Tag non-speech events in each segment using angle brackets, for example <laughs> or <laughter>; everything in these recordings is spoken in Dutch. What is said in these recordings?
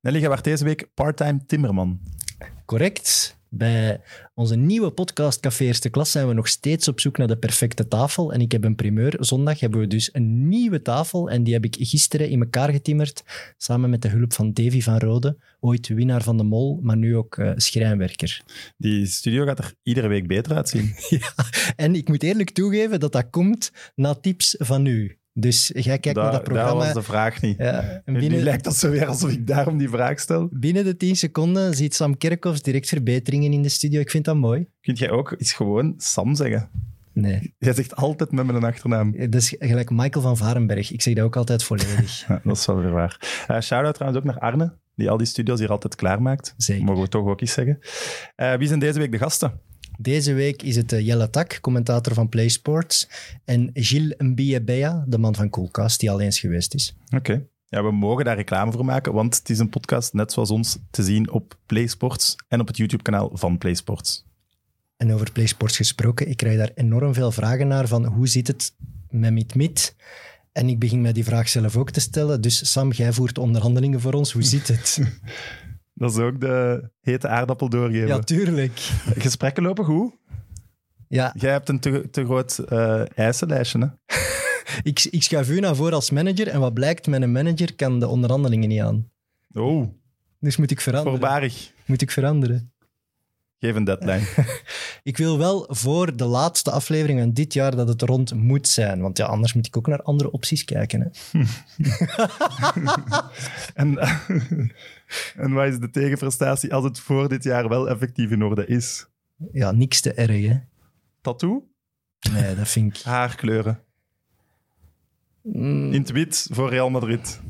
Nelly, je werd deze week part-time timmerman. Correct. Bij onze nieuwe podcast Café Eerste Klas zijn we nog steeds op zoek naar de perfecte tafel. En ik heb een primeur. Zondag hebben we dus een nieuwe tafel. En die heb ik gisteren in elkaar getimmerd. Samen met de hulp van Davy van Rode. Ooit winnaar van de Mol, maar nu ook eh, schrijnwerker. Die studio gaat er iedere week beter uitzien. En ik moet eerlijk toegeven dat dat komt na tips van u. Dus jij kijkt naar dat Daar programma. was de vraag niet. Ja, en Nu binnen, lijkt dat zo weer alsof ik daarom die vraag stel. binnen de 10 seconden ziet Sam Kerkhoffs direct verbeteringen in de studio. Ik vind dat mooi. Kunt jij ook iets gewoon Sam zeggen? Nee, Jij zegt altijd met mijn achternaam. Eh, dat is gelijk Michael van Varenberg. Ik zeg dat ook altijd volledig. Ja, dat is wel weer waar. Eh Shout-out trouwens ook naar Arne, die al die studios hier altijd klaarmaakt. Zeker. Mogen we toch ook iets zeggen. Eh, wie zijn deze week de gasten? Deze week is het eh, Jelle Tak, commentator van PlaySports. En Gilles Mbiebea, de man van Coolcast, die al eens geweest is. Oké. Ja, we mogen daar reclame voor maken, want het is een podcast net zoals ons te zien op PlaySports en op het YouTube-kanaal van PlaySports. En over PlaySports gesproken, ik krijg daar enorm veel vragen naar van hoe zit het met MitMit? En ik begin mij die vraag zelf ook te stellen. Dus Sam, jij voert onderhandelingen voor ons. Hoe zit het? Dat is ook de hete aardappel doorgeven. ja, tuurlijk. Gesprekken lopen goed. Ja, Jij hebt een te, te groot eh eisenlijstje, hè? ik, ik schuif u naar voren als manager. En wat blijkt, mijn manager kan de onderhandelingen niet aan. Oh, Dus moet ik veranderen. voorbarig. Moet ik veranderen. Geef een deadline. Ik wil wel voor de laatste aflevering van dit jaar dat het rond moet zijn. Want ja, anders moet ik ook naar andere opties kijken. Hè. <laughs> en, <laughs> en wat is de tegenprestatie als het voor dit jaar wel effectief in orde is? Ja, niks te erg, hè. Tattoo? Nee, dat vind ik... Haarkleuren. Mm, In het wit voor Real Madrid.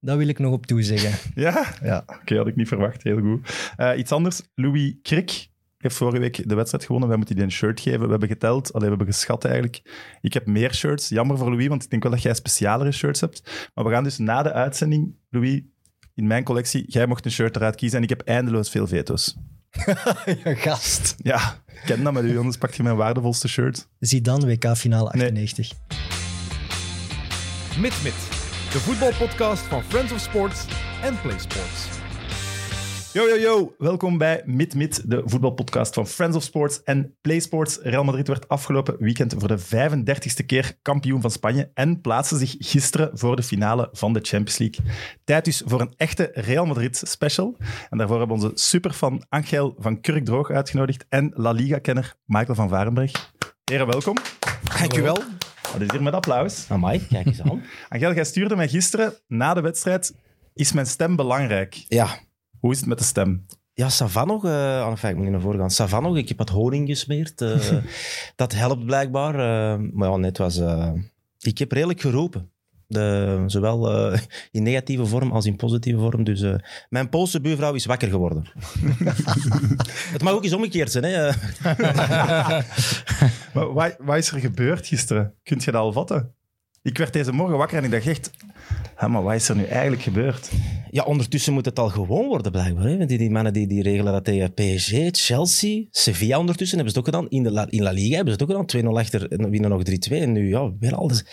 dat wil ik nog op toezeggen. Ja? Ja. Oké, had ik niet verwacht. Heel goed. Eh, iets anders. Louis Krik heeft vorige week de wedstrijd gewonnen. Wij moeten die een shirt geven. We hebben geteld. Allee, we hebben geschat eigenlijk. Ik heb meer shirts. Jammer voor Louis, want ik denk wel dat jij specialere shirts hebt. Maar we gaan dus na de uitzending, Louis, in mijn collectie, jij mocht een shirt eruit kiezen en ik heb eindeloos veel veto's. <laughs> Ja, gast. Ja, ik ken dat met u, anders pak je mijn waardevolste shirt. Zie dan WK-finale Nee. 98. MidMid, de voetbalpodcast van Friends of Sports en Play Sports. Yo, yo, yo. Welkom bij Mid Mid, de voetbalpodcast van Friends of Sports en Play Sports. Real Madrid werd afgelopen weekend voor de 35ste keer kampioen van Spanje en plaatste zich gisteren voor de finale van de Champions League. Tijd dus voor een echte Real Madrid special. En daarvoor hebben we onze superfan Angel van Kurkdroog uitgenodigd en La Liga-kenner Michael van Varenberg. Heren, welkom. Dankjewel. Dat is hier met applaus. Amai, kijk eens aan. Angel, jij stuurde mij gisteren na de wedstrijd, is mijn stem belangrijk? <laughs> Ja. Hoe is het met de stem? Ja, Savanog, eh enfin, ik moet niet naar voren gaan. Savanog, ik heb wat honing gesmeerd. <laughs> eh, dat helpt blijkbaar. eh, maar ja, net was... eh, ik heb redelijk geroepen. De, zowel eh, in negatieve vorm als in positieve vorm. Dus eh, mijn Poolse buurvrouw is wakker <laughs> geworden. Het mag ook eens omgekeerd zijn, hè. Maar wat, wat is er gebeurd gisteren? Kunt je dat al vatten? Ik werd deze morgen wakker en ik dacht echt... "Hé, maar wat is er nu eigenlijk gebeurd? Ja, ondertussen moet het al gewoon worden, blijkbaar. Hè? Want die, die mannen die, die regelen dat tegen PSG, Chelsea, Sevilla ondertussen hebben ze het ook gedaan. In, de La, in La Liga hebben ze het ook gedaan. 2-0 achter en winnen nog 3-2. En nu, ja, weer alles.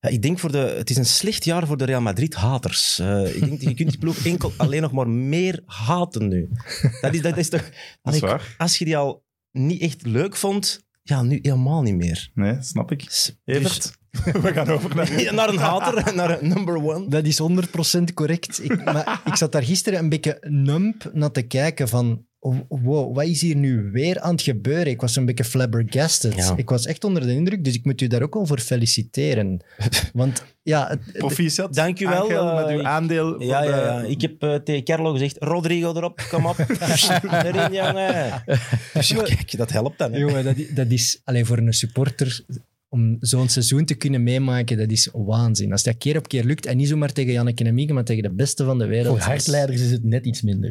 Ja, ik denk voor de... Het is een slecht jaar voor de Real Madrid-haters. Eh, ik denk, dat je kunt die <laughs> ploeg enkel alleen nog maar meer haten nu. Dat is, dat is toch... <laughs> Dat is waar. Als je die al niet echt leuk vond, ja, nu helemaal niet meer. Nee, snap ik. Dus- <laughs> Evert, <laughs> we gaan over naar... dus- naar een hater, <laughs> naar een number one. Dat is 100% correct. <laughs> Ik, maar ik zat daar gisteren een beetje nump naar te kijken van... oh, Wow, wat is hier nu weer aan het gebeuren? Ik was een beetje flabbergasted. Ja. Ik was echt onder de indruk, dus ik moet u daar ook al voor <laughs> feliciteren. Want ja, het- het- Proficiat. Dank u wel, Angel, met eh, uw ik- aandeel. van Ja, ja, ja. de- ik heb eh, tegen Carlo gezegd, Rodrigo erop, kom op. Erin, jongen. Dus ja, kijk, dat helpt dan. hè. Jongen, dat, i- dat is alleen voor een supporter om zo'n seizoen te kunnen meemaken, dat is waanzin. Als dat keer op keer lukt, en niet zomaar tegen Janneke en Mieke, maar tegen de beste van de wereld. Voor hardleiders is het net iets minder.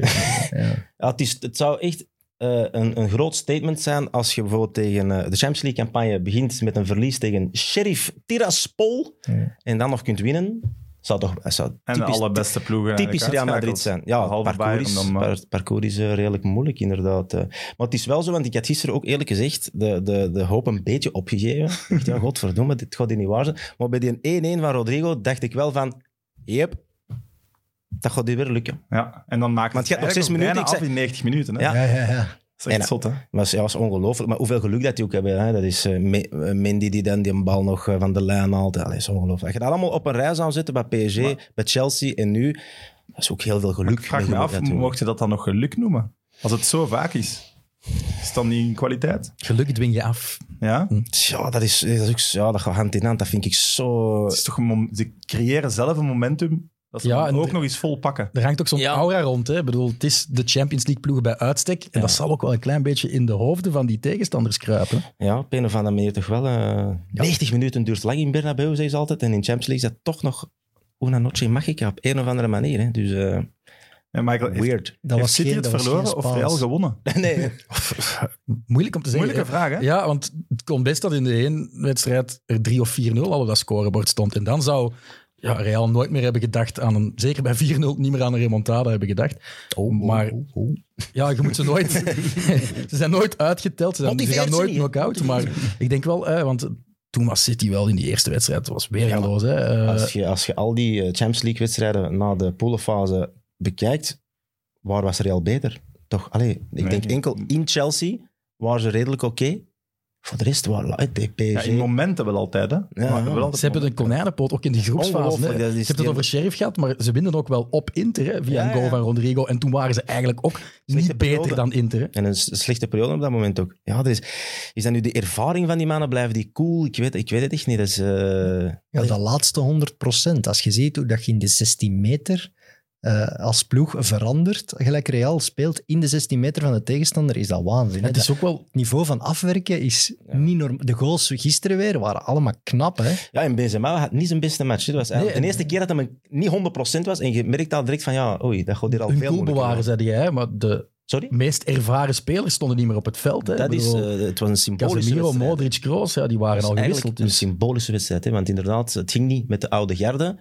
Ja, het, is, het zou echt eh, een, een groot statement zijn als je bijvoorbeeld tegen eh, de Champions League-campagne begint met een verlies tegen Sheriff Tiraspol Ja. en dan nog kunt winnen. Zou toch zou En de typisch, allerbeste ploegen typisch Real eigenlijk Madrid zijn. Ja, Behalve parcours is, Bayern dan, maar- par- parcours is eh, redelijk moeilijk, inderdaad. eh. Maar het is wel zo, want ik had gisteren ook eerlijk gezegd de, de, de hoop een beetje opgegeven. Ik <laughs> dacht, ja, godverdomme, dit gaat hier niet waar zijn. Maar bij die 1-1 van Rodrigo dacht ik wel van, yep, Dat gaat hier weer lukken. Ja. En dan maakt Want je het hebt nog eigenlijk zes minuten, bijna ik zei- af in 90 minuten. Hè? Ja. Ja, ja, ja. Dat is echt En- zot, hè? Maar ja, dat is ongelooflijk. Maar hoeveel geluk dat die ook hebben. Hè? Dat is eh, Me- eh, Mendy die dan die bal nog eh, van de lijn haalt. Allee, Dat is ongelooflijk. Als je dat allemaal op een rij zou zetten bij PSG, bij Chelsea en nu, dat is ook heel veel geluk. Ik vraag met me geluk af, natuurlijk. mocht je dat dan nog geluk noemen? Als het zo vaak is, is het dan niet een kwaliteit? Geluk dwing je af. Ja? Ja, dat is, dat is ook, zo- ja, dat gaat hand in hand. Dat vind ik zo... Het is toch een mom- ze creëren zelf een momentum dat ze Ja, dan en ook de- nog eens vol pakken. Er hangt ook zo'n Ja. aura rond. Hè? Ik bedoel, het is de Champions League ploeg bij uitstek. En dat zal ook wel een klein beetje in de hoofden van die tegenstanders kruipen. Ja, op een of andere manier toch wel. eh 90 minuten duurt lang in Bernabeu, zeggen ze altijd. En in Champions League is dat toch nog una noche magica op een of andere manier. Hè? Dus eh, En Michael, heeft, <laughs> weird. Eh, Dat heeft was City geen- het dat was geen verloren of Spaans. Real gewonnen? nee, Moeilijk om te zeggen. Moeilijke vraag, hè? hè? Ja, want het kon best dat in de één wedstrijd er 3 of 4-0 al op dat scorebord stond. En dan zou ja, Real nooit meer hebben gedacht aan een... Zeker bij 4-0 niet meer aan een remontade hebben gedacht. Oh, maar ja, je moet ze <laughs> nooit... <laughs> ze zijn nooit uitgeteld. Ze, zijn, ze Motiveert gaan ze nooit niet, hè? knock-out. Maar ik denk wel... eh, want toen was City wel in die eerste wedstrijd. Het was weergaloos, hè? Eh, Als je, als je al die eh, Champions League-wedstrijden na de poolfase bekijkt, waar was Real beter? Toch, allee, ik Nee. denk enkel in Chelsea waren ze redelijk oké. Voor de rest waren eh, de PSG. Ja, in momenten wel altijd, hè? Maar wel altijd Oh, Ze hebben een konijnenpoot ook in de groepsfase. Ongelooflijk, hè. dat is Je hebt het die- over Sheriff gehad, maar ze winnen ook wel op Inter hè, via Ja, een goal ja. van Rodrigo. En toen waren ze eigenlijk ook niet periode. beter dan Inter. hè. En een s- slechte periode op dat moment ook. Ja, er is, is dat nu de ervaring van die mannen? Blijven die cool? Ik weet, ik weet het echt niet. Dat is, eh, Ja, dat laatste 100%. Als je ziet hoe dat je in de 16 meter eh, als ploeg verandert, gelijk Real speelt in de 16 meter van de tegenstander, is dat waanzin. hè? Het is ook wel... Het niveau van afwerken is niet normaal. De goals gisteren weer waren allemaal knap, hè? Ja, en Benzema had niet zijn beste match. hè. Dat was eigenlijk de eerste keer dat hij niet 100% was. En je merkt al direct van, ja, oei, dat gaat hier al Hun veel cool moeilijker bewaren, zei jij, hè, maar de worden. Sorry? meest ervaren spelers stonden niet meer op het veld. Hè. Dat Ik is, bedoel, eh, het was een symbolische Casemiro, wedstrijd. Modric, Kroos, ja, die Het waren was al eigenlijk gewisseld. een Dus. symbolische wedstrijd. Hè? Want inderdaad, het ging niet met de oude garde.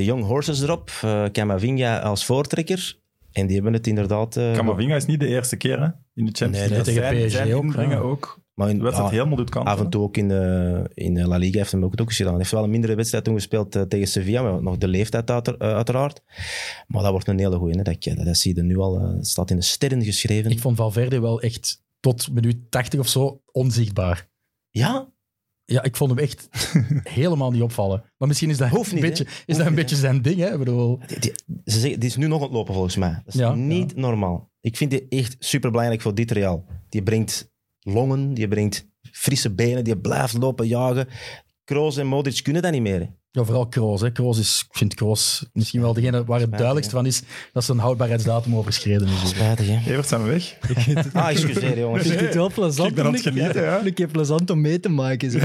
De young horses erop. eh Camavinga als voortrekker. En die hebben het inderdaad... eh, Camavinga is niet de eerste keer hè, in de Champions Nee, League. nee, tegen Zijn- PSG zijn ook, inbrengen ja. ook. maar in- De wedstrijd ah, helemaal doet kanten. Af en toe ook in de, in de La Liga heeft hem ook het ook eens gedaan. Hij heeft wel een mindere wedstrijd toen gespeeld eh, tegen Sevilla, maar nog de leeftijd uiter- eh, uiteraard. Maar dat wordt een hele goeie. Hè? Dat, dat, dat zie je nu al. eh, staat in de sterren geschreven. Ik vond Valverde wel echt tot minuut 80 of zo onzichtbaar. Ja, Ja, ik vond hem <laughs> echt helemaal niet opvallen. Maar misschien is dat Hoeft niet, een, beetje, hè? is dat niet, een beetje zijn ding. Hè? Ik bedoel, die, die- ze zeggen, die is nu nog aan het lopen volgens mij. Dat is Ja, niet normaal. Ik vind die echt superbelangrijk voor dit Real. Die brengt longen, die brengt frisse benen, die blijft lopen, jagen. Kroos en Modric kunnen dat niet meer. hè. ja, vooral Kroos. Hè. Kroos is, ik vind Kroos misschien wel degene waar het duidelijkst van is dat zijn houdbaarheidsdatum overschreden is. Spijtig, hè? Evert zijn we weg. <laughs> Ah, excuseer, <laughs> jongens. Ik vind het wel plezant. Ik ben aan het genieten, ja. Een keer plezant om mee te maken. Zo.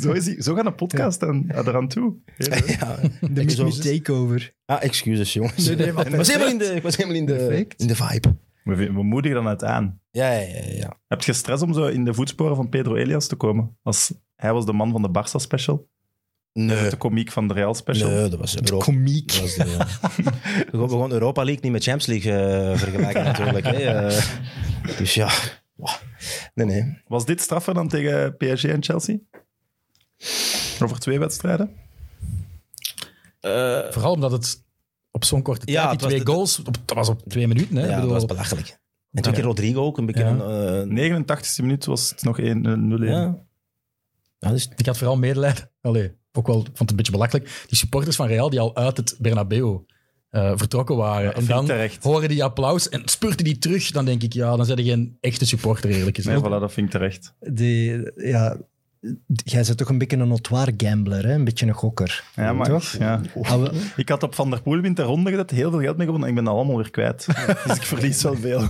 zo, is die- zo gaat een podcast aan, eraan toe. <laughs> Ja. De Ik zo- Miss Takeover. Ah, excuses, jongens. Nee, nee, wat- ik was helemaal in de, ik was helemaal in de, Perfect. Eh, in de vibe. We, vi- we moedigen dan het aan. Ja, ja, ja. ja. Heb je stress om zo in de voetsporen van Pedro Elias te komen? Als, hij was de man van de Barça special. Nee, De komiek van de Real special. nee, dat was Europa. Komiek. Dat was de, <laughs> we gaan- we gaan Europa League niet met Champions League eh, <laughs> vergelijken natuurlijk. Hè. eh. dus ja. Wah. Nee, nee. Was dit straffer dan tegen PSG en Chelsea? Over twee wedstrijden? Vooral omdat het op zo'n korte tijd, Ja, die het was twee de- goals, op, dat was op twee minuten. Hè? Ik ja, dat bedoel, was belachelijk. En toen keer Rodrigo ook een beetje... Ja. Een, eh, 89e minuut was het nog eh, 1-0-1. ja. Ja, dus, ik had vooral medelijden. <laughs> Allee, ook wel, ik vond het een beetje belachelijk. Die supporters van Real die al uit het Bernabeu eh, vertrokken waren. en vind ik dan terecht. horen die applaus en spurten die terug. Dan denk ik, ja, dan zijn die geen echte supporter, eerlijk Nee, gezegd. voilà, dat vind ik terecht. Die, ja, jij bent toch een beetje een notoire gambler, hè? een beetje een gokker. Ja, maar, Toch? ja. Ah, we- Ik had op Van der Poel winter ronde gezet, heel veel geld mee gewonnen en ik ben dat allemaal weer kwijt. <laughs> Dus ik verlies wel <laughs> veel.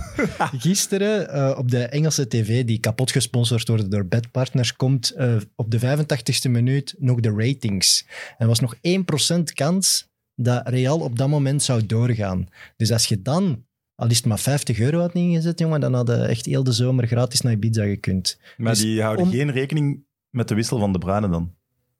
Gisteren eh, op de Engelse tv, die kapot gesponsord worden door bedpartners, komt eh, op de 85ste minuut nog de ratings. Er was nog 1% kans dat Real op dat moment zou doorgaan. Dus als je dan, al is het maar 50 euro had ingezet, jongen, dan hadden echt heel de zomer gratis naar Ibiza gekund. Maar Dus die houden om- geen rekening met de wissel van de Bruyne dan.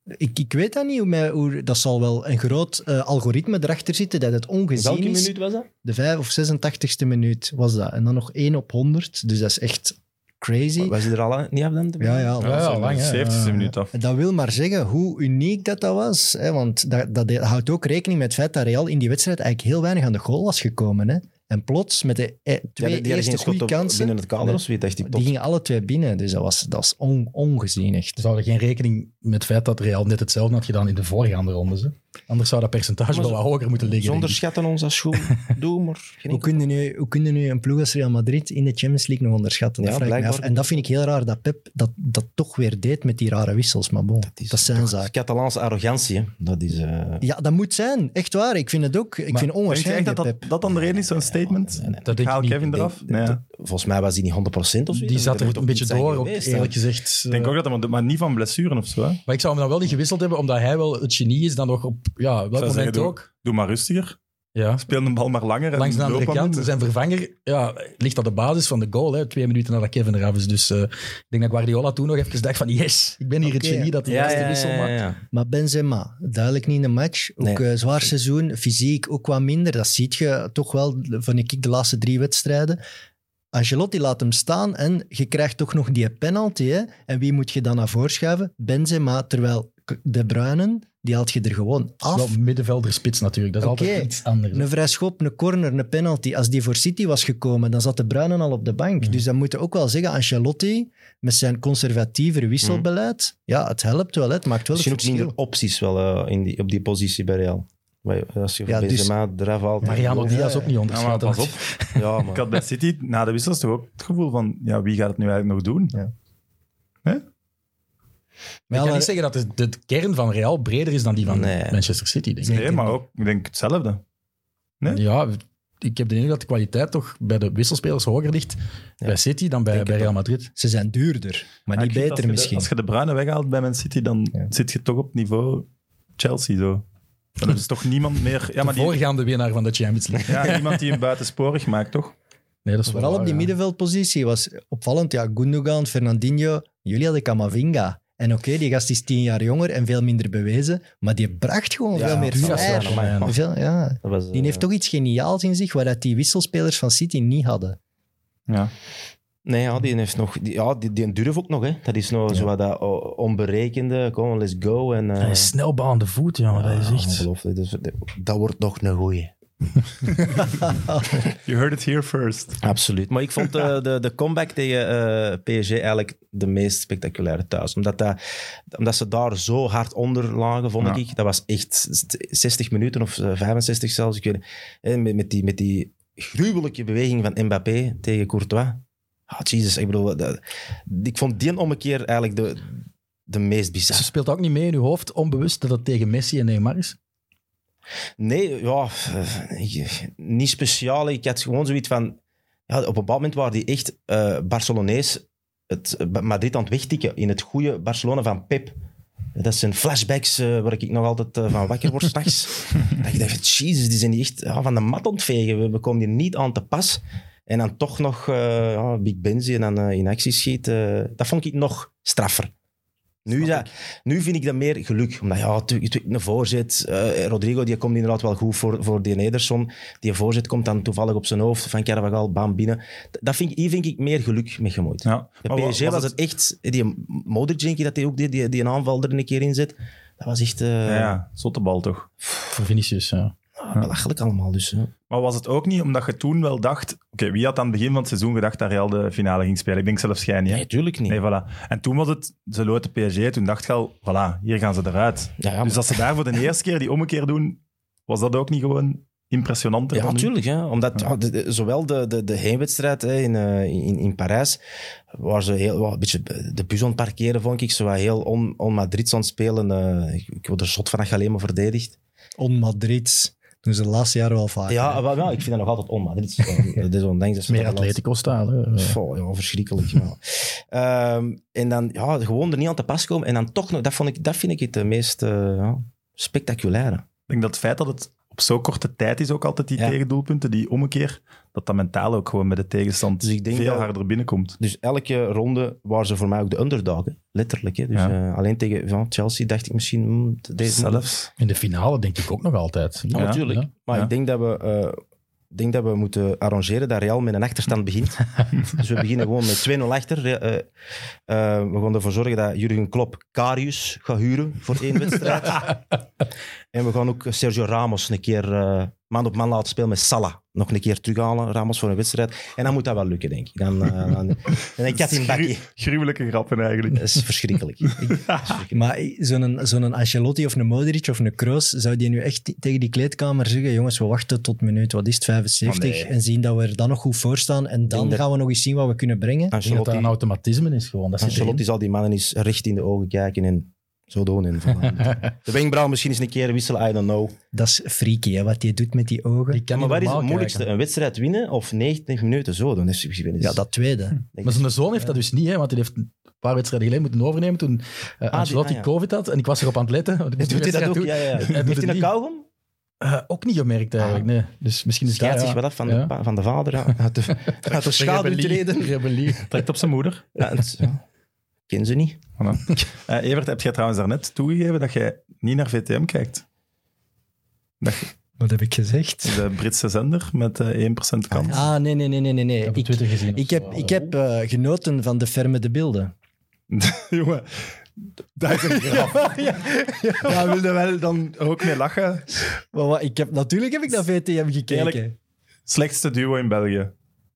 Ik, ik weet dat niet, hoe, mij- hoe, dat zal wel een groot eh, algoritme erachter zitten dat het ongezien welke is. minuut was dat? De 5 of 86ste minuut was dat. En dan nog 1 op 100, dus dat is echt crazy. Was hij er al aan- niet af dan? Ja, ja, Ah, ja, zijn lang, de hè. 70 Ja, Dus minuut af. Dat wil maar zeggen hoe uniek dat, dat was. Hè? Want dat, dat houdt ook rekening met het feit dat Real in die wedstrijd eigenlijk heel weinig aan de goal was gekomen. Hè? En plots, met de eh, Die twee hadden- die hadden eerste geen schot goede op- kansen, binnen het kader Nee. of zoiets, dacht ik die toch. gingen alle twee binnen. Dus dat was, dat was on- ongezien echt. Dus Ze houden geen rekening met het feit dat Real net hetzelfde had gedaan in de voorgaande rondes. Hè. Anders zou dat percentage Maar wel zo- wat hoger moeten liggen. Zonder denk ik. schatten ons als <laughs> schoen. Doe maar. Geen Hoe kun, je nu, hoe kun je nu een ploeg als Real Madrid in de Champions League nog onderschatten? Dat Ja, vraag ik me af. blijkbaar. En dat vind ik heel raar dat Pep dat, dat toch weer deed met die rare wissels. Maar bon, dat, is is zijn Dat is zaak. Catalaanse arrogantie, hè. Dat is... eh, Ja, dat moet zijn. Echt waar. Ik vind het ook. Ik vind het Denk je echt onwaarschijnlijk, dat dat, Pep. dat dan de reden is, zo'n statement? Dat ik denk haal ik niet. Kevin ik eraf? denk- Nee. dat- Volgens mij was hij niet 100% of zo. Die zat Dat er moet een ook beetje niet zijn door, ook geweest, eerlijk hè. gezegd. Eh, Ik denk ook dat dat, maar niet van blessuren of zo. Hè. Ik Maar ik zou hem dan wel niet gewisseld hebben, omdat hij wel het genie is dan nog op ja, welk zou moment zeggen, doe, ook. doe maar rustiger. Ja. Speel een bal maar langer. en Langs de loop andere aan kant, dus hem. zijn vervanger ja, ligt aan de basis van de goal. Hè, twee minuten nadat Kevin eraf is. Dus eh, ik denk dat Guardiola toen nog even dacht van yes, ik ben hier Oké. het genie dat de Ja, eerste ja, wissel ja, maakt. ja. Maar Benzema, duidelijk niet in de match. Ook Nee. eh, zwaar seizoen, fysiek ook wat minder. Dat zie je toch wel, van ik, de laatste drie wedstrijden. Angelotti laat hem staan en je krijgt toch nog die penalty. Hè? En wie moet je dan naar voren schuiven? Benzema, terwijl K- De Bruyne, die haalt je er gewoon Dat af. is wel middenvelder spits natuurlijk. Dat is Oké. altijd iets anders. Een vrij schop, een corner, een penalty. Als die voor City was gekomen, dan zat De Bruyne al op de bank. Mhm. Dus dan moet je ook wel zeggen, Ancelotti, met zijn conservatievere wisselbeleid, ja, het helpt wel, hè. het maakt wel een Misschien ook verschil. minder opties wel eh, in die, op die positie bij Real. Maar als je Ja, ja, dus- Benzema eraf haalt... Mariano Diaz ja. ook niet Ja, maar onderschatten. pas op. <laughs> Ja, maar... Ik had bij City na de wissels toch ook het gevoel van, ja, wie gaat het nu eigenlijk nog doen? Ja. Maar ik Ja, kan maar- niet zeggen dat de, de kern van Real breder is dan die van Nee. Manchester City, denk ik. Dus Nee, maar ook, ik denk hetzelfde. Nee. Ja, ik heb de indruk dat de kwaliteit toch bij de wisselspelers hoger ligt bij City dan bij, bij Real Madrid. Ze zijn duurder, maar Ja, niet ik vind beter als je de- misschien. als je de bruine weghaalt bij Man City, dan zit je toch op niveau Chelsea zo. Maar er is toch niemand meer... Ja, maar de die, voorgaande winnaar van de <laughs> Champions League. ja, niemand die hem buitensporig maakt, toch? Nee, dat is Vooral wel waar, op die ja. middenveldpositie was opvallend. Ja, Gundogan, Fernandinho, jullie hadden Camavinga. En oké, die gast is tien jaar jonger en veel minder bewezen, maar die bracht gewoon Ja, veel meer dat was flair. wel een man. Veel- ja. Dat was, eh, Die heeft toch iets geniaals in zich, wat dat die wisselspelers van City niet hadden. Ja. eh, Nee, ja, die heeft nog... Die, ja, die, die durf ook nog, hè. Dat is nog zo wat dat o- onberekende. Kom, let's go. En, eh, Hij is snel bal aan de voet, jongen. dat is echt... Ongelooflijk. Dus, eh, dat wordt nog een goeie. You heard it here first. Absoluut. Maar ik vond eh, de, de comeback tegen eh, PSG eigenlijk de meest spectaculaire thuis. Omdat, dat, omdat ze daar zo hard onder lagen, vond Ja. ik. Dat was echt 60 minuten of eh, 65 zelfs. Ik weet niet. Hè, met, met, die, met die gruwelijke beweging van Mbappé tegen Courtois. Ah, Jesus, ik bedoel, dat- ik vond die ommekeer eigenlijk de, de meest Ze bizar. speelt ook niet mee in uw hoofd, onbewust, dat het tegen Messi en Neymar is. Nee, ja, eh, ik- niet speciaal. Ik had gewoon zoiets van... Ja, op een bepaald moment waren die echt eh Barcelonees het eh, Madrid aan het wegtikken in het goede Barcelona van Pep. Dat zijn flashbacks eh, waar ik nog altijd eh, van wakker word s'nachts. dat ik dacht, jezus, die zijn die echt ja, van de mat ontvegen. We, we komen hier niet aan te pas. En dan toch nog eh, ja, Big Benzie en dan eh, in actie schiet. eh, dat vond ik nog straffer. Nu, is dat, nu vind ik dat meer geluk. Omdat ja, tu- tu- een voorzet. eh, Rodrigo die komt inderdaad wel goed voor, voor die Nederson. Die voorzet komt dan toevallig op zijn hoofd. Van Carvajal, bam, binnen. Dat vind ik, hier vind ik meer geluk mee gemoeid. Ja. Bij Maar wa- PSG was, het echt... Die Modric, denk ik, dat hij ook die, die, die een aanval er een keer in zet. Dat was echt eh, Ja, ja, zotte bal toch. Voor Vinicius, ja. ah, belachelijk allemaal. Dus, hè. Maar was het ook niet omdat je toen wel dacht... Oké, wie had aan het begin van het seizoen gedacht dat Real de finale ging spelen? Ik denk zelfs jij niet, hè? Nee, tuurlijk niet. Nee, voilà. En toen was het, ze loten PSG, toen dacht je al, voilà, hier gaan ze eruit. ja, ja, Ah, maar- Dus als ze daar voor de eerste keer die ommekeer doen, was dat ook niet gewoon impressionanter Ja, dan nu? natuurlijk. Ja. Omdat Ja. ja, de- de- zowel de, de, de heenwedstrijd hè, in, eh, in, in Parijs, waar ze heel, wel een beetje de bus aan het parkeren, vond ik. Ze waren heel on, on Madrid aan het spelen. eh, ik, ik word er zot van dat je alleen maar verdedigt. On Madrid doen ze de laatste jaren wel vaak. Ja, wel, wel, ik vind dat nog altijd on <laughs> Madrid. Dat is ondanks dat ze Meer dat wel- Atletico-stijl. hè. Goh, ja, oh, verschrikkelijk. ja. Ehm, en dan ja, gewoon er niet aan te pas komen. En dan toch nog, dat, vond ik, dat vind ik het eh, meest eh, ja, spectaculaire. Ik denk dat het feit dat het op zo'n korte tijd is ook altijd die Ja. tegendoelpunten, die ommekeer, dat dat mentaal ook gewoon met de tegenstand Dus ik denk veel dat- harder binnenkomt. Dus elke ronde waren ze voor mij ook de underdog, hè. letterlijk. Hè. Dus, Ja. eh, alleen tegen ja, Chelsea dacht ik misschien... hmm, deze Zelfs. In de finale denk ik ook nog altijd. Ja, natuurlijk. Ja. Maar Ja. ik denk dat we eh, denk dat we moeten arrangeren dat Real met een achterstand begint. dus we beginnen gewoon met 2-0 achter. Re- eh, eh, we gaan ervoor zorgen dat Jurgen Klopp Karius gaat huren voor één wedstrijd. en we gaan ook Sergio Ramos een keer eh, man op man laten spelen met Salah. Nog een keer terughalen, Ramos voor een wedstrijd. En dan moet dat wel lukken, denk ik. Dan, eh, dan, en een kat in bakje. Gru- gruwelijke grappen eigenlijk. Dat is verschrikkelijk. Ik- dat is verschrikkelijk. Maar eh, zo'n zo'n Ancelotti of een Modric of een Kroos, zou die nu echt tegen die kleedkamer zeggen, jongens, we wachten tot minuut, wat is het, 75, Oh, nee. en zien dat we er dan nog goed voor staan en dan Denk dat- gaan we nog eens zien wat we kunnen brengen. Ik denk dat dat een Ancelotti, automatisme is gewoon. Dat zit erin. Ancelotti zal die mannen eens recht in de ogen kijken en zo doen. En <laughs> voilà. de wenkbrauw misschien eens een keer wisselen, I don't know. Dat is freaky, hè, wat die doet met die ogen. Die kan maar niet wat is het normaal moeilijkste? kijken. Een wedstrijd winnen of 90 minuten zo doen? Dat is- ik ben eens- Ja, dat tweede. denk- Maar zijn zoon heeft dat dus niet, hè, want hij heeft een paar wedstrijden geleden moeten overnemen toen eh, Ancelotti ah, ja. COVID had. En ik was erop aan het letten. want ik moest <laughs> Doet die hij dat wedstrijd ook? doen. Ja, ja. Hij doet Heeft het hij een niet. kauwgom? Eh, ook niet gemerkt eigenlijk, nee. Dus misschien is Scheidt dat... zich ja. wel af van, Ja. de, pa- van de vader. <laughs> ja. Uit de, uit de schaduw Rebellie. treden. Rebellie. Trekt op zijn moeder. Ja, het <laughs> is- ja. Ken ze niet. <laughs> Eh, Evert, heb jij trouwens daarnet toegegeven dat jij niet naar VTM kijkt? Dat je- Wat heb ik gezegd? de Britse zender met eh, 1% kans. Ah, nee, nee, nee, nee, nee. nee. Ik heb op Ik, Twitter gezien. of ik zo. heb, ik heb eh, genoten van de ferme de beelden. Jongen, dat is een <laughs> grap. Daar wilde wel dan ook mee lachen. Maar wat, ik heb, natuurlijk heb ik naar VTM gekeken. Eerlijk? Slechtste duo in België.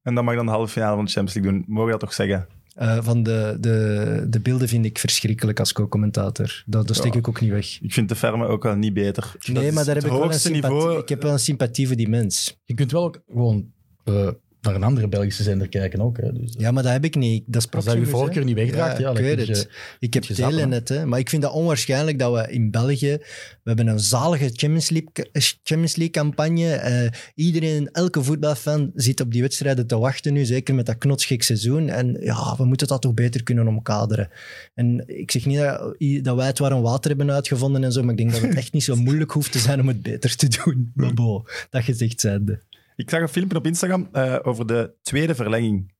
En dat mag dan de halve finale van de Champions League doen. Mogen we dat toch zeggen? Eh, van de, de, de beelden vind ik verschrikkelijk als co-commentator. Dat, dat steek Ja. ik ook niet weg. Ik vind de ferme ook wel niet beter. Dat Nee, is maar daar heb het ik wel een hoogste sympathie. niveau. Ik heb wel een sympathie voor die mens. Je kunt wel ook gewoon eh, naar een andere Belgische zender kijken ook. Hè, dus, eh, Ja, maar dat heb ik niet. Dat is als dat je proximus, hè. voorkeur niet wegdraagt, ja, ik dan weet kun het. je- ik heb je zappen, telenet, hè. Maar ik vind dat onwaarschijnlijk dat we in België... We hebben een zalige Champions League, Champions League campagne. Eh, iedereen, elke voetbalfan zit op die wedstrijden te wachten nu. Zeker met dat knotsgek seizoen. En ja, we moeten dat toch beter kunnen omkaderen. En ik zeg niet dat, dat wij het warm water hebben uitgevonden en zo. Maar ik denk dat <laughs> het echt niet zo moeilijk hoeft te zijn om het beter te doen. <laughs> Maar bo, dat gezegd zijnde. Ik zag een filmpje op Instagram eh, over de tweede verlenging.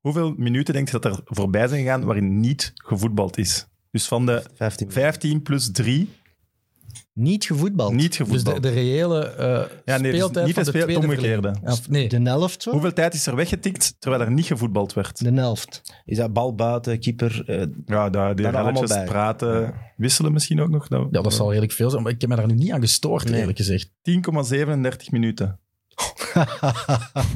Hoeveel minuten denk je dat er voorbij zijn gegaan waarin niet gevoetbald is? Dus van de 15 minuten. 15 plus 3 Niet gevoetbald. niet Dus gevoetbald. de, de reële eh Ja, nee, dus speeltijd niet van de de speel- tweede het omgekeerde. verlenging. Of, nee, De helft, wel? Hoeveel tijd is er weggetikt terwijl er niet gevoetbald werd? De helft. Is dat bal buiten, keeper? eh, Ja, daar, die relletjes, Daar allemaal bij. praten, wisselen misschien ook nog. Dat- ja, dat zal redelijk veel zijn, maar ik heb me daar nu niet aan gestoord, Nee. eerlijk gezegd. 10,37 minuten.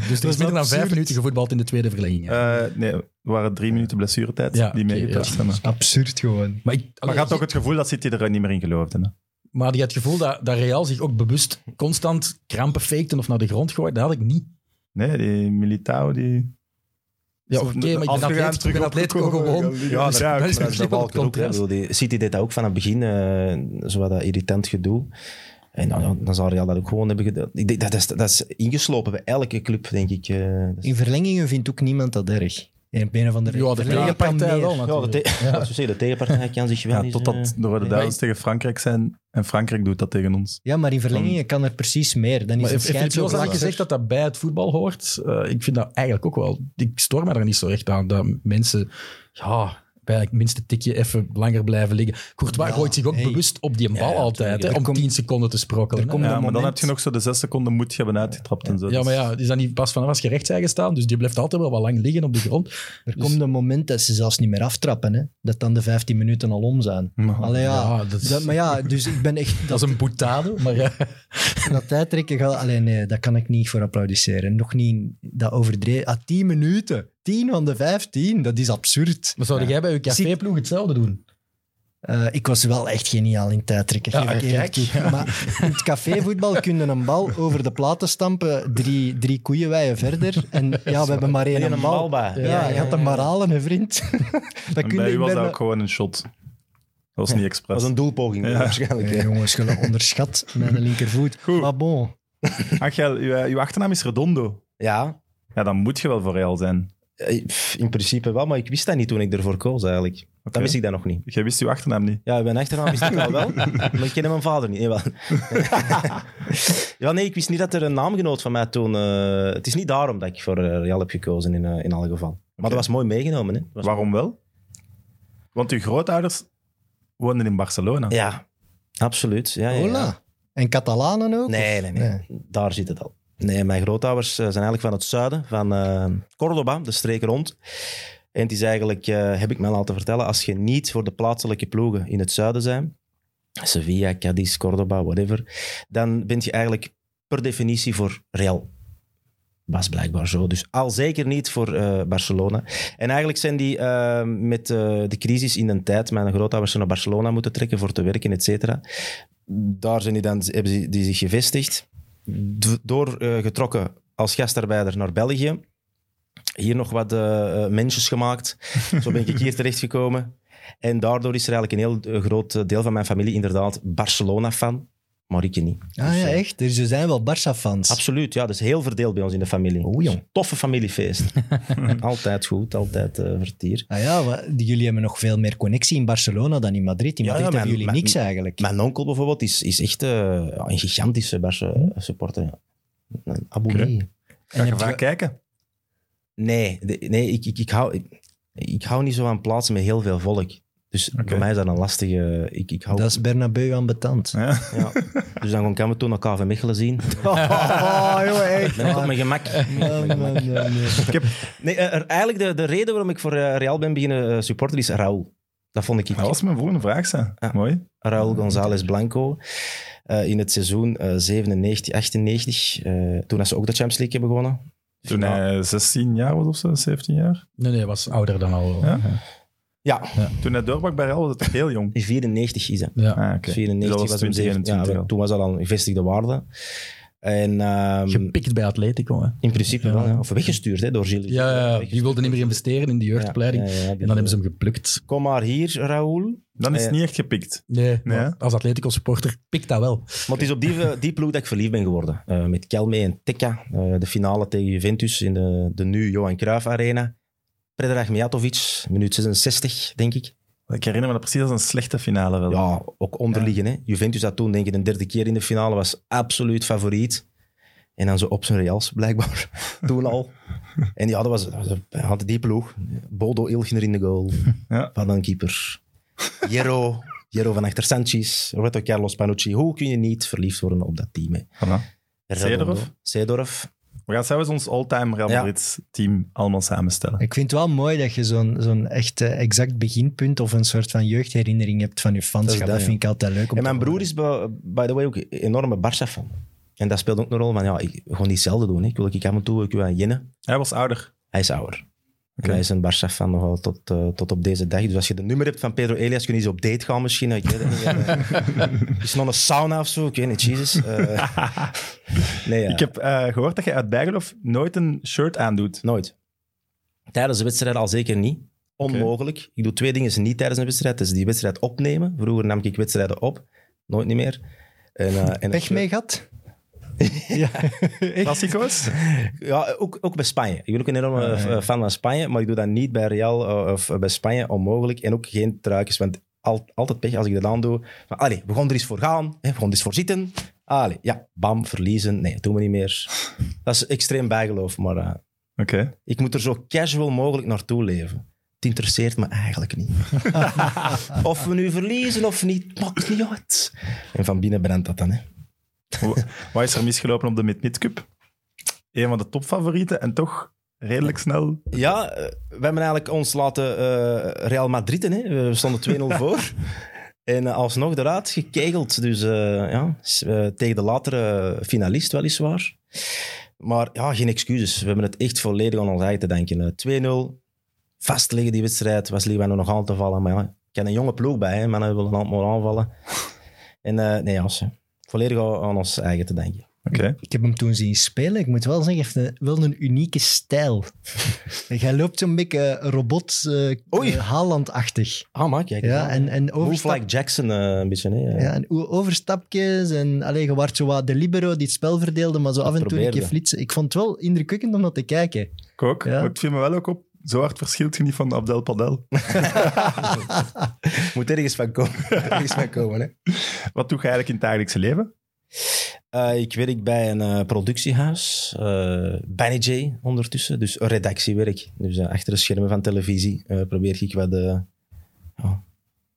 Dus er is minder dan vijf minuten gevoetbald in de tweede verlenging. ja. Eh, nee, er waren drie minuten blessuretijd Ja, die oké, meegeteld ja. zijn. Maar Absurd gewoon. maar ik, je allee, had ook het gevoel dat City er niet meer in geloofde. Hè? Maar die had het gevoel dat, dat Real zich ook bewust constant krampen fakte of naar de grond gooide. Dat had ik niet. Nee, die Militao, die... Ja, Zo, oké, maar ik ben afgegaan, atleet, ik terug ben atleet, ik wil opgekomen. gewoon. Ja, Dus- dat- dat is ja, Dat is misschien dat wel wel het ook. Hè. Ik contrast. bedoel, die City deed dat ook vanaf het begin, eh zo wat dat irritant gedoe. En dan, dan- dan zou Real dat ook gewoon hebben gedaan. Ik denk, dat, is, dat is ingeslopen bij elke club, denk ik. eh. Dat is- In verlengingen vindt ook niemand dat erg. In een of andere Ja, de verlengingen tegenpartij kan meer. <laughs> wel ja, de, natuurlijk. te- zoals je zei, de tegenpartij kan zich wel Ja, eens, eh, totdat de Rode nee. Duivels tegen Frankrijk zijn. En Frankrijk doet dat tegen ons. Ja, maar in verlengingen kan er precies meer. Dan is Maar het heeft heeft schijnt zo Filip Joos vlakker. gezegd dat dat bij het voetbal hoort? Eh, ik vind dat eigenlijk ook wel... Ik stoor me daar niet zo echt aan, dat mensen ja, bij het minste tikje even langer blijven liggen. Courtois Ja, gooit zich ook hey. bewust op die bal Ja, altijd, hè, tuurlijk. om Er komt- 10 seconden te sprokkelen. er hè. komt Ja, dat maar dan moment- heb je nog zo de zes seconden moet je hebben uitgetrapt en zo. Ja, Dus- maar ja, is dat niet pas vanaf als je rechts zijn gestaan? Dus die blijft altijd wel wat lang liggen op de grond. Er komt een moment dat ze zelfs niet meer aftrappen. Hè? Dat dan de 15 minuten al om zijn. Maar- Allee, ja. Ja, dat is- Dat- maar ja, dus ik ben echt... Dat <laughs> Dat, is een boetade, maar eh, dat tijdrekken gaat... Allee, nee, daar kan ik niet voor applaudisseren. Nog niet dat overdreven... Ah, 10 minuten. 10 van de 15. Dat is absurd. maar zou jij bij je caféploeg hetzelfde doen? Eh, ik was wel echt geniaal in tijdrekken. Ja, geef ik eerlijk kijk. toe. Maar in het cafévoetbal kun je een bal over de platen stampen, drie, drie koeienweien verder. En ja, we hebben maar die één een bal. bal bij. Ja, je had hem maar halen, hè, vriend. <laughs> dat En kun je bij u ik was ben- dat ook gewoon een shot. Dat was niet expres. Dat was een doelpoging, Ja. waarschijnlijk. Nee, hè. jongens, je onderschat mijn linkervoet. Goed. Maar bon, Angel, uw, uw achternaam is Redondo. Ja, Ja, dan moet je wel voor Real zijn. eh, pff, in principe wel, maar ik wist dat niet toen ik ervoor koos eigenlijk. Oké. Dan wist ik dat nog niet. Jij wist uw achternaam niet. Ja, mijn achternaam wist ik wel, wel maar ik kende mijn vader niet. Nee, wel. ja, nee, ik wist niet dat er een naamgenoot van mij toen... eh, het is niet daarom dat ik voor eh, Real heb gekozen in, eh, in alle geval. Maar dat was mooi meegenomen. Hè. Dat was- Waarom wel? Want uw grootouders woonden in Barcelona. Ja, absoluut. Ja, ja, ja. hola. En Catalanen ook? Nee, nee, nee, Daar zit het al. Nee, mijn grootouders eh, zijn eigenlijk van het zuiden, van eh, Cordoba, de streek rond. En het is eigenlijk, eh, heb ik me al laten vertellen, als je niet voor de plaatselijke ploegen in het zuiden zijn, Sevilla, Cadiz, Cordoba, whatever, dan ben je eigenlijk per definitie voor Real. Was blijkbaar zo. Dus al zeker niet voor eh, Barcelona. En eigenlijk zijn die eh, met eh, de crisis in de tijd, mijn grootouders zijn naar Barcelona moeten trekken voor te werken, et cetera. Daar zijn die dan, hebben ze- die zich gevestigd doorgetrokken als gastarbeider naar België. Hier nog wat eh, eh, <laughs> mensjes gemaakt. Zo ben ik hier terechtgekomen. En daardoor is er eigenlijk een heel eh, groot eh, deel van mijn familie inderdaad Barcelona-fan. Maar ik niet. Dus, eh, Ah ja, echt? Er ze zijn wel Barça-fans. Absoluut, ja. Dat is heel verdeeld bij ons in de familie. Oeh, jong. Toffe familiefeest. <laughs> altijd goed, altijd eh, vertier. Ah ja, wa- die- jullie hebben nog veel meer connectie in Barcelona dan in Madrid. In Ja, Madrid ja, hebben maar- jullie maar- niks eigenlijk. Mijn onkel bijvoorbeeld is, is echt eh, ja, een gigantische Barça-supporter. ja. Een Abu Oké. Dhabi. Ga je heb je- vaak kijken? Nee, de- nee ik, ik, ik, hou, ik, ik hou niet zo aan plaatsen met heel veel volk. Dus Oké. voor mij is dat een lastige... Ik, ik hou, Dat is Bernabeu aan betand. Ja. ja. Dus dan gaan- gaan we toen elkaar van Mechelen <laughs> zien. Oh, jongen, echt. Ben ik op mijn gemak. Oh Man, Oh, man, man, man. Ik heb, Nee, eh, er- eigenlijk de, de reden waarom ik voor eh, Real ben beginnen eh, supporter is Raúl. Dat vond ik... dat was mijn volgende vraag, zijn. Ah. Mooi. Raúl González Blanco. eh, in het seizoen eh, 97, 98. eh, toen dat ze ook de Champions League hebben gewonnen. Toen hij 16 jaar was of zo, 17 jaar. Nee, nee, hij was ouder dan al. Ja? Ja. Ja, Toen hij doorbrak bij Real was het heel jong. in 94 is dat. Ah, oké. Dus 94 was, dat hem 20, 17. Ja, 21 al. toen was dat al een gevestigde waarde. En ehm, Gepikt bij Atletico. Hè. in principe Ja. wel, ja. of weggestuurd hè, door Gilles. Ja, ja, ja, Weggestuurd. die wilde niet meer investeren in die Ja, jeugdopleiding. ja, ja, En dan hebben ze hem geplukt. Kom maar hier, Raoul. Dan is Eh, het niet echt gepikt. Nee, Nee, maar hè? als Atletico-supporter pikt dat wel. Maar het is op die, die ploeg dat ik verliefd ben geworden. Eh, met Kelme en Tekka. eh, de finale tegen Juventus in de, de nu Johan Cruijff Arena. Predrag Mijatovic, minuut 66, denk ik. Ik herinner me dat precies als een slechte finale wel. Ja, ook onderliegen. Hè. Juventus had toen denk ik de derde keer in de finale, was absoluut favoriet. En dan zo op zijn reals, blijkbaar. <laughs> toen al. En ja, dat was, dat was- hij had die ploeg. Bodo Ilgner in de <laughs> goal. Ja. Van een keeper. Jero. Jero van achter Sanchez. Roberto Carlos Panucci. Hoe kun je niet verliefd worden op dat team? Hè? Voilà. Redondo, Seedorf? Seedorf. We gaan zelfs ons all-time Real Ja. Madrid team allemaal samenstellen. Ik vind het wel mooi dat je zo'n zo'n echt eh, exact beginpunt of een soort van jeugdherinnering hebt van je Dat fanschap. is Dat, dat, ja. vind ik altijd leuk. Om En mijn te broer horen. is, by by the way, ook een enorme Barça-fan. En dat speelt ook een rol van, ja, ik gewoon niet hetzelfde doen. Hè. Ik wil ik af en toe ik wil aan Jenne. Hij was ouder. Hij is ouder. Oké. En hij is een Barça fan nogal tot, eh, tot op deze dag. Dus als je de nummer hebt van Pedro Elias, kun je eens op date gaan misschien. Ik weet het niet. <laughs> Eh, is er nog een sauna of zo? Ik weet niet, Jesus. <laughs> Eh, nee, ja. Ik heb eh, gehoord dat je uit bijgeloof nooit een shirt aandoet. Nooit. Tijdens de wedstrijd al zeker niet. Onmogelijk. Ik doe twee dingen niet tijdens een wedstrijd. Dat is die wedstrijd opnemen. Vroeger nam ik wedstrijden op. Nooit niet meer. En, eh, en Pech <laughs> mee gehad? <laughs> Klassico's? Ja, ook, ook bij Spanje. Ik ben ook een enorme Ah, ja. eh, fan van Spanje, maar ik doe dat niet bij Real eh, of eh, bij Spanje, onmogelijk. En ook geen truikjes, want al, altijd pech als ik dat aan doe. Van, allee, we gaan er eens voor gaan, hè, we gaan er eens voor zitten. Allee, ja, bam, verliezen. Nee, dat doen we niet meer. Dat is extreem bijgeloof, maar eh, Oké. ik moet er zo casual mogelijk naartoe leven. Het interesseert me <laughs> eigenlijk niet. of we nu verliezen of niet, maakt niet uit. En van binnen brandt dat dan, hè. Wa- Wat is er misgelopen op de Mid-Mid Cup? Een van de topfavorieten en toch redelijk snel. Ja, eh, we hebben eigenlijk ons laten eh, Real Madrid in. Hè. <laughs> We stonden 2-0 voor. En eh, alsnog eruit gekegeld. Dus eh, ja, s- eh, tegen de latere finalist weliswaar. Maar ja, geen excuses. We hebben het echt volledig aan ons eigen te denken. Eh, 2-0, vastleggen die wedstrijd. Was Liban nog aan te vallen. Maar ja, ik ken een jonge ploeg bij. Hè. Mannen willen altijd maar <laughs> aanvallen. En eh, nee, als, volledig aan aan ons eigen te denken. Oké. Ik heb hem toen zien spelen. Ik moet wel zeggen, hij heeft een- wel een unieke stijl. <laughs> Hij loopt zo'n beetje eh, robot Oei. eh Haaland-achtig. Ah, maar kijk. Ja, en, en Move overstap, like Jackson eh, een beetje. Hè. ja, en o- overstapjes. En allee, je waart zo wat de libero die het spel verdeelde, maar zo af en toe een probeerde. keer flitsen. Ik vond het wel indrukwekkend om dat te kijken. Ik ook. Ja. Maar het viel me wel ook op. Zo hard verschilt je niet van Abdel Padel. Moet ergens <laughs> van komen. ergens van komen hè. Wat doe je eigenlijk in het dagelijkse leven? Eh, ik werk bij een eh, productiehuis, eh Benny J ondertussen, dus redactiewerk. Dus eh, achter de schermen van televisie eh, probeer ik wat eh, ja,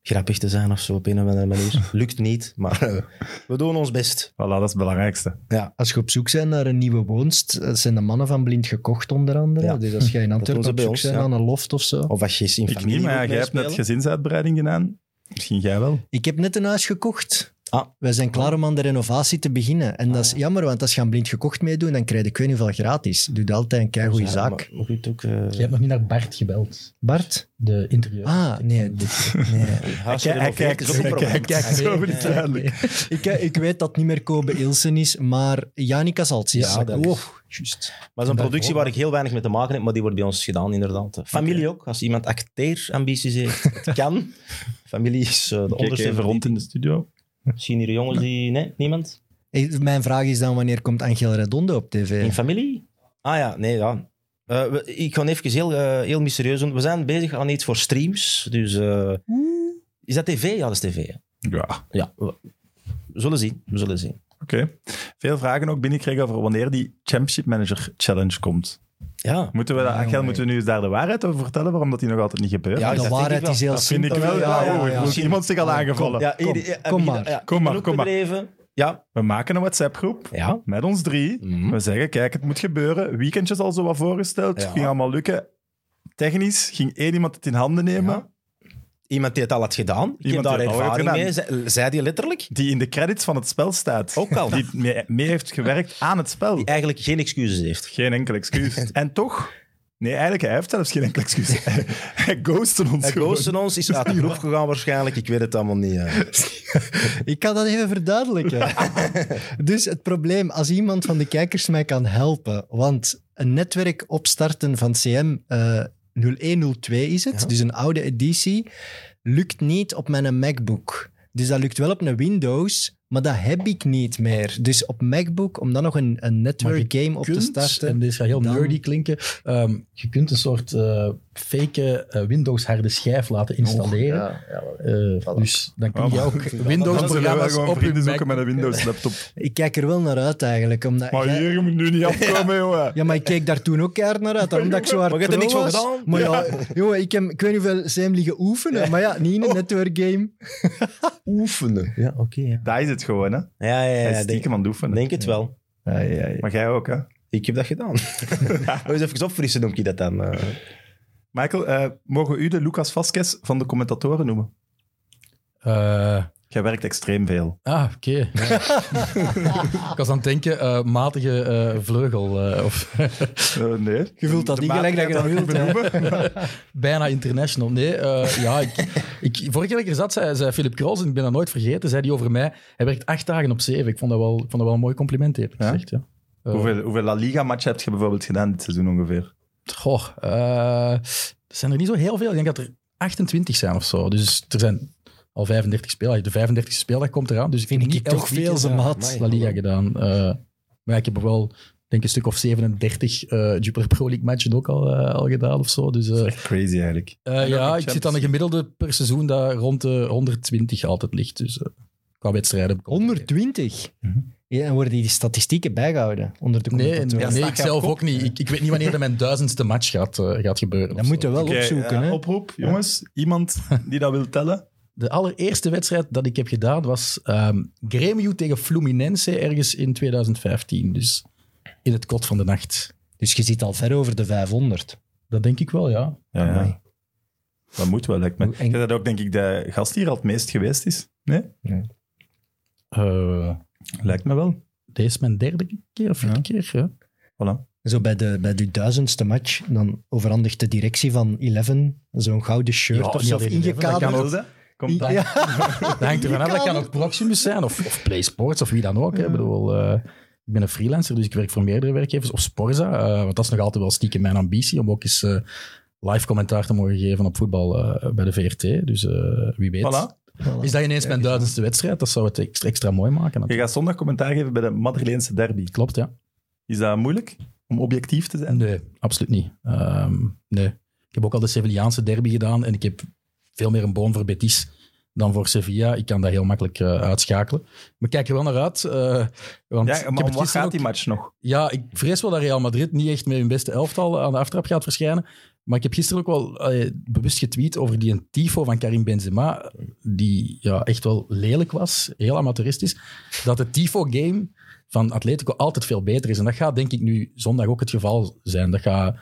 grappig te zijn of zo op een of andere <laughs> manier. Lukt niet, maar eh, we doen ons best. Voilà, dat is het belangrijkste. Als je op zoek bent naar een nieuwe woonst, dat zijn de mannen van Blind gekocht onder andere. Ja. Dus als jij in doen Antwerpen ze op bij zoek ons, bent ja. aan een loft of zo. Of als je eens in Ik familie niet, maar ja, wilt jij hebt net meespelen. gezinsuitbreiding gedaan. Misschien jij wel. Ik heb net een huis gekocht. Ah. Wij zijn klaar om aan de renovatie te beginnen. En dat is jammer, want als je aan blind gekocht meedoet, dan krijg je ik weet niet hoeveel gratis. Doe dat altijd een keigoede Ja, zaak. maar goed, ook, eh, Je hebt nog niet naar Bart gebeld, Bart? de interieur. Ah, nee. dit- <laughs> nee. huis Hij- hij gerenoveerd kijkt, is ook een <laughs> hij probleem. kijkt zo niet duidelijk. ik, eh, ik weet dat het niet meer Kobe Ilsen is, maar Janica Zaltjes. Ja, dat is- Oh, juist. Maar zo'n productie waar ik heel weinig mee te maken heb, maar die wordt bij ons gedaan, inderdaad. Familie ook, als iemand acteerambities <laughs> heeft. Het kan. Familie is eh, de Kijk onderste even rond in de studio. verdieping. Zien hier jongens die... Nee, niemand? Hey, Mijn vraag is dan, wanneer komt Angel Redondo op In tv? familie? Ah ja, nee, ja. Eh, we- ik ga even heel, eh, heel mysterieus doen. We zijn bezig aan iets voor streams, dus... eh, Hmm. is dat tv? Ja, dat is tv. hè. Ja, Ja, we we zullen zien. We zullen zien. oké. Veel vragen ook binnenkregen over wanneer die Championship Manager Challenge komt. Ja. Moeten we, dat, Ah, Angel, jongen. moeten we nu eens daar de waarheid over vertellen, waarom dat die nog altijd niet gebeurt? Ja, dat de dat denk waarheid ik wel. is heel Dat vind simpel. ik wel. Ja, ja, oh, ja. er voelt iemand zich al aangevallen. Ja, Kom, ieder- eh, kom ieder- maar. ja, Kom maar, genoeg kom maar. bedreven. Ja, We maken een WhatsApp-groep ja. met ons drie. Mhm. We zeggen, kijk, het moet gebeuren. Weekendjes al zo wat voorgesteld. Ja. Ging allemaal lukken. Technisch ging één iemand het in handen nemen. Ja. Iemand die het al had gedaan. Ik Iemand heb die daar het al had ervaring mee. gedaan. Ze- Zei die letterlijk? Die in de credits van het spel staat. Ook al. Die mee, mee heeft gewerkt aan het spel. Die eigenlijk geen excuses heeft. Geen enkel <laughs> excuus. en toch... Nee, eigenlijk, hij heeft zelfs geen enkel excuus. Hij- hij ghostte ons Hij gewoon. ghostte ons, <laughs> is uit de groep gegaan waarschijnlijk. Ik weet het allemaal niet. eh. Ik kan dat even verduidelijken. <laughs> dus het probleem, als iemand van de kijkers mij kan helpen, want een netwerk opstarten van CM eh 0102 is het, dus een oude editie, lukt niet op mijn MacBook. Dus dat lukt wel op een Windows, maar dat heb ik niet meer. Dus op MacBook, om dan nog een, een network Maar game op te kunt, starten... en dit gaat heel dan- nerdy klinken, ehm, je kunt een soort eh, fake eh, Windows-harde schijf laten installeren. Ja. Eh, dus dan kun Oh, je maar- ook Dan zullen wij Windows-programma's gewoon op je vrienden Mac... zoeken met een <laughs> Windows-laptop. Ik kijk er wel naar uit eigenlijk, omdat... Maar jij- hier, je moet nu niet afkomen, jongen. Ja, maar ik keek daar toen ook keihard naar uit, omdat ik zo hard Maar je hebt er pro niks van was. gedaan. Maar ja, jongen, ik, heb, ik weet niet hoeveel zijn liggen oefenen, maar ja, niet in Oh. een network game. Oefenen. Ja, oké. ja. Daar is het gewoon, hè. ja, ja, Hij is ja. Denk, stiekem aan het oefenen. denk het wel. Maar jij ook, hè. Ik heb dat <laughs> gedaan. Wil eens even opfrissen, noem ik dat dan. eh. Michael, eh, mogen we u de Lucas Vasquez van de commentatoren noemen? Eh, Jij werkt extreem veel. ah, oké. Ja. <laughs> ik was aan het denken, eh, matige eh, vleugel. eh, of <laughs> Eh, nee. Je voelt dat De niet maat gelijk dat je gaat dat wilt, hè. benoemen. <laughs> bijna international. Nee, eh, ja, ik, ik, vorige keer dat ik er zat, zei, zei Philip Kroos, en ik ben dat nooit vergeten, zei die over mij, hij werkt acht dagen op zeven. Ik vond dat wel, ik vond dat wel een mooi compliment, eerlijk Ja? gezegd. Ja. Eh, Hoeveel, hoeveel La Liga-matchen heb je bijvoorbeeld gedaan dit seizoen ongeveer? Goh, eh, er zijn er niet zo heel veel. Ik denk dat er 28 zijn of zo. Dus er zijn al 35 spelers. De 35e speeldag komt eraan. Dus ik Vind heb ik niet toch elk veel, weekend, ze eh, maat. La Liga gedaan. Eh, maar ik heb er wel, denk een stuk of 37 eh Jupiler Pro League matchen ook al, eh, al gedaan of zo. Dus eh, Dat is echt crazy eigenlijk. eh, ook in ja, ik Champions zit aan een gemiddelde per seizoen dat rond de 120 altijd ligt. Dus eh, qua wedstrijden. 120. Mhm. Ja, en worden die statistieken bijgehouden onder de Nee, commentatoren? nee, ik zelf ook niet. Ik, ik weet niet wanneer dat mijn duizendste match gaat, eh, gaat gebeuren. Dat of zo. moeten we wel Oké, opzoeken, eh, hè. oproep, jongens. Iemand die dat wil tellen. De allereerste wedstrijd dat ik heb gedaan was ehm Grêmio tegen Fluminense ergens in 2015. Dus in het kot van de nacht. Dus je zit al ver over de 500. Dat denk ik wel, ja. Ja, Amai. Dat moet wel, lijkt me. Hoe eng- Jij bent ook, denk ik, de gast die hier al het meest geweest is. Nee? Eh, Lijkt me wel. deze is mijn derde keer of vierde keer. Ja. Voilà. Zo bij de, bij de duizendste match, dan overhandigt de directie van Eleven zo'n gouden shirt Ja, of niet zo, alleen Eleven, dat ingekaderd. kan Wil ze? Komt I- dan. ja. Dat hangt ervan af, dat kan ook Proximus zijn of, of PlaySports of wie dan ook. hè. Ik bedoel, eh, ik ben een freelancer, dus ik werk voor meerdere werkgevers. Of Sporza, eh, want dat is nog altijd wel stiekem mijn ambitie om ook eens... eh, Live commentaar te mogen geven op voetbal eh, bij de VRT. Dus eh, wie weet. Voilà. Voilà. Is dat ineens mijn duizendste wedstrijd? Dat zou het extra, extra mooi maken. Je natuurlijk. gaat zondag commentaar geven bij de Madrileense derby. Klopt, ja. Is dat moeilijk om objectief te zijn? Nee, absoluut niet. Ehm, nee. Ik heb ook al de Sevillaanse derby gedaan en ik heb veel meer een boon voor Betis dan voor Sevilla. Ik kan dat heel makkelijk eh, uitschakelen. Maar ik kijk er wel naar uit. eh, want ik Ja, heb maar het om wat gisteren gaat ook- die match nog? Ja, ik vrees wel dat Real Madrid niet echt met hun beste elftal aan de aftrap gaat verschijnen. Maar ik heb gisteren ook wel eh, bewust getweet over die een tifo van Karim Benzema, die ja, echt wel lelijk was, heel amateuristisch, dat het tifo-game van Atletico altijd veel beter is. En dat gaat denk ik nu zondag ook het geval zijn. Dat gaat,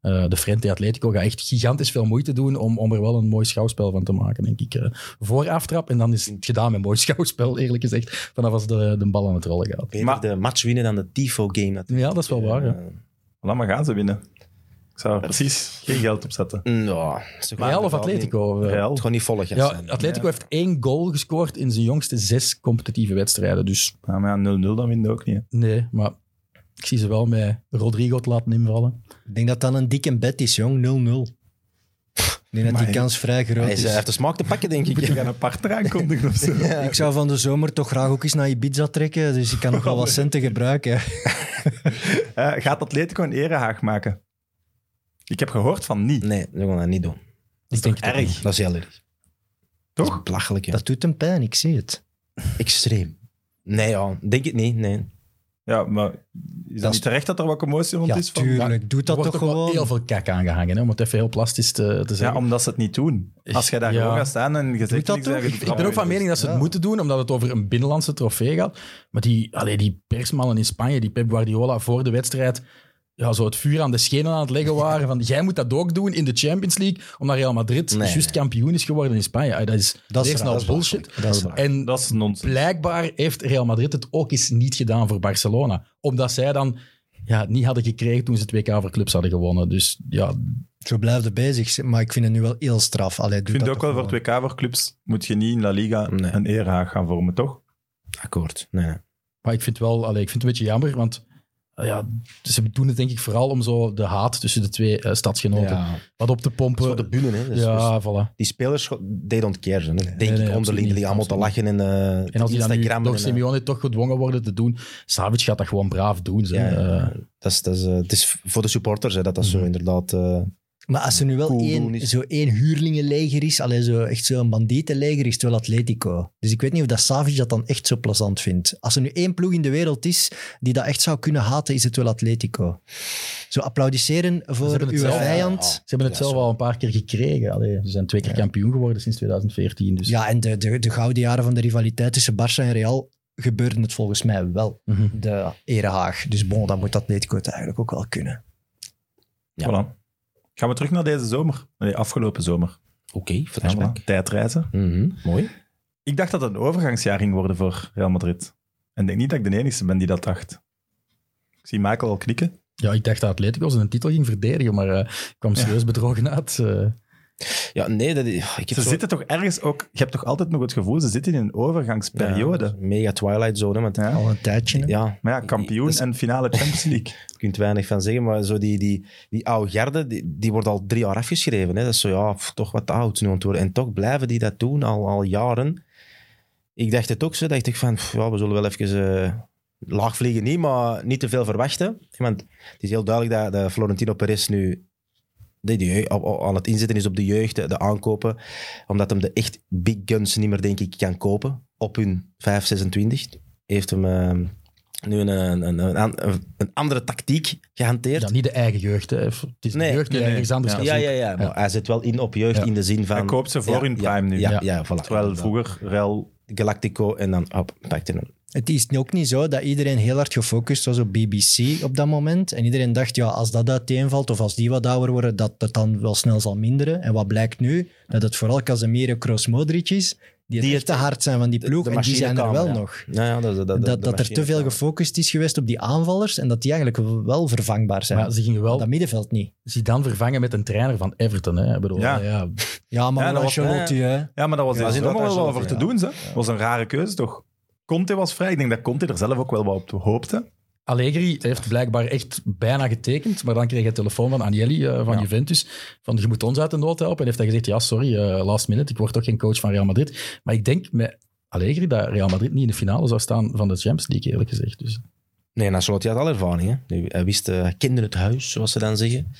eh, de Frente Atletico gaat echt gigantisch veel moeite doen om, om er wel een mooi schouwspel van te maken, denk ik. eh, voor aftrap en dan is het gedaan met mooi schouwspel, eerlijk gezegd, vanaf als de, de bal aan het rollen gaat. Eh, Beter Maar- de match winnen dan de TIFO-game natuurlijk. Ja, dat is wel waar. ja. Laat maar gaan, ze winnen. Ik zou er precies geen geld op zetten. Mm, Ja, ze gaan Real of wel niet- Atletico? eh, Real. Het gewoon niet volle gas Ja, zijn. Atletico heeft één goal gescoord in zijn jongste zes competitieve wedstrijden. Dus Ja, Nou, maar ja, 0-0 dan winnen we ook niet. hè. nee, maar ik zie ze wel met Rodrigo te laten invallen. Ik denk dat dat een dikke bed is, jong. 0-0. Ik denk dat Maar- die kans vrij groot Hij is, is. eh, heeft de smaak te pakken, <laughs> denk ik. Moet je gaan een partner aankondigen of zo? Ik zou van de zomer toch graag ook eens naar Ibiza trekken, dus ik kan nog wel wat centen gebruiken. Eh, gaat Atletico een erehaag maken? Ik heb gehoord van niet. Nee, dat gaan we niet doen. ik denk het ook niet. Dat is heel erg. Dat Toch? is belachelijk, ja. Dat doet hem pijn, ik zie het. extreem. Nee, ja, denk het niet. Nee. Ja, maar is dat, is- niet terecht dat er wat commotie rond Ja, is? Van? tuurlijk. Doe Er dat wordt toch toch wel gewoon. heel veel kak aangehangen, hè, om het even heel plastisch te, te Ja, zeggen. omdat ze het niet doen. Als jij daar Ja. gewoon gaat staan en je zegt dat niks, toch? dan- ik ben ook dus van mening dat ze het Ja. moeten doen, omdat het over een binnenlandse trofee gaat. Maar die, allee, die persmannen in Spanje, die Pep Guardiola voor de wedstrijd, ja, zo het vuur aan de schenen aan het leggen waren. Van, jij moet dat ook doen in de Champions League, omdat Real Madrid Nee. juist kampioen is geworden in Spanje. Allee, dat is, Dat is eerst raar, al dat is bullshit. Dat is waar. En Dat is nonsens. blijkbaar heeft Real Madrid het ook eens niet gedaan voor Barcelona. Omdat zij dan ja, het niet hadden gekregen toen ze het WK voor clubs hadden gewonnen. Dus ja, Zo blijf er bezig, maar ik vind het nu wel heel straf. Allee, Ik doe vind dat ook wel toch voor het WK voor clubs moet je niet in La Liga Nee. een erehaag gaan vormen, toch? Akkoord. Nee, nee. maar ik vind, wel, allee, ik vind het een beetje jammer, want eh, ja, ze doen het denk ik vooral om zo de haat tussen de twee eh, stadsgenoten wat op te Dat is pompen. voor de bunen, hè. Dus- dus ja, voilà. die spelers, they don't care. hè. Denk nee, ik, absoluut onderling, niet, die allemaal te absoluut lachen en, eh En als die dan nu Instagram. door en, eh, Simeone toch gedwongen worden te doen, Savic gaat dat gewoon braaf doen. Zo. ja, ja, Eh, ja. dat is, dat is, eh, het is voor de supporters hè, dat dat zo Mhm. inderdaad... eh, Maar als er nu wel Cool doen één, is- zo één huurlingenleger is, allee, zo, echt zo'n bandietenleger, is het wel Atletico. Dus ik weet niet of dat Savic dat dan echt zo plezant vindt. Als er nu één ploeg in de wereld is die dat echt zou kunnen haten, is het wel Atletico. Zo applaudisseren voor hebben uw het zelf, vijand. ze hebben het Ja, zelf zo. al een paar keer gekregen. Allee, ze zijn twee keer kampioen geworden sinds 2014. Dus. Ja, en de, de, de gouden jaren van de rivaliteit tussen Barça en Real gebeurde het volgens mij wel. Mhm. De erehaag. Dus bon, dan moet Atletico het eigenlijk ook wel kunnen. Ja. Voilà. Gaan we terug naar deze zomer? Nee, afgelopen zomer. Oké, Ja, flashback. voilà. Tijdreizen. Mhm, mooi. Ik dacht dat het een overgangsjaar ging worden voor Real Madrid. En ik denk niet dat ik de enige ben die dat dacht. Ik zie Michael al knikken. Ja, ik dacht dat Atletico zijn titel ging verdedigen, maar eh, ik kwam serieus bedrogen uit. eh. Ja, nee, dat, is- ik heb Ze zo- zitten toch ergens ook... Je hebt toch altijd nog het gevoel, ze zitten in een Ja, overgangsperiode. dat is een mega Twilight Zone, hè, want ja. Ja. Al een tijdje. hè. Maar ja, kampioen Dat is- en finale Champions League. <laughs> je kunt weinig van zeggen, maar zo die, die, die oude garde, die, die wordt al drie jaar afgeschreven. Hè. Dat is zo, ja, pff, toch wat te oud nu aan het worden. En toch blijven die dat doen, al, al jaren. Ik dacht het ook zo, dacht ik van, pff, ja, we zullen wel even eh laag vliegen niet, maar niet te veel verwachten. Want het is heel duidelijk dat, dat Florentino Perez nu de jeugd- op- op- aan het inzetten is op de jeugd, de, de aankopen, omdat hem de echt big guns niet meer, denk ik, kan kopen op hun 5, 26. Heeft hem... eh, nu een, een, een, een an- een andere tactiek gehanteerd. ja, niet de eigen jeugd. Hè. Het is Nee, de jeugd die nee, ergens nee. anders gaat Ja, ja, zoeken. ja. Maar hij zet wel in op jeugd Ja. in de zin van... Hij koopt ze voor Ja, hun ja, prime nu. Ja, ja, voilà. Terwijl vroeger Real... Galactico en dan hop, pakte hem. Het is ook niet zo dat iedereen heel hard gefocust was op BBC op dat moment. En iedereen dacht, ja, als dat uiteenvalt of als die wat ouder worden, dat het dan wel snel zal minderen. En wat blijkt nu? Dat het vooral Casemiro, Kroos, Modric is, die het Die echt te hard zijn van die de- ploeg. de en die zijn er wel machinekamer, nog. Ja, ja, dat, Dat, dat, dat, dat, de er machine te veel kwam. gefocust is geweest op die aanvallers en dat die eigenlijk wel vervangbaar zijn. Maar ze gingen wel dat middenveld niet. Zidane vervangen met een trainer van Everton. Hè. Ik bedoel, Ja. ja. Ja, maar Ja, dat was- Ancelotti, hè. Ja, maar dat was Ja, in de dat zomer wel is wat inderdaad over te zo, doen. Dat was een rare keuze, toch? Conte was vrij. Ik denk dat Conte er zelf ook wel wat op hoopte. Allegri heeft blijkbaar echt bijna getekend, maar dan kreeg hij een telefoon van Agnelli eh, van Ja. Juventus, van je moet ons uit de nood helpen. En heeft hij gezegd, ja, sorry, eh, last minute, ik word toch geen coach van Real Madrid. Maar ik denk met Allegri dat Real Madrid niet in de finale zou staan van de Champions League, eerlijk gezegd. Dus Nee, Ancelotti had al ervaring. Hè. Nu, Hij wist, eh, hij kende het huis, zoals ze dan zeggen.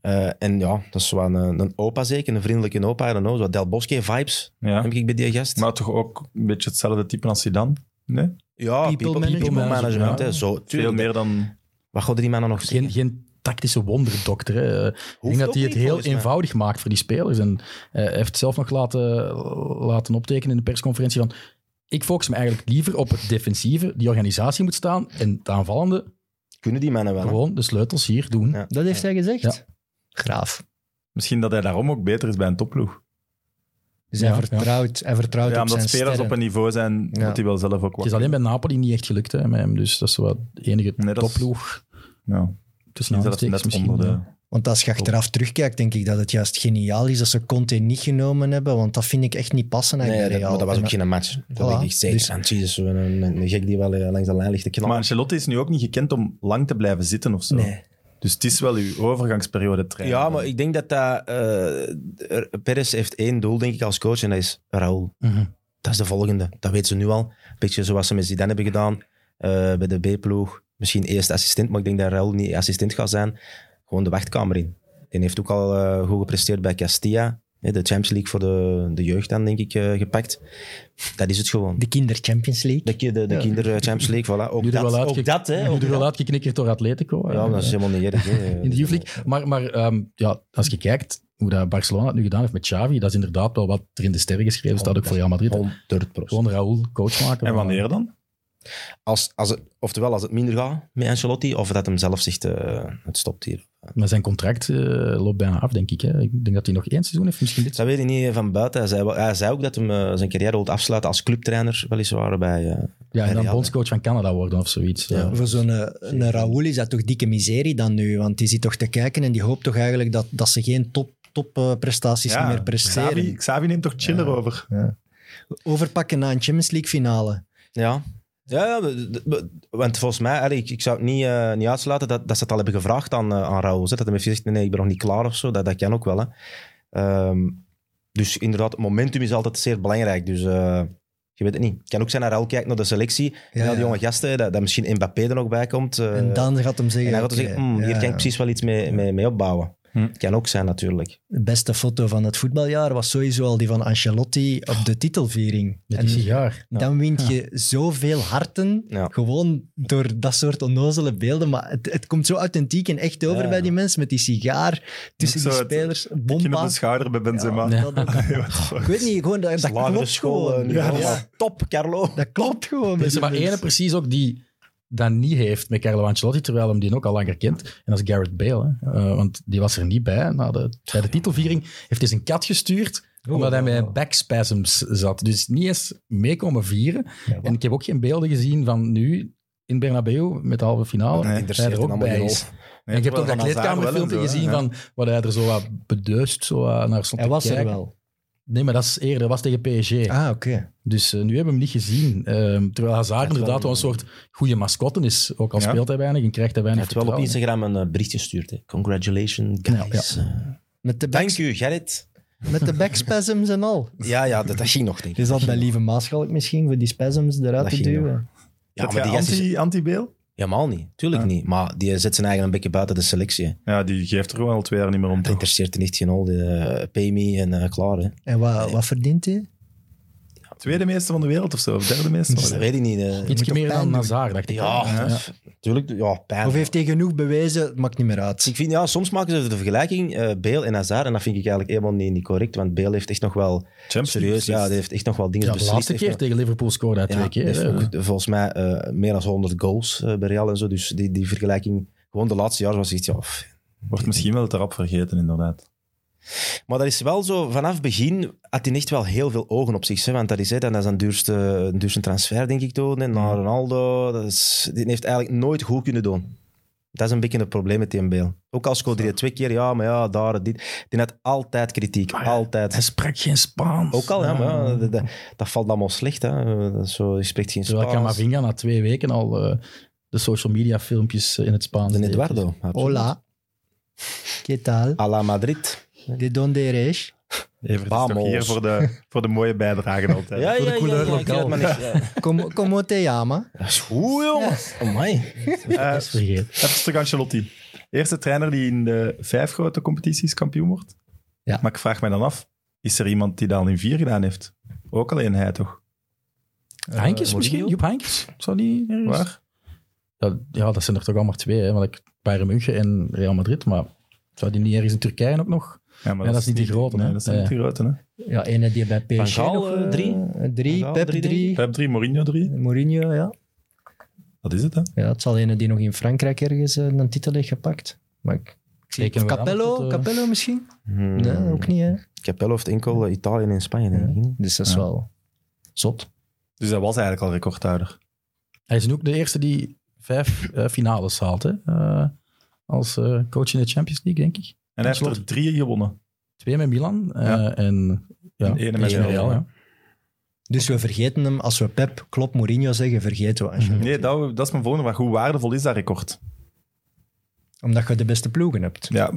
Eh, en ja, dat is wel een, een opa zeker, een vriendelijke opa. I don't know, zo Del Bosque-vibes Ja. heb ik bij die gast. Maar toch ook een beetje hetzelfde type als Zidane. Nee? ja, people, people people management. management. hè. Ja. Zo, Veel tuurlijk. meer dan... Wat gaan die mannen nog geen, zeggen? geen tactische wonderdokter. Hè. Ik denk dat ook hij het niet, heel volgens mij. eenvoudig maakt voor die spelers. En eh, hij heeft zelf nog laten, laten optekenen in de persconferentie van... Ik focus me eigenlijk liever op het defensieve, die organisatie moet staan, en het aanvallende, Kunnen die mannen wel. hè? gewoon de sleutels hier doen. Ja. Dat heeft hij gezegd? Ja. Graaf. Misschien dat hij daarom ook beter is bij een topploeg. Dus hij Ja, vertrouwt, hij vertrouwt Ja, op omdat zijn spelers sterren. op een niveau zijn, Ja. moet hij wel zelf ook Het wat. is alleen bij Napoli niet echt gelukt hè, met hem, dus dat is wel de enige Nee, dat is- topploeg. Ja. Tussen Misschien zelfs aanstekens net misschien. onder de... ja. Want als je achteraf terugkijkt, denk ik dat het juist geniaal is dat ze Conte niet genomen hebben, want dat vind ik echt niet passen Nee, eigenlijk dat, bij maar dat Real. was En- ook geen match. Dat Voilà. weet ik echt zeker. Dus- aan. Jezus, een, een, een gek die wel eh, langs de lijn ligt te knallen. Maar Ancelotti is nu ook niet gekend om lang te blijven zitten of zo. Nee. Dus het is wel uw overgangsperiode trainen. ja, maar ik denk dat dat... eh, er- Perez heeft één doel, denk ik, als coach. En dat is Raúl. Mhm. Dat is de volgende. Dat weten ze nu al. Een beetje zoals ze met Zidane hebben gedaan eh, bij de B-ploeg. Misschien eerst assistent, maar ik denk dat Raul niet assistent gaat zijn. Gewoon de wachtkamer in. Die heeft ook al eh, goed gepresteerd bij Castilla. Hè, de Champions League voor de, de jeugd dan, denk ik, eh, gepakt. Dat is het gewoon. De Kinder Champions League. De, ki- de, de kinder eh, Champions League, voilà. Ook Nu er dat, wel ook uitgek- dat, hè. nu Ook er wel dat. uitgeknikkerd door Atletico. Ja, Eh, dat is helemaal niet erg. hè. <laughs> in de Youth League. Maar, maar ehm, ja, als je kijkt hoe dat Barcelona het nu gedaan heeft met Xavi, dat is inderdaad wel wat er in de sterren geschreven staat, ook voor Real Madrid. 100%. Gewoon Raúl coach maken. En wanneer dan? Als, als het, oftewel, als het minder gaat met Ancelotti, of dat hem zelf zegt, eh, het stopt hier. Maar zijn contract eh, loopt bijna af, denk ik. Hè. Ik denk dat hij nog één seizoen heeft, misschien dit. Dat weet ik niet van buiten. Hij zei, wel- hij zei ook dat hij zijn carrière wil afsluiten als clubtrainer, weliswaar. Bij, eh, Ja, en dan Real, bondscoach van Canada worden of zoiets. Ja. Ja. Voor zo'n eh, een Raoul is dat toch dikke miserie dan nu? Want die zit toch te kijken en die hoopt toch eigenlijk dat, dat ze geen top, top eh, prestaties Ja, meer presteren. Xavi, Xavi neemt toch chiller over. Overpakken na een Champions League finale. ja. Ja, ja, de- de- de- want volgens mij, allee, ik, ik zou het niet, eh, niet uitsluiten dat, dat ze het al hebben gevraagd aan, eh, aan Raoul. hè. Dat hij heeft gezegd, nee, nee, ik ben nog niet klaar of zo. Dat, dat kan ook wel. Hè. Ehm, dus inderdaad, het momentum is altijd zeer belangrijk. Dus eh, je weet het niet. Het kan ook zijn dat Raoul kijkt naar de selectie. Ja, Ja, die ja. jonge gasten, dat, dat misschien Mbappé er nog bij komt. eh, en dan gaat hem zeggen... en hij gaat dan oké, zeggen, "Hmm, hier ja, kan ik precies wel iets mee, mee, mee opbouwen. Hm. Kan ook zijn natuurlijk. De beste foto van het voetbaljaar was sowieso al die van Ancelotti op de titelviering. Met En die sigaar. dan wint je zoveel harten, Ja. gewoon door dat soort onnozele beelden. Maar het, het komt zo authentiek en echt over Ja. bij die mensen, met die sigaar tussen Ook die zo het- spelers. Kin op Bomba. de schouder bij Benzema. Ja. Dat- Ik weet niet, gewoon dat, dat Lagere klopt school. gewoon. eh, Ja, niveau. ja. Top, Carlo. Dat klopt gewoon. Er met is die er maar mensen. één precies ook die dat niet heeft met Carlo Ancelotti, terwijl hem die ook al langer kent. En dat is Garrett Bale. Hè. Eh, want die was er niet bij. Na de, bij de titelviering heeft hij zijn kat gestuurd, omdat hij met backspasms zat. Dus niet eens mee komen vieren. en ik heb ook geen beelden gezien van nu in Bernabeu met de halve finale. Nee, Nee, <laughs> hij interesseert er hem ook allemaal bij geen is. hol. En ik heb wel ook dat van Hazard wel en kleedkamerfilmpje zo, hè, gezien ja. van waar hij er zo wat bedeusd zo wat naar stond Hij te was er kijken. wel. Nee, maar dat is eerder. Dat was tegen PSG. Ah, oké. Dus eh, nu hebben we hem niet gezien. Ehm, terwijl Hazard inderdaad wel een soort goede mascotte is. Ook al Ja. speelt hij weinig en krijgt hij Hij weinig heeft wel op vertrouwen. Instagram een eh, bericht gestuurd. hè. Congratulations, guys. Eh, Met de, Dank back, u, Gerrit. met de backspasms en al. Ja, <laughs> ja dat, dat ging nog, denk ik. Is dat bij Lieve Maaschalk misschien, voor die spasms eruit Dat te ging duwen? Ja, Zet maar jij die gast is anti, anti-Beel? helemaal niet. Tuurlijk Ah. niet. Maar die zet zijn eigen een beetje buiten de selectie. hè. Ja, die geeft er gewoon al twee jaar niet meer om. Dat toch? interesseert er niet geen hol. Die, eh, pay me en eh, klaar. Hè. En wat, wat verdient hij? Tweede meester van de wereld of zo, of derde meester. Dus van de dat wereld. weet ik niet. eh. Iets moet meer toch dan pijn doen? Hazard, dacht ik. ja, Ja. tuurlijk. Ja, pijn. Of heeft hij genoeg bewezen? Het maakt niet meer uit. Dus ik vind, ja, soms maken ze de vergelijking eh Bale en Hazard. En dat vind ik eigenlijk helemaal niet, niet correct. Want Bale heeft echt nog wel... Champions Serieus, League. ja, die heeft echt nog wel dingen Ja, de beslist. laatste Heeft keer nog- tegen Liverpool scoorde hij twee Ja, keer. heeft hè. ook, eh, volgens mij eh, meer dan 100 goals eh, bij Real en zo. Dus die, die vergelijking, gewoon de laatste jaren was iets. Ja, pff. Wordt misschien wel te rap vergeten, inderdaad. maar dat is wel zo, vanaf het begin had hij echt wel heel veel ogen op zich. Hè, want dat is, hè, dat is een duurste, een duurste transfer, denk ik, toen. hè, Naar Ronaldo. Dat is, die heeft eigenlijk nooit goed kunnen doen. Dat is een beetje het probleem met die MBL. Ook al scoorde hij twee keer, ja, maar ja, daar, dit. Die had altijd kritiek, Maar ja, Hij altijd. sprak geen Spaans. Ook al, ja, maar ja, dat, dat- dat valt allemaal slecht. Hè. Dat is zo, je spreekt geen Terwijl Spaans. Camavinga na twee weken al eh, de social media filmpjes in het Spaans De deed. Eduardo. Hola. ¿Qué tal? A la Madrid. De donde eres? Evert is toch Vamos. hier voor de, voor de mooie <laughs> bijdrage altijd. Ja, Voor de ja, couleur ja, ja, ik weet het lokaal. maar niet. Ja. Como, como te llama? <laughs> Dat is goed, jongen. Amai. Eh, Dat is vergeten. Even terug aan Ancelotti. Eerste trainer die in de vijf grote competities kampioen wordt. Ja. Maar ik vraag mij dan af, is er iemand die dat al in vier gedaan heeft? Ook alleen hij, toch? Heinkes Eh, misschien? Mourinho? Joep Heinkes? Zou die ergens- Waar? dat, ja, dat zijn er toch al maar twee. Hè? Want ik Bayern München en Real Madrid. Maar zou die niet ergens in Turkije ook nog? Ja, maar Ja, dat is niet die grote, hè? Nee, dat zijn niet Ja. die grote. Hè? Ja, ene die bij PSG Van Gaal, nog, eh, eh, drie? Van Drie, Gaal, Pep drie, drie. Pep 3, Mourinho 3. Mourinho, ja. Dat is het, hè? Ja, het zal ene die nog in Frankrijk ergens eh, een titel heeft gepakt. Maar ik... Rekenen Of we aan Capello, tot, eh, Capello misschien? Hmm. Nee, ook niet, hè. Capello heeft enkel eh, Italië en Spanje, denk ik. hè? Dus dat is Ja. wel zot. Dus hij was eigenlijk al recordhouder. Hij is nu ook de eerste die vijf eh, finales haalt. Hè? eh, als eh, coach in de Champions League, denk ik. En hij heeft er drie gewonnen. Twee met Milan eh, Ja. en ja, En ene met één Real, ja. Dus we vergeten hem. Als we Pep, Klopp, Mourinho zeggen, vergeten we Ancelotti. Nee, dat, dat is mijn volgende vraag. Hoe waardevol is dat record? Omdat je de beste ploegen hebt. Ja,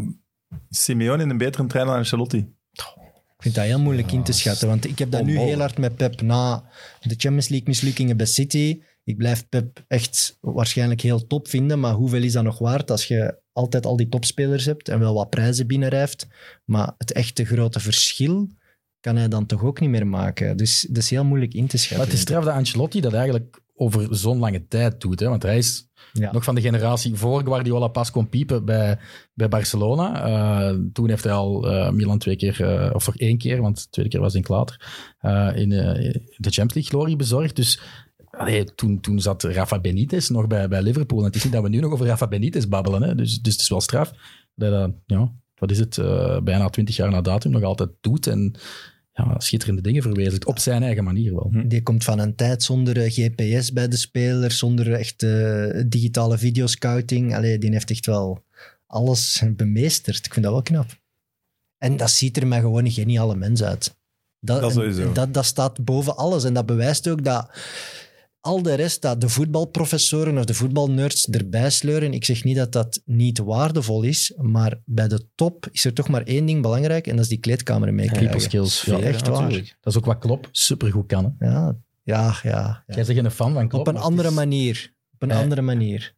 Simeone in een betere trainer dan Ancelotti. Ik vind dat heel moeilijk in te schatten. Want ik heb dat nu heel hard met Pep. Na de Champions League mislukkingen bij City. Ik blijf Pep echt waarschijnlijk heel top vinden. Maar hoeveel is dat nog waard als je altijd al die topspelers hebt en wel wat prijzen binnenrijft. Maar het echte grote verschil kan hij dan toch ook niet meer maken. Dus dat is heel moeilijk in te Maar schatten. het is straf dat Ancelotti dat eigenlijk over zo'n lange tijd doet. Hè? Want hij is Ja. nog van de generatie voor Guardiola pas kon piepen bij, bij Barcelona. Eh, toen heeft hij al eh, Milan twee keer, eh, of voor één keer, want de tweede keer was in later, eh, in eh, de Champions League glorie bezorgd. Dus allee, toen, toen zat Rafa Benitez nog bij, bij Liverpool. En het is niet dat we nu nog over Rafa Benitez babbelen. Hè? Dus, dus het is wel straf dat hij dat, ja, wat is het, eh, bijna twintig jaar na datum nog altijd doet. En ja, schitterende dingen verwezenlijkt. Op zijn eigen manier wel. Hm. Die komt van een tijd zonder eh, GPS bij de speler, zonder echt eh, digitale videoscouting. Allee, die heeft echt wel alles <laughs> bemeesterd. Ik vind dat wel knap. En dat ziet er mij gewoon een geniale mens uit. Dat sowieso. Dat, dat staat boven alles. En dat bewijst ook dat al de rest, dat de voetbalprofessoren of de voetbalnerds erbij sleuren. Ik zeg niet dat dat niet waardevol is, maar bij de top is er toch maar één ding belangrijk en dat is die kleedkamer People meekrijgen. skills. Ja, echt waar. Dat is ook wat Klopp supergoed kan. Hè? Ja, ja, ja. ja. Jij bent geen fan van Klopp. Op een maar andere het is- manier. Op een Nee. andere manier.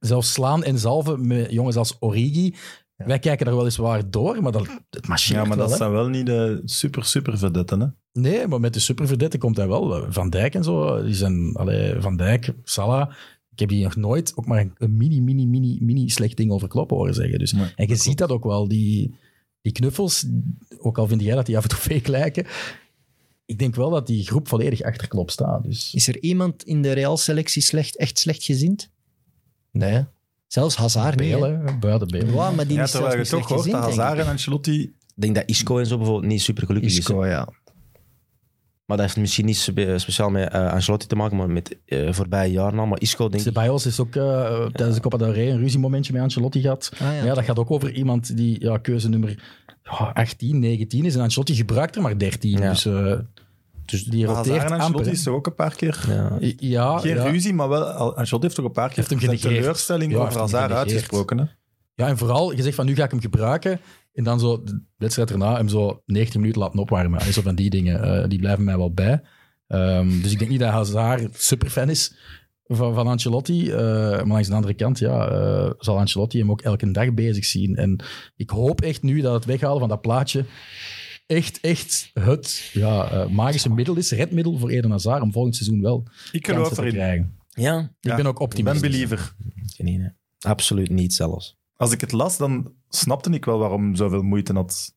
Zelfs slaan en zalven met jongens als Origi. Ja. Wij kijken er wel eens waar door, maar dat, het machineert Ja, maar wel. dat hè. zijn wel niet de super, super vedetten, hè? Nee, maar met de superverdetten komt hij wel. Van Dijk en zo, die zijn... Allee, Van Dijk, Salah... Ik heb hier nog nooit ook maar een, een mini, mini, mini, mini slecht ding over Klopp horen zeggen. Dus, Nee, en je ziet dat ook wel, die, die knuffels. Ook al vind jij dat die af en toe <laughs> fake lijken. Ik denk wel dat die groep volledig achter Klopp staat. Dus. Is er iemand in de Real-selectie slecht, echt slecht gezind? Nee. Zelfs Hazard niet. hè? Belen, buiten Belen. Ja, maar die Ja, is zelfs terwijl je niet toch slecht hoort gezind, dat denk Hazard en Ancelotti... Ik denk dat Isco en zo bijvoorbeeld niet super ik. gelukkig is. hè. Isco, ja. Maar dat heeft misschien niet spe- speciaal met eh, Ancelotti te maken, maar met eh voorbije jaren al. Maar Isco, denk ik, Ceballos is ook eh, tijdens de Copa del Rey een ruziemomentje met Ancelotti gehad. Ah, ja. Ja, dat gaat ook over iemand die ja, keuze nummer ja, 18, 19 is. En Ancelotti gebruikt er maar 13. Ja. Dus, eh, dus die Hazard roteert en amper. Ancelotti hè. is toch ook een paar keer... ja, Ja, Geen Ah, ja. ruzie, maar wel... Ancelotti heeft toch een paar keer Heeft hem zijn genegeerd. teleurstelling Ja, over heeft hem Hazard genegeerd. uitgesproken, hè? ja, en vooral, je zegt van nu ga ik hem gebruiken. En dan zo de wedstrijd daarna hem zo 19 minuten laten opwarmen. En zo van die dingen, eh, die blijven mij wel bij. Ehm, dus ik denk niet dat Hazard superfan is van, van Ancelotti. Eh, maar langs de andere kant ja, eh, zal Ancelotti hem ook elke dag bezig zien. En ik hoop echt nu dat het weghalen van dat plaatje echt, echt het ja, eh, magische middel is. Redmiddel voor Eden Hazard om volgend seizoen wel Ik geloof kansen te erin. krijgen. ja Ja, Ik ben ook Ik ben optimist. believer. geen ene. absoluut niet zelfs. Als ik het las, dan snapte ik wel waarom hij zoveel moeite had.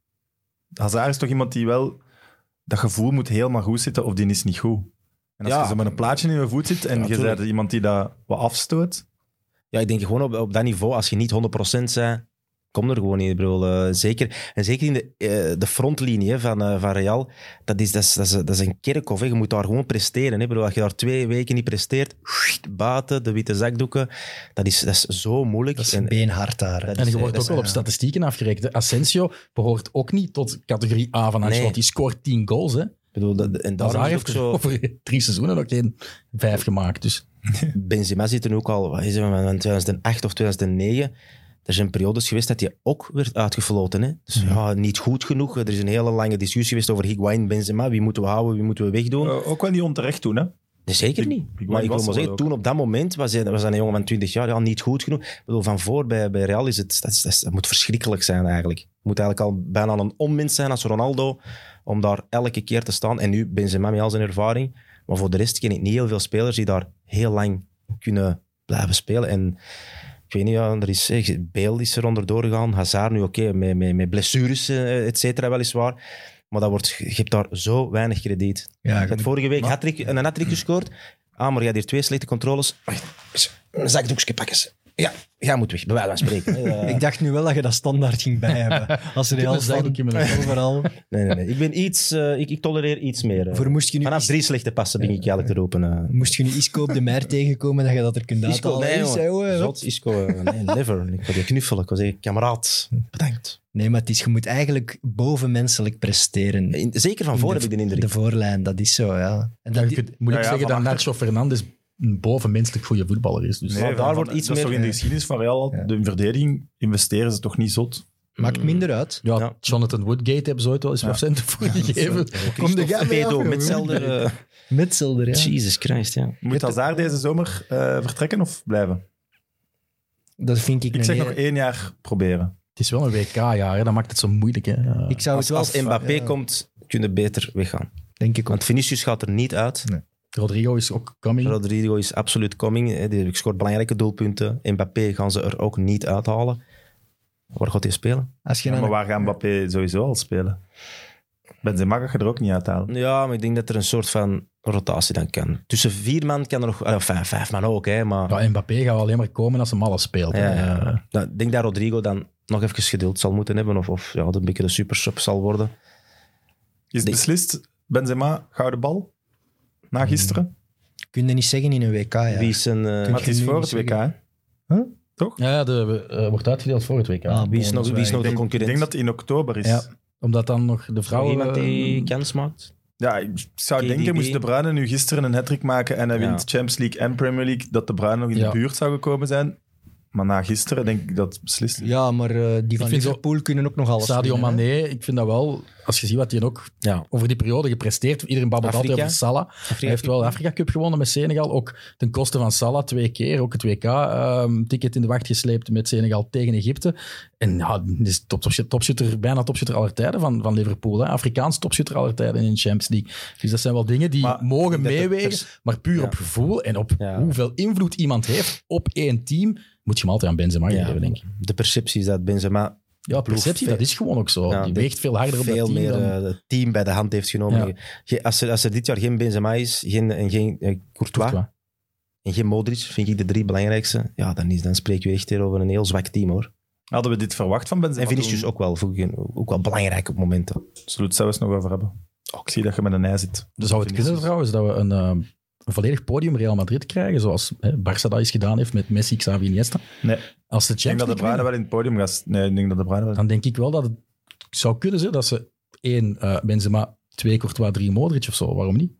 Hazard is toch iemand die wel... Dat gevoel moet helemaal goed zitten, of die is niet goed. En als Ja. je zo met een plaatje in je voet zit en Ja, je tuurlijk. bent iemand die dat wat afstoot... Ja, ik denk gewoon op, op dat niveau, als je niet 100% bent, kom er gewoon in. Ik bedoel, eh, zeker, en zeker in de, eh, de frontlinie hè, van, eh, van Real, dat is, dat, is, dat, is, dat is een kerkhof. Hè. Je moet daar gewoon presteren. Hè. Ik bedoel, als je daar twee weken niet presteert, buiten, de witte zakdoeken, dat is, dat is zo moeilijk. Dat is En- een beenhard daar. hè. Dat En je eh, dat wordt ook is, wel op ja. statistieken afgerekend. hè. Asensio behoort ook niet tot categorie A van Ancelotti. Nee. Die scoort 10 goals. Hè. ik bedoel, dat, en daarom Hazard is heeft het er ook zo... over drie seizoenen ook geen vijf gemaakt. Dus <laughs> Benzema zit er ook al wat is het, van 2008 of 2009. Er zijn periodes geweest dat hij ook werd uitgefloten. Hè? Dus ja, niet goed genoeg. Er is een hele lange discussie geweest over Higuain, Benzema. Wie moeten we houden, wie moeten we wegdoen? Eh, ook wel niet onterecht doen, hè? Nee, zeker niet. Higuain maar ik was er wil maar wel zeggen, ook. toen op dat moment was hij, was hij een jongen van 20 jaar ja, niet goed genoeg. Ik bedoel, van voor bij, bij Real is het, dat, is- dat, is- dat moet verschrikkelijk zijn eigenlijk. Het moet eigenlijk al bijna een onmens zijn als Ronaldo om daar elke keer te staan. En nu Benzema met al zijn ervaring. Maar voor de rest ken ik niet heel veel spelers die daar heel lang kunnen blijven spelen. En ik weet niet, ja, er is, eh, Bale is er onder doorgegaan. Hazard nu oké, met, met, met blessures, eh, et cetera, weliswaar. Maar dat wordt, je hebt daar zo weinig krediet. Ja, Mm. je hebt vorige week hat-trick- een hat-trick gescoord. Ah, maar jij hebt hier twee slechte controles. Wacht, Een zakdoekje pakken ze. Ja, jij moet weg, bij wijze van spreken. <laughs> Eh, Ik dacht nu wel dat je dat standaard ging <laughs> bij hebben. Als Real een fan, zakdoekje met een- overal. nee, nee, nee. Ik, ben iets, eh, ik, ik tolereer iets meer. eh. Voor moest je nu, Vanaf drie slechte passen ben ik eigenlijk te roepen. eh. moest je nu Isco op de mer tegenkomen dat je dat er kunt uithalen? Isco, nee, Is, hè, hoor. jongen. Zot, Isco, eh, nee, never. Ik wil je knuffelen. Ik wil zeggen, kameraad, bedankt. Nee, maar het is, je moet eigenlijk bovenmenselijk presteren. In- zeker van voor heb ik de indruk. De voorlijn, dat is zo, ja. En dat, Dan die- moet ik Ja, ja, zeggen van dat Nacho Fernandes een bovenmenselijk goede voetballer is. Dus Nee, Maar van- daar van- wordt iets dat is meer- toch in de geschiedenis van Real, Ja. de verdediging investeren ze toch niet zot. maakt minder uit. ja, Ja. Jonathan Woodgate hebben ze ooit wel eens wat centen voor gegeven. Kom de Christophe gamen af, Pedo, jongen. met zelden... eh, Metzelder, ja. Jesus Christ, ja. Moet Hazard deze zomer eh, vertrekken of blijven? Dat vind ik, Ik een zeg eer- nog één jaar proberen. Het is wel een WK-jaar, hè. dat maakt het zo moeilijk. Hè. Eh, Ja. Ik zou Als, het wel... als Mbappé ja, komt, kunnen beter weggaan. Denk ik ook. Want Vinicius gaat er niet uit. Rodrigo is ook coming. Rodrigo is absoluut coming. hè. Die scoort belangrijke doelpunten. Mbappé gaan ze er ook niet uithalen. Waar gaat hij spelen? Als je Ja, maar dan... waar gaan Mbappé sowieso al spelen? Benzema gaat je er ook niet uithalen. Ja, maar ik denk dat er een soort van rotatie dan kan. Tussen vier man kan er nog... eh, Vijf, vijf man ook, hè. Maar Ja, Mbappé gaat wel alleen maar komen als hem alles speelt. Ja, hè. ja, ja. Nou, ik denk dat Rodrigo dan nog even geduld zal moeten hebben. Of, of ja, een beetje de supersub zal worden. Is het Nee. beslist Benzema gouden bal? Na gisteren? Kun je niet zeggen in een WK, ja. Wie is een, eh, Maar het je is nu voor het niet WK, hè? zeggen. Ja, ja, de, eh, wordt uitgedeeld voor het WK. Ah, wie is bon, nog, dat wie is nog Ik denk, de ik concurrent? denk dat het in oktober is. Ja. Ja, Omdat dan nog de Nog vrouwen... iemand die eh, kans maakt? ik zou KDB. denken, moest De Bruyne nu gisteren een hattrick maken en hij Ja. wint Champions League en Premier League, dat De Bruyne nog in Ja. de buurt zou gekomen zijn. Maar na gisteren denk ik dat het beslist is. Ja, maar eh, die van vind zo- Liverpool kunnen ook nog alles Sadio winnen, hè. Mané, ik vind dat wel, als je ziet wat hij ook Ja. over die periode gepresteerd, iedereen babbelt altijd Afrika? over Salah. Hij heeft wel de Afrika Cup gewonnen met Senegal, ook ten koste van Salah twee keer, ook het WK-ticket in de wacht gesleept met Senegal tegen Egypte. En ja, dit is top, topschutter, bijna topschutter aller tijden van, van Liverpool, hè. Afrikaans topschutter aller tijden in de Champions League. Dus dat zijn wel dingen die Maar mogen ik denk dat de meewegen, maar puur Ja. op gevoel en op Ja. hoeveel invloed iemand heeft op één team, moet je hem altijd aan Benzema Ja. geven, denk ik. De perceptie is dat Benzema Ja, ploeg perceptie, veel- dat is gewoon ook zo. Ja, die die- weegt veel harder op dat veel team meer dan... eh, het team bij de hand heeft genomen. Ja. Ge- Als, er, als er dit jaar geen Benzema is, geen, en geen eh, Courtois, Courtois. en geen Modric, vind ik de drie belangrijkste, ja, dan, is, dan spreken we echt hier over een heel zwak team, hoor. Hadden we dit verwacht van Benzema? En Vinicius toen? ook wel, voeg ik in, ook wel belangrijk op momenten. Zullen we het zelfs nog over hebben? Ik zie dat je met een ei zit. Dus Zou het kunnen Vinicius. trouwens dat we een, eh, een volledig podium Real Madrid krijgen, zoals hè, Barça dat eens gedaan heeft met Messi, Xavi, Iniesta? Nee. Als de Ik denk dat Champions De League Bruyne winnen, wel in het podium gaat... Nee, ik denk dat De Bruyne wel... dan denk ik wel dat het zou kunnen zijn dat ze één eh, Benzema, twee Courtois, drie Modric of zo. Waarom niet?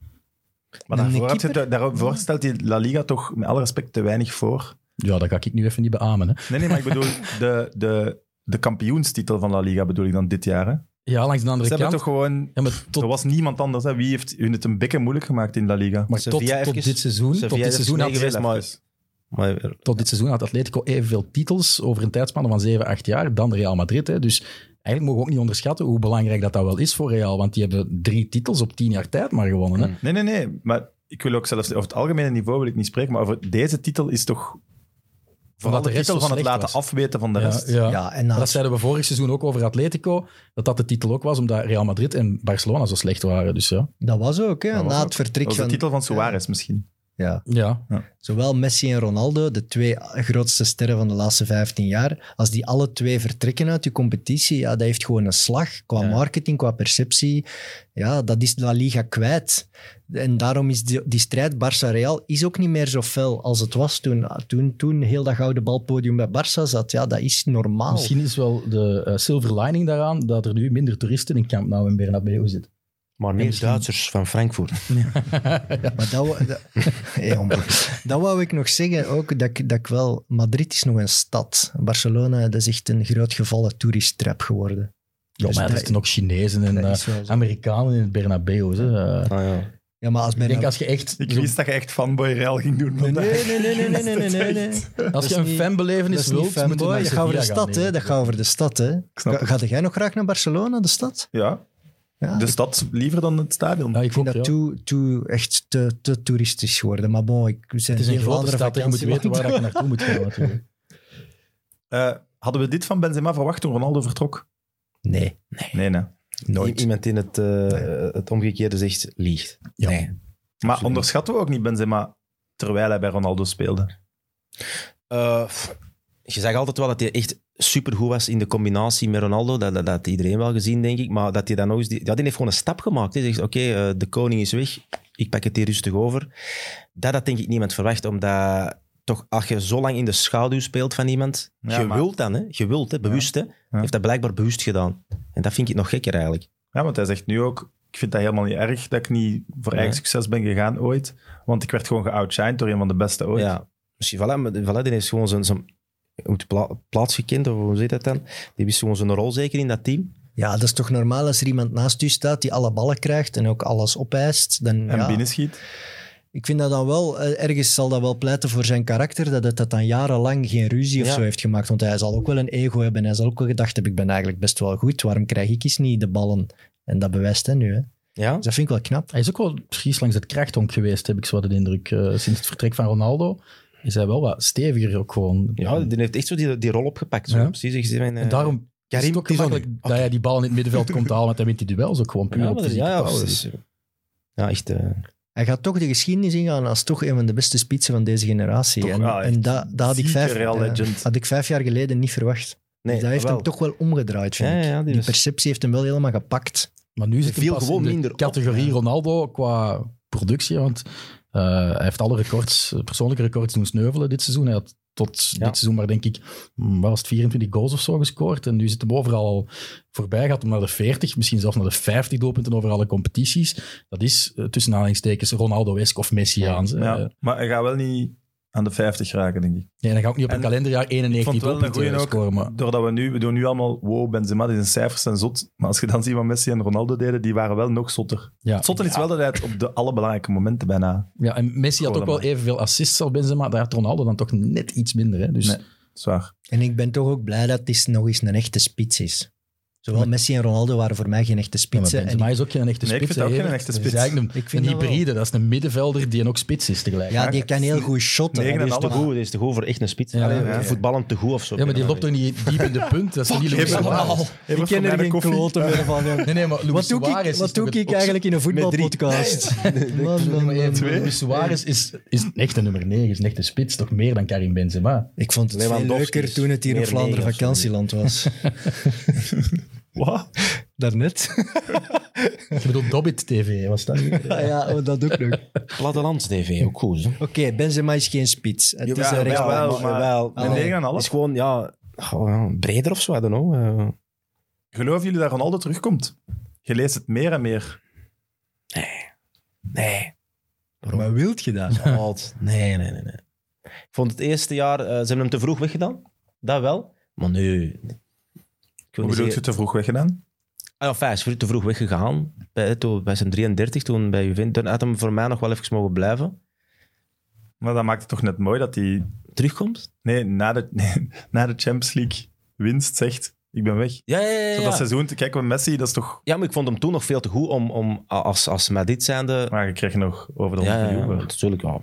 Maar En de daarvoor, had je keeper? het- daarvoor stelt die La Liga toch met alle respect te weinig voor. Ja, dat ga ik nu even niet beamen. Hè. Nee, nee, maar ik bedoel, <laughs> de, de, de kampioenstitel van La Liga bedoel ik dan dit jaar. Hè? Ze Ja, langs de andere hebben kant. toch gewoon... Ja, maar tot, Er was niemand anders. Hè? Wie heeft hun het een bekken moeilijk gemaakt in La Liga? maar Sevilla tot, tot even. dit seizoen, tot Sevilla dit is seizoen, had, meegeweest, maar- maar tot dit seizoen had Atletico evenveel titels over een tijdspanne van 7, 8 jaar dan Real Madrid. Hè. Dus eigenlijk mogen we ook niet onderschatten hoe belangrijk dat, dat wel is voor Real. Want die hebben drie titels op 10 jaar tijd maar gewonnen. Hè. Nee, nee, nee. Maar ik wil ook zelfs... Over het algemene niveau wil ik niet spreken, maar over deze titel is toch... Vooral de de rest titel zo van het slecht laten was. afweten van de rest. Ja, ja. Ja, en Maar na Dat zeiden we vorig seizoen ook over Atletico, dat dat de titel ook was, omdat Real Madrid en Barcelona zo slecht waren. Dus ja. Dat was ook, hè. Dat was na ook. het vertrek Dat was de van... titel van Suarez misschien. Ja. ja. Zowel Messi en Ronaldo, de twee grootste sterren van de laatste 15 jaar, als die alle twee vertrekken uit die competitie, ja, dat heeft gewoon een slag qua Ja. marketing, qua perceptie. Ja, dat is La Liga kwijt. En daarom is die, die strijd Barça-Real is ook niet meer zo fel als het was toen, toen, toen heel dat gouden balpodium bij Barça zat. Ja, dat is normaal. Misschien is wel de eh, silver lining daaraan dat er nu minder toeristen in Camp Nou en Bernabeu zitten. Maar meer misschien- Duitsers van Frankfurt. Maar dat, wou- dat, <laughs> Hey, jongen. dat wou ik nog zeggen ook, dat ik, dat ik wel... Madrid is nog een stad. Barcelona, dat is echt een groot gevallen toeristtrap geworden. Ja, Dus maar er dat- zitten ook Chinezen en Dat eh, is wel zo. Amerikanen in het Bernabeu. Hè. Eh, Ah, ja. Ja, maar als ik denk bijna- als je echt Ik zo- wist dat je echt fanboy Real ging doen. Nee, vandaag. nee, nee, nee, nee, nee, nee, nee, nee. als je is een niet- fanbelevenis Dat is wilt, niet moet je fanboy. naar Dat gaat over de Sevilla gaan, stad, hè. denk Dat ik. gaat over de stad, hè. snap Ga, het. gaat jij nog graag naar Barcelona, de stad? Ja, Ja, de stad liever dan het stadion. Ja, ik Ik vond vind dat ja. toe, toe, echt te, te toeristisch geworden. Maar bon, ik we zijn Het is een geen grote Vlaanderen stad, hè. je moet weten waar je naartoe moet gaan. natuurlijk. Eh, hadden we dit van Benzema verwacht toen Ronaldo vertrok? Nee, Nee, nee. I- <laughs> nooit. Iemand in het, eh, het omgekeerde zegt liegt. Ja. Nee. Maar onderschatten we ook niet Benzema terwijl hij bij Ronaldo speelde? Eh, pff, je zag altijd wel dat hij echt supergoed was in de combinatie met Ronaldo. Dat, dat, dat had iedereen wel gezien, denk ik. Maar dat hij dan nog eens... Die, ja, die heeft gewoon een stap gemaakt. Hij zegt, oké, eh, de koning is weg. Ik pak het hier rustig over. Dat had denk ik niemand verwacht, omdat... Toch, als je zo lang in de schaduw speelt van iemand, Ja, je maar- wilt dan, hè? je wilt, hè? bewust. Hè? Hij heeft dat blijkbaar bewust gedaan. En dat vind ik nog gekker eigenlijk. Ja, want hij zegt nu ook, ik vind dat helemaal niet erg dat ik niet voor eigen Nee. succes ben gegaan ooit. Want ik werd gewoon geoutshined door een van de beste ooit. Ja, misschien voilà, maar voilà, die heeft gewoon zijn, zijn moet pla- plaats gekend, of hoe zit dat dan? Die wist gewoon zijn rol zeker in dat team. Ja, dat is toch normaal als er iemand naast u staat die alle ballen krijgt en ook alles opeist. Dan, En ja, binnenschiet. Ik vind dat dan wel, eh, ergens zal dat wel pleiten voor zijn karakter, dat het dat dan jarenlang geen ruzie of Ja. zo heeft gemaakt. Want hij zal ook wel een ego hebben. Hij zal ook wel gedacht hebben, ik ben eigenlijk best wel goed, waarom krijg ik eens niet de ballen? En dat bewijst hij nu. Hè. Ja? Dus dat vind ik wel knap. Hij is ook wel precies langs het krachthonk geweest, heb ik zo de indruk. Eh, sinds het vertrek van Ronaldo is hij wel wat steviger ook gewoon. Ja, die heeft echt zo die, die rol opgepakt. Zo. Ja. Precies, ik zie mijn, eh, en daarom is het ook Tizoni. gemakkelijk dat hij die bal in het middenveld komt halen, want hij wint die duels ook gewoon puur Ja, op maar dat is- fysieke ja, ja, power. dat is- ja, echt. eh, Hij gaat toch de geschiedenis ingaan als toch een van de beste spitsen van deze generatie. Toch, en ja, echt en dat, dat had, ik zieke vijf, Real ja, legend. had ik vijf jaar geleden niet verwacht. nee, Dus dat heeft wel. hem toch wel omgedraaid, vind Ja, ik. ja, die die was- perceptie heeft hem wel helemaal gepakt. Maar nu zit Hij hij viel pas gewoon in de minder op, categorie ja. Ronaldo qua productie, want eh, hij heeft alle records, persoonlijke records doen sneuvelen dit seizoen. Hij had tot Ja. dit seizoen maar denk ik, mm, wat was het, 24 goals of zo gescoord. En nu zit hem overal al voorbij, gaat om naar de 40, misschien zelfs naar de 50 doelpunten over alle competities. Dat is eh, tussen aanhalingstekens Ronaldo-esk of Messiaans. hè. Ja. Maar hij gaat wel niet aan de 50 raken, denk ik. Nee, dan ga ik niet op een En kalenderjaar Ik 91 vond het wel een goeie doelpunten ook, scoren. Maar doordat we nu, we doen nu allemaal, wow, Benzema, die zijn cijfers zijn zot. Maar als je dan ziet wat Messi en Ronaldo deden, die waren wel nog zotter. ja. Het zotte is wel dat hij het op de allerbelangrijke momenten bijna, Ja, en Messi had Gewoon ook wel maar. evenveel assists als Benzema. Daar had Ronaldo dan toch net iets minder. Hè? Dus Nee. zwaar. En ik ben toch ook blij dat het nog eens een echte spits is. Zowel Maar- Messi en Ronaldo waren voor mij geen echte Ja, maar spitsen. en Benzema is ook geen echte Nee, ik spits. vind dat ook hè, geen Evert. echte Dat is spits. eigenlijk Ik een, vind een dat wel. hybride. Dat is een middenvelder die een ook spits is tegelijk. ja, Ja, die kan heel goed shotten. negen Ja, en die is te half. goed, die is te goed voor echt een spits. Ja, Allee, ja. Voetballend te goed of zo. Ja, maar die loopt toch niet diep in de punt? Dat is niet Luis Evert, Suarez. Evert, voor mij de koffie. dus meer van. <laughs> jong. Nee, nee, maar Luis Wat doe Suarez ik, is wat toch doe een- ik eigenlijk in een voetbalpodcast? <laughs> Man, man, man. Twee. Luis Suarez is, is echt een nummer 9, is een echte spits. Toch meer dan Karim Benzema. Ik vond het veel Lewandowski leuker is toen het hier in meer Vlaanderen negen of zo. vakantieland <laughs> was. Wat? Daarnet. Ik bedoel, Dobbit TV was dat. <laughs> niet? Ah ja, oh, dat <laughs> ook nog. Oké, Plattelands TV, ook goed. hè. Benzema is geen spits. Het is Jawel, een jawel, rechtsback. maar- jawel. Een Nee, negen en een half? is gewoon, ja, oh, ja, breder of zo, I don't know. eh. Geloven jullie dat Ronaldo terugkomt? Je leest het meer en meer. nee. Maar wilt je dat? Alt. Nee, nee, nee, nee. Ik vond het eerste jaar, eh, ze hebben hem te vroeg weggedaan. Dat wel. Maar nu... Ik wil Hoe bedoel niet zeggen- je te vroeg weggedaan? Ah, ja, enfin, hij is vroeg- te vroeg weggegaan. Bij, toen, bij zijn 33, toen bij Juventus. Dan had hem voor mij nog wel even mogen blijven. Maar dat maakt het toch net mooi dat hij Terugkomt? nee, na, de, <laughs> nee, na de Champions League winst zegt, ik ben weg. Ja, ja, ja. Zo ja. dat seizoen, te kijken met Messi, dat is toch... Ja, maar ik vond hem toen nog veel te goed om, om a- als, als Madrid zijnde... Maar je kreeg nog over de Ja, 100 ja, ja, miljoen. maar natuurlijk. Ja.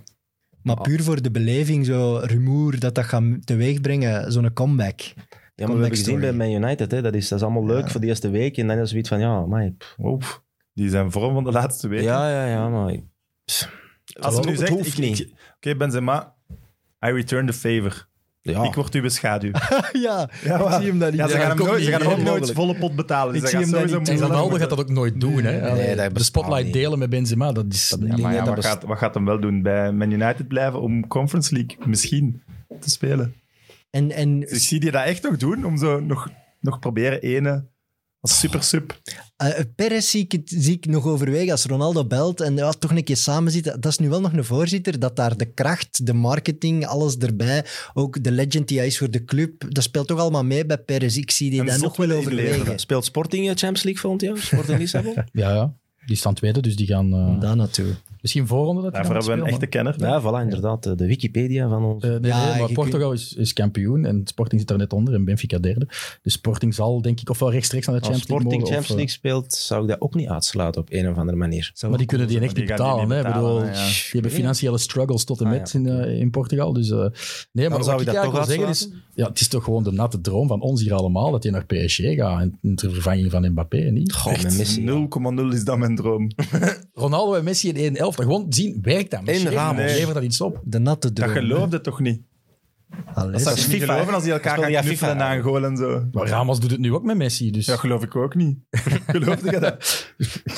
Maar puur voor de beleving, zo rumoer dat dat gaat teweegbrengen, zo'n comeback. <laughs> Ja, maar we hebben gezien Comeback bij story. Man United, hè, dat, is, dat is allemaal leuk voor de eerste week. En dan is er zoiets van, ja, maar... Oep, die zijn vorm van de laatste weken. Ja, ja, ja, maar... Als je nu het zegt, hoeft ik- niet. ik- Oké, Benzema, I return the favor. Ja. Ik word uw <laughs> schaduw. ja, maar- ik zie hem dat niet. Ja, ze gaan hem komt nooit, niet. ze gaan hem Nee, ook nooit mogelijk. volle pot betalen. Dus Ik ze zie gaan hem dat sowieso niet. moeilijk En Ronaldo moeten- gaat dat ook nooit doen. Hè? Nee, dat de bestaat spotlight niet. delen met Benzema, dat is... nee, Maar ja, dat wat, bestaat- gaat, wat gaat hem wel doen? Bij Man United blijven om Conference League misschien te spelen. En, en Dus ik zie die dat echt nog doen, om zo nog, nog proberen ene als super-sub. eh, Perez zie ik, het- zie ik nog overwegen als Ronaldo belt en ja, toch een keer samen zitten. Dat is nu wel nog een voorzitter, dat daar de kracht, de marketing, alles erbij, ook de legend die hij is voor de club, dat speelt toch allemaal mee bij Perez. Ik zie die En daar zot nog wel wil inleveren. overwegen. Speelt <laughs> Sporting eh, Champions League volgend jaar? Sporting Lissabon? Ja, ja. Die staan tweede, dus die gaan... eh, Daar naartoe. Misschien voorronde dat hij Daarvoor dan hebben we een moet echte kenner. Ja, voilà, inderdaad. eh, De Wikipedia van ons. spelen. Eh, nee, Ja, nee, maar je Portugal is, is kampioen en Sporting zit daar net onder en Benfica derde. Dus Sporting zal denk ik ofwel rechtstreeks naar de Als Champions League Oh, Sporting mogen, of, eh, Champions League speelt, zou ik dat ook niet uitsluiten op een of andere manier. Maar die kunnen die Maar echt die niet gaan die betalen. niet hè. Ik bedoel, betalen, ja. Die hebben financiële struggles tot en Ah, met in, eh, in Portugal. Dus, eh, nee, maar zou wat je ik dat eigenlijk toch wil zeggen is... Ja, het is toch gewoon de natte droom van ons hier allemaal dat je naar PSG gaat. En en ter vervanging van Mbappé, niet? Goh, met Messi. 0,0 is dat mijn droom. Ronaldo en Messi in 1 11 Gewoon zien, werkt dat? Misschien Ramos. Levert dat iets op? De natte Dat droom. geloofde toch niet? Allee, Dat zou is je niet FIFA, geloven als die elkaar Dat is gaan wel ja, knuffelen FIFA, en ja. aangolen en zo. Maar Ramos doet het nu ook met Messi. Dus Dat geloof ik ook <laughs> niet. Geloofde je dat?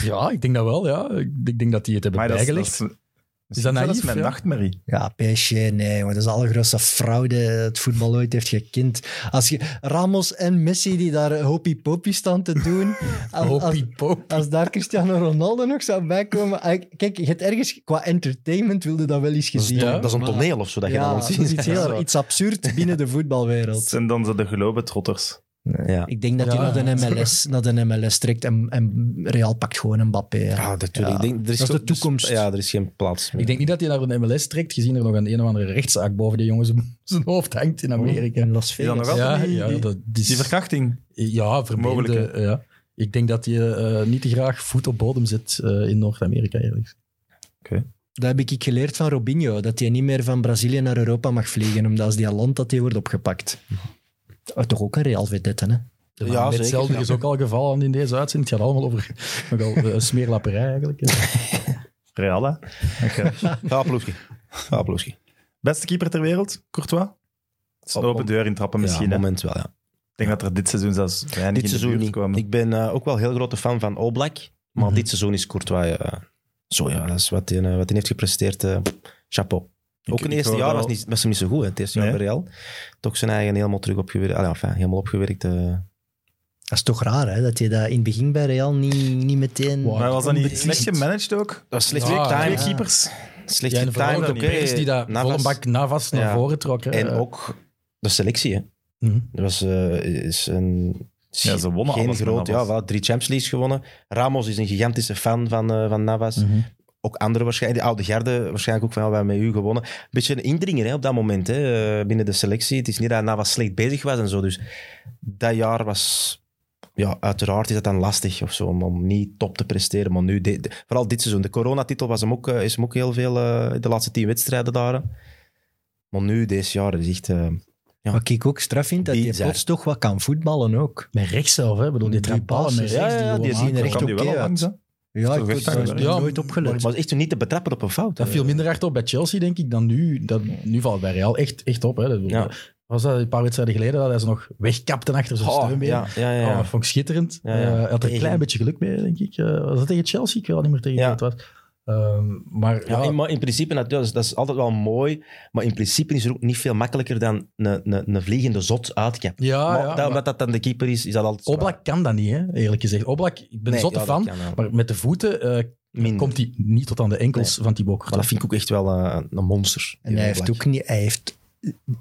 ja, ik denk dat wel. Ja. Ik ik denk dat die het hebben Maar dat is, dat bijgelegd. is, dat Is dat is naïef? mijn ja? nachtmerrie. Ja, PSG, nee, jongen, dat is de allergrootste fraude het voetbal ooit heeft gekend. Als je Ramos en Messi die daar hopie-popie staan te <laughs> doen. als- Oh, als- Hopiepop. Als daar Cristiano Ronaldo nog zou bijkomen. ah, Kijk, je hebt ergens qua entertainment wilde dat wel eens Dat is, gezien. toch- Ja, dat is een maar- toneel of zo dat je ja, dan dat ons is ziet. iets, <laughs> heel, iets absurd binnen de voetbalwereld. En dan zijn de gelobetrotters. Ja. Ik denk dat Ja. hij naar de MLS, naar de MLS trekt en, en Real pakt gewoon een Mbappé. ja. Ja, Ah, natuurlijk. Ja. Ik denk, er is Dat is de dus- toekomst. ja, er is geen plaats meer. Ik denk niet dat hij naar een MLS trekt, gezien er nog een een of andere rechtszaak boven die jongen zijn- <laughs> zijn hoofd hangt in Amerika. In Las Is dat nog Vegas. altijd Ja, Oh, die, ja, die, dat is- die verkrachting? Ja, vermoedelijk. Mogelijke. Ja. Ik denk dat je eh, niet te graag voet op bodem zet eh, in Noord-Amerika, eerlijk. gezegd. Dat heb ik geleerd van Robinho, dat hij niet meer van Brazilië naar Europa mag vliegen, omdat als die al landt, dat hij wordt opgepakt. Oh, toch ook een Real vedette, hè? De Ja, ja, zeker, hetzelfde ja. is ook al gevallen in deze uitzending. Het gaat allemaal over <laughs> nogal eh, smeerlapperij eigenlijk. Real, hè? Oké. Ga Ploeski. Ga Ploeski. Beste keeper ter wereld, Courtois. Het is een Op- open deur in trappen Ja, misschien. hè. moment wel, ja. Ik denk dat er dit seizoen zelfs weinig in Dit de seizoen buurt niet. komen. Ik ben eh, ook wel heel grote fan van All Black, maar Mhm. dit seizoen is Courtois... eh, zo ja, dat is wat hij eh, wat hij heeft gepresteerd. eh, chapeau. Ook Ik- in ik het eerste hoor jaar wel- was, niet, was hem niet zo goed. Hè. Het eerste jaar Nee. bij Real. Toch zijn eigen helemaal terug opgewerkt. Allee, enfin, helemaal opgewerkt. eh, Dat is toch raar, hè? Dat je dat in het begin bij Real niet, niet meteen... Wow. Maar was dat niet Onbeslist. slecht gemanaged ook? Dat is slecht Ja, getimed. Twee Ah, ja. keepers. Slecht Ja, en vooral getimed, ook de oké. players die daar Navas. volle bak Navas naar Ja. voren trokken. En eh. ook de selectie, hè. Mhm. Dat was eh, is een... Ja, ze wonnen Geen alles met groot, ja, Navas. wel, drie Champions Leagues gewonnen. Ramos is een gigantische fan van, eh, van Navas. Mhm. Ook andere waarschijnlijk, de oude garde waarschijnlijk ook van, ja, we hebben met u gewonnen. Een beetje een indringer hè, op dat moment hè, eh, binnen de selectie. Het is niet dat Navas slecht bezig was en zo. Dus dat jaar was... Ja, uiteraard is dat dan lastig of zo, om, om niet top te presteren. Maar nu, de- de- vooral dit seizoen, de coronatitel was hem ook, eh, is hem ook heel veel eh, de laatste tien wedstrijden daar. hè. Maar nu, deze jaren, is echt... eh, Wat ik ook straf vind, dat je Bizar. plots toch wat kan voetballen ook. Met rechts zelf, hè. Ik bedoel, die Die trapt ballen met passes, rechts. ja, ja, die die gewoon zien er aankomen. echt Kan die wel oké al uit. langs, hè? Ja, toch ik echt was aan- daar Ja, nooit opgelet. Maar het is echt niet te betrappen op een fout. Dat viel minder hard op bij Chelsea, denk ik, dan nu. Dat, nu valt het bij Real echt, echt op. Hè. Dat, Ja. Was dat een paar wedstrijden geleden dat hij ze nog wegkapte achter zijn Oh, steunbeen? ja, ja, ja, Oh, ja. dat vond ik schitterend. Ja, Ja, ja. hij had er een Tegen- klein beetje geluk mee, denk ik. Eh, was dat tegen Chelsea? Ik weet al niet meer tegen wie Ja. het was. Ehm, maar Ja, ja, en- maar in principe, natuurlijk, dat is, dat is altijd wel mooi, maar in principe is er ook niet veel makkelijker dan een, een, een vliegende zot uitkap. ja, maar, Ah, ja, dat- maar omdat dat dan de keeper is, is dat altijd zwaar. Oblak kan dat niet, hè, eerlijk gezegd. Oblak, ik ben Nee, zotte ja, dat fan, kan, ja. maar met de voeten eh, Minder. komt hij niet tot aan de enkels van Thibaut Maar dat Courtois. vind ik ook echt wel eh, een monster. En hij heeft ook niet... Hij heeft...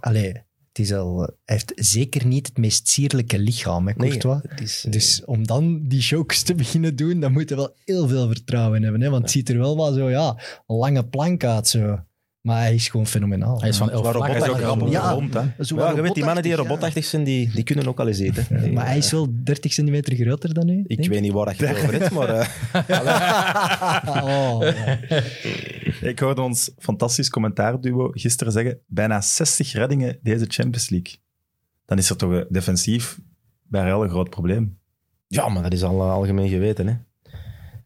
Allee, het is al... Hij heeft zeker niet het meest sierlijke lichaam, hè, Courtois. dus, Dus om dan die jokes te <laughs> beginnen doen, dan moet je wel heel veel vertrouwen hebben. Hè? Want het ziet er wel wel zo, ja, een lange plank uit. Zo. Maar hij is gewoon fenomenaal. Hij is van elf Zwaar vlak. op Hij is ook Oblak. rap op de Ja. grond, hè. Zo ja, je weet, die mannen die robotachtig, robotachtig zijn, die, die kunnen ook al eens eten. ja. Die- Maar hij is wel 30 centimeter groter dan nu. Ik weet niet waar dat je het over hebt, maar... eh, Oh, Ik hoorde ons fantastisch commentaarduo gisteren zeggen: bijna 60 reddingen deze Champions League. Dan is er toch eh, defensief bij Real een groot probleem. ja, maar dat is al eh, algemeen geweten, hè.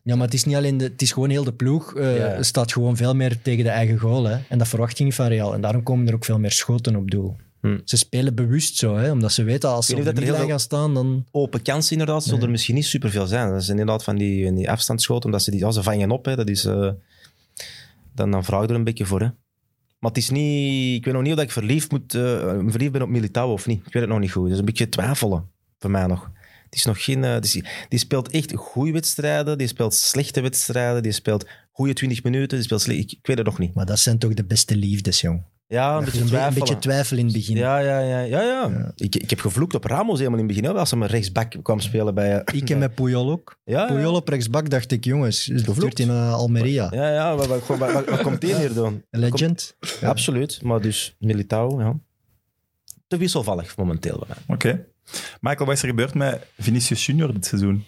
Ja, maar het is niet alleen de, het is gewoon heel de ploeg. eh, Ja. Staat gewoon veel meer tegen de eigen goal. Hè? En dat verwacht je niet van Real. En daarom komen er ook veel meer schoten op doel. Hm. Ze spelen bewust zo, hè? omdat ze weten als ze Ik op weet de niet of dat er heel middenlijn gaan staan, dan... open kans inderdaad, zullen er misschien niet superveel zijn. Dat is inderdaad van die, die afstandsschoten, omdat ze die, ja, ze vangen op. Hè. Dat is, eh, dan, dan vraag je er een beetje voor. Hè. Maar het is niet, ik weet nog niet of dat ik verliefd, moet, eh, verliefd ben op Militao of niet. Ik weet het nog niet goed. Dat is een beetje twijfelen, voor mij nog. Het is nog geen, eh, het is- die speelt echt goede wedstrijden, die speelt slechte wedstrijden, die speelt goede 20 minuten, die speelt slecht. Ik, ik weet het nog niet. Maar dat zijn toch de beste liefdes, jong. Ja, Dus een beetje een, be- een twijfelen. beetje twijfel in het begin. Ja, ja, ja. ja, ja. Ik, ik heb gevloekt op Ramos helemaal in het begin, hè, als hij maar rechtsback kwam spelen bij... eh, Ik en met Puyol ook. Ah, Ja, ja. Puyol op rechtsbak dacht ik, jongens, stuurt hij naar Almeria. Ja, ja, wat, wat, wat, wat- wat komt die hier doen? Legend. Ja, absoluut, maar dus Militao, ja. Te wisselvallig momenteel bij mij. Oké. Michael, wat is er gebeurd met Vinicius Junior dit seizoen?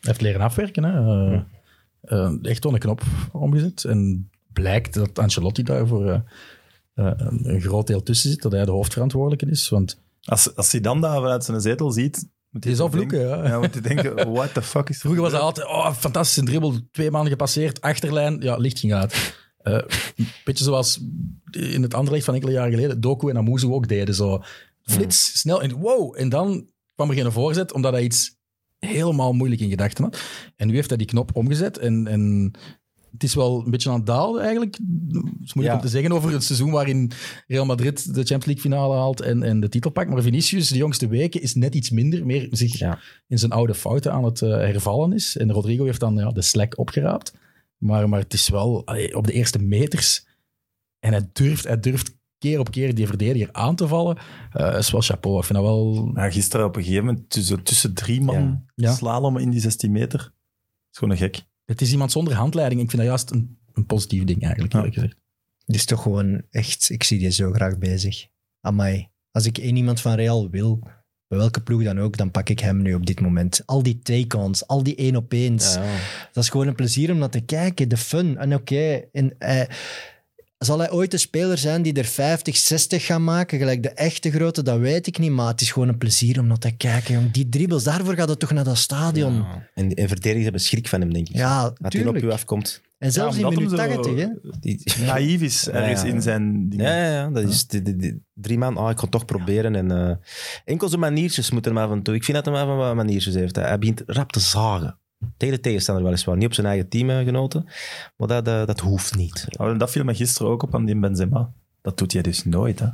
heeft leren afwerken. Hè. Eh, eh, echt wel een knop omgezet. En blijkt dat Ancelotti daarvoor eh, eh, een, een groot deel tussen zit, dat hij de hoofdverantwoordelijke is. Want Als, als hij dan daar vanuit zijn zetel ziet... Moet Die is toch afvloeken, denken- ja. Ja, want hij denkt, what the fuck is er vroeger was hij gebeurd? altijd, oh, fantastisch, een dribbel, twee maanden gepasseerd, achterlijn, ja, licht ging uit. Eh, een beetje zoals in het Anderlecht van enkele jaren geleden, Doku en Amuzu ook deden. Zo. Flits, snel, en wow. En dan kwam er geen voorzet, omdat hij iets helemaal moeilijk in gedachten had. En nu heeft hij die knop omgezet en... en het is wel een beetje aan het dalen eigenlijk. Het is moeilijk Ja. om te zeggen over het seizoen waarin Real Madrid de Champions League finale haalt en, en de titel pakt. Maar Vinicius, de jongste weken, is net iets minder. Meer zich Ja. in zijn oude fouten aan het eh, hervallen is. En Rodrigo heeft dan ja, de slack opgeraapt. Maar, maar het is wel allee, op de eerste meters. En hij durft, hij durft keer op keer die verdediger aan te vallen. Eh is wel chapeau. Ik vind dat wel... Ja, gisteren op een gegeven moment tussen, tussen drie man Ja. slalom in die 16 meter. Dat is gewoon een gek. Het is iemand zonder handleiding. Ik vind dat juist een, een positief ding eigenlijk, Ja. eerlijk gezegd. Dit is toch gewoon echt, ik zie die zo graag bezig. Amai. Als ik één iemand van Real wil, bij welke ploeg dan ook, dan pak ik hem nu op dit moment. Al die take-ons, al die één op eens. Ja, ja. Dat is gewoon een plezier om naar te kijken, de fun. En oké, en, eh, zal hij ooit een speler zijn die er 50, 60 gaat maken, gelijk de echte grote, dat weet ik niet. Maar het is gewoon een plezier om naar te kijken. jong. Die dribbles, daarvoor gaat het toch naar dat stadion. Ja, En, en verdedigers hebben schrik van hem, denk ik. Dat hij op tuurlijk. u afkomt. En zelfs Ja, in omdat minuut hem zo 80, hè. Die- <laughs> Naïef is ergens Ja. in zijn dingen. Ja, ja, ja, dat is die, die- die- drie man. Ah, ik ga het toch proberen. En, eh, enkel zijn maniertjes moeten hem af en toe. Ik vind dat hij maar van wat maniertjes heeft. Hij begint rap te zagen. Tegen de tegenstander weliswaar. Niet op zijn eigen teamgenoten. Maar dat, eh, dat hoeft niet. Maar Dat viel me gisteren ook op aan die Benzema. Dat doet hij dus nooit, hè.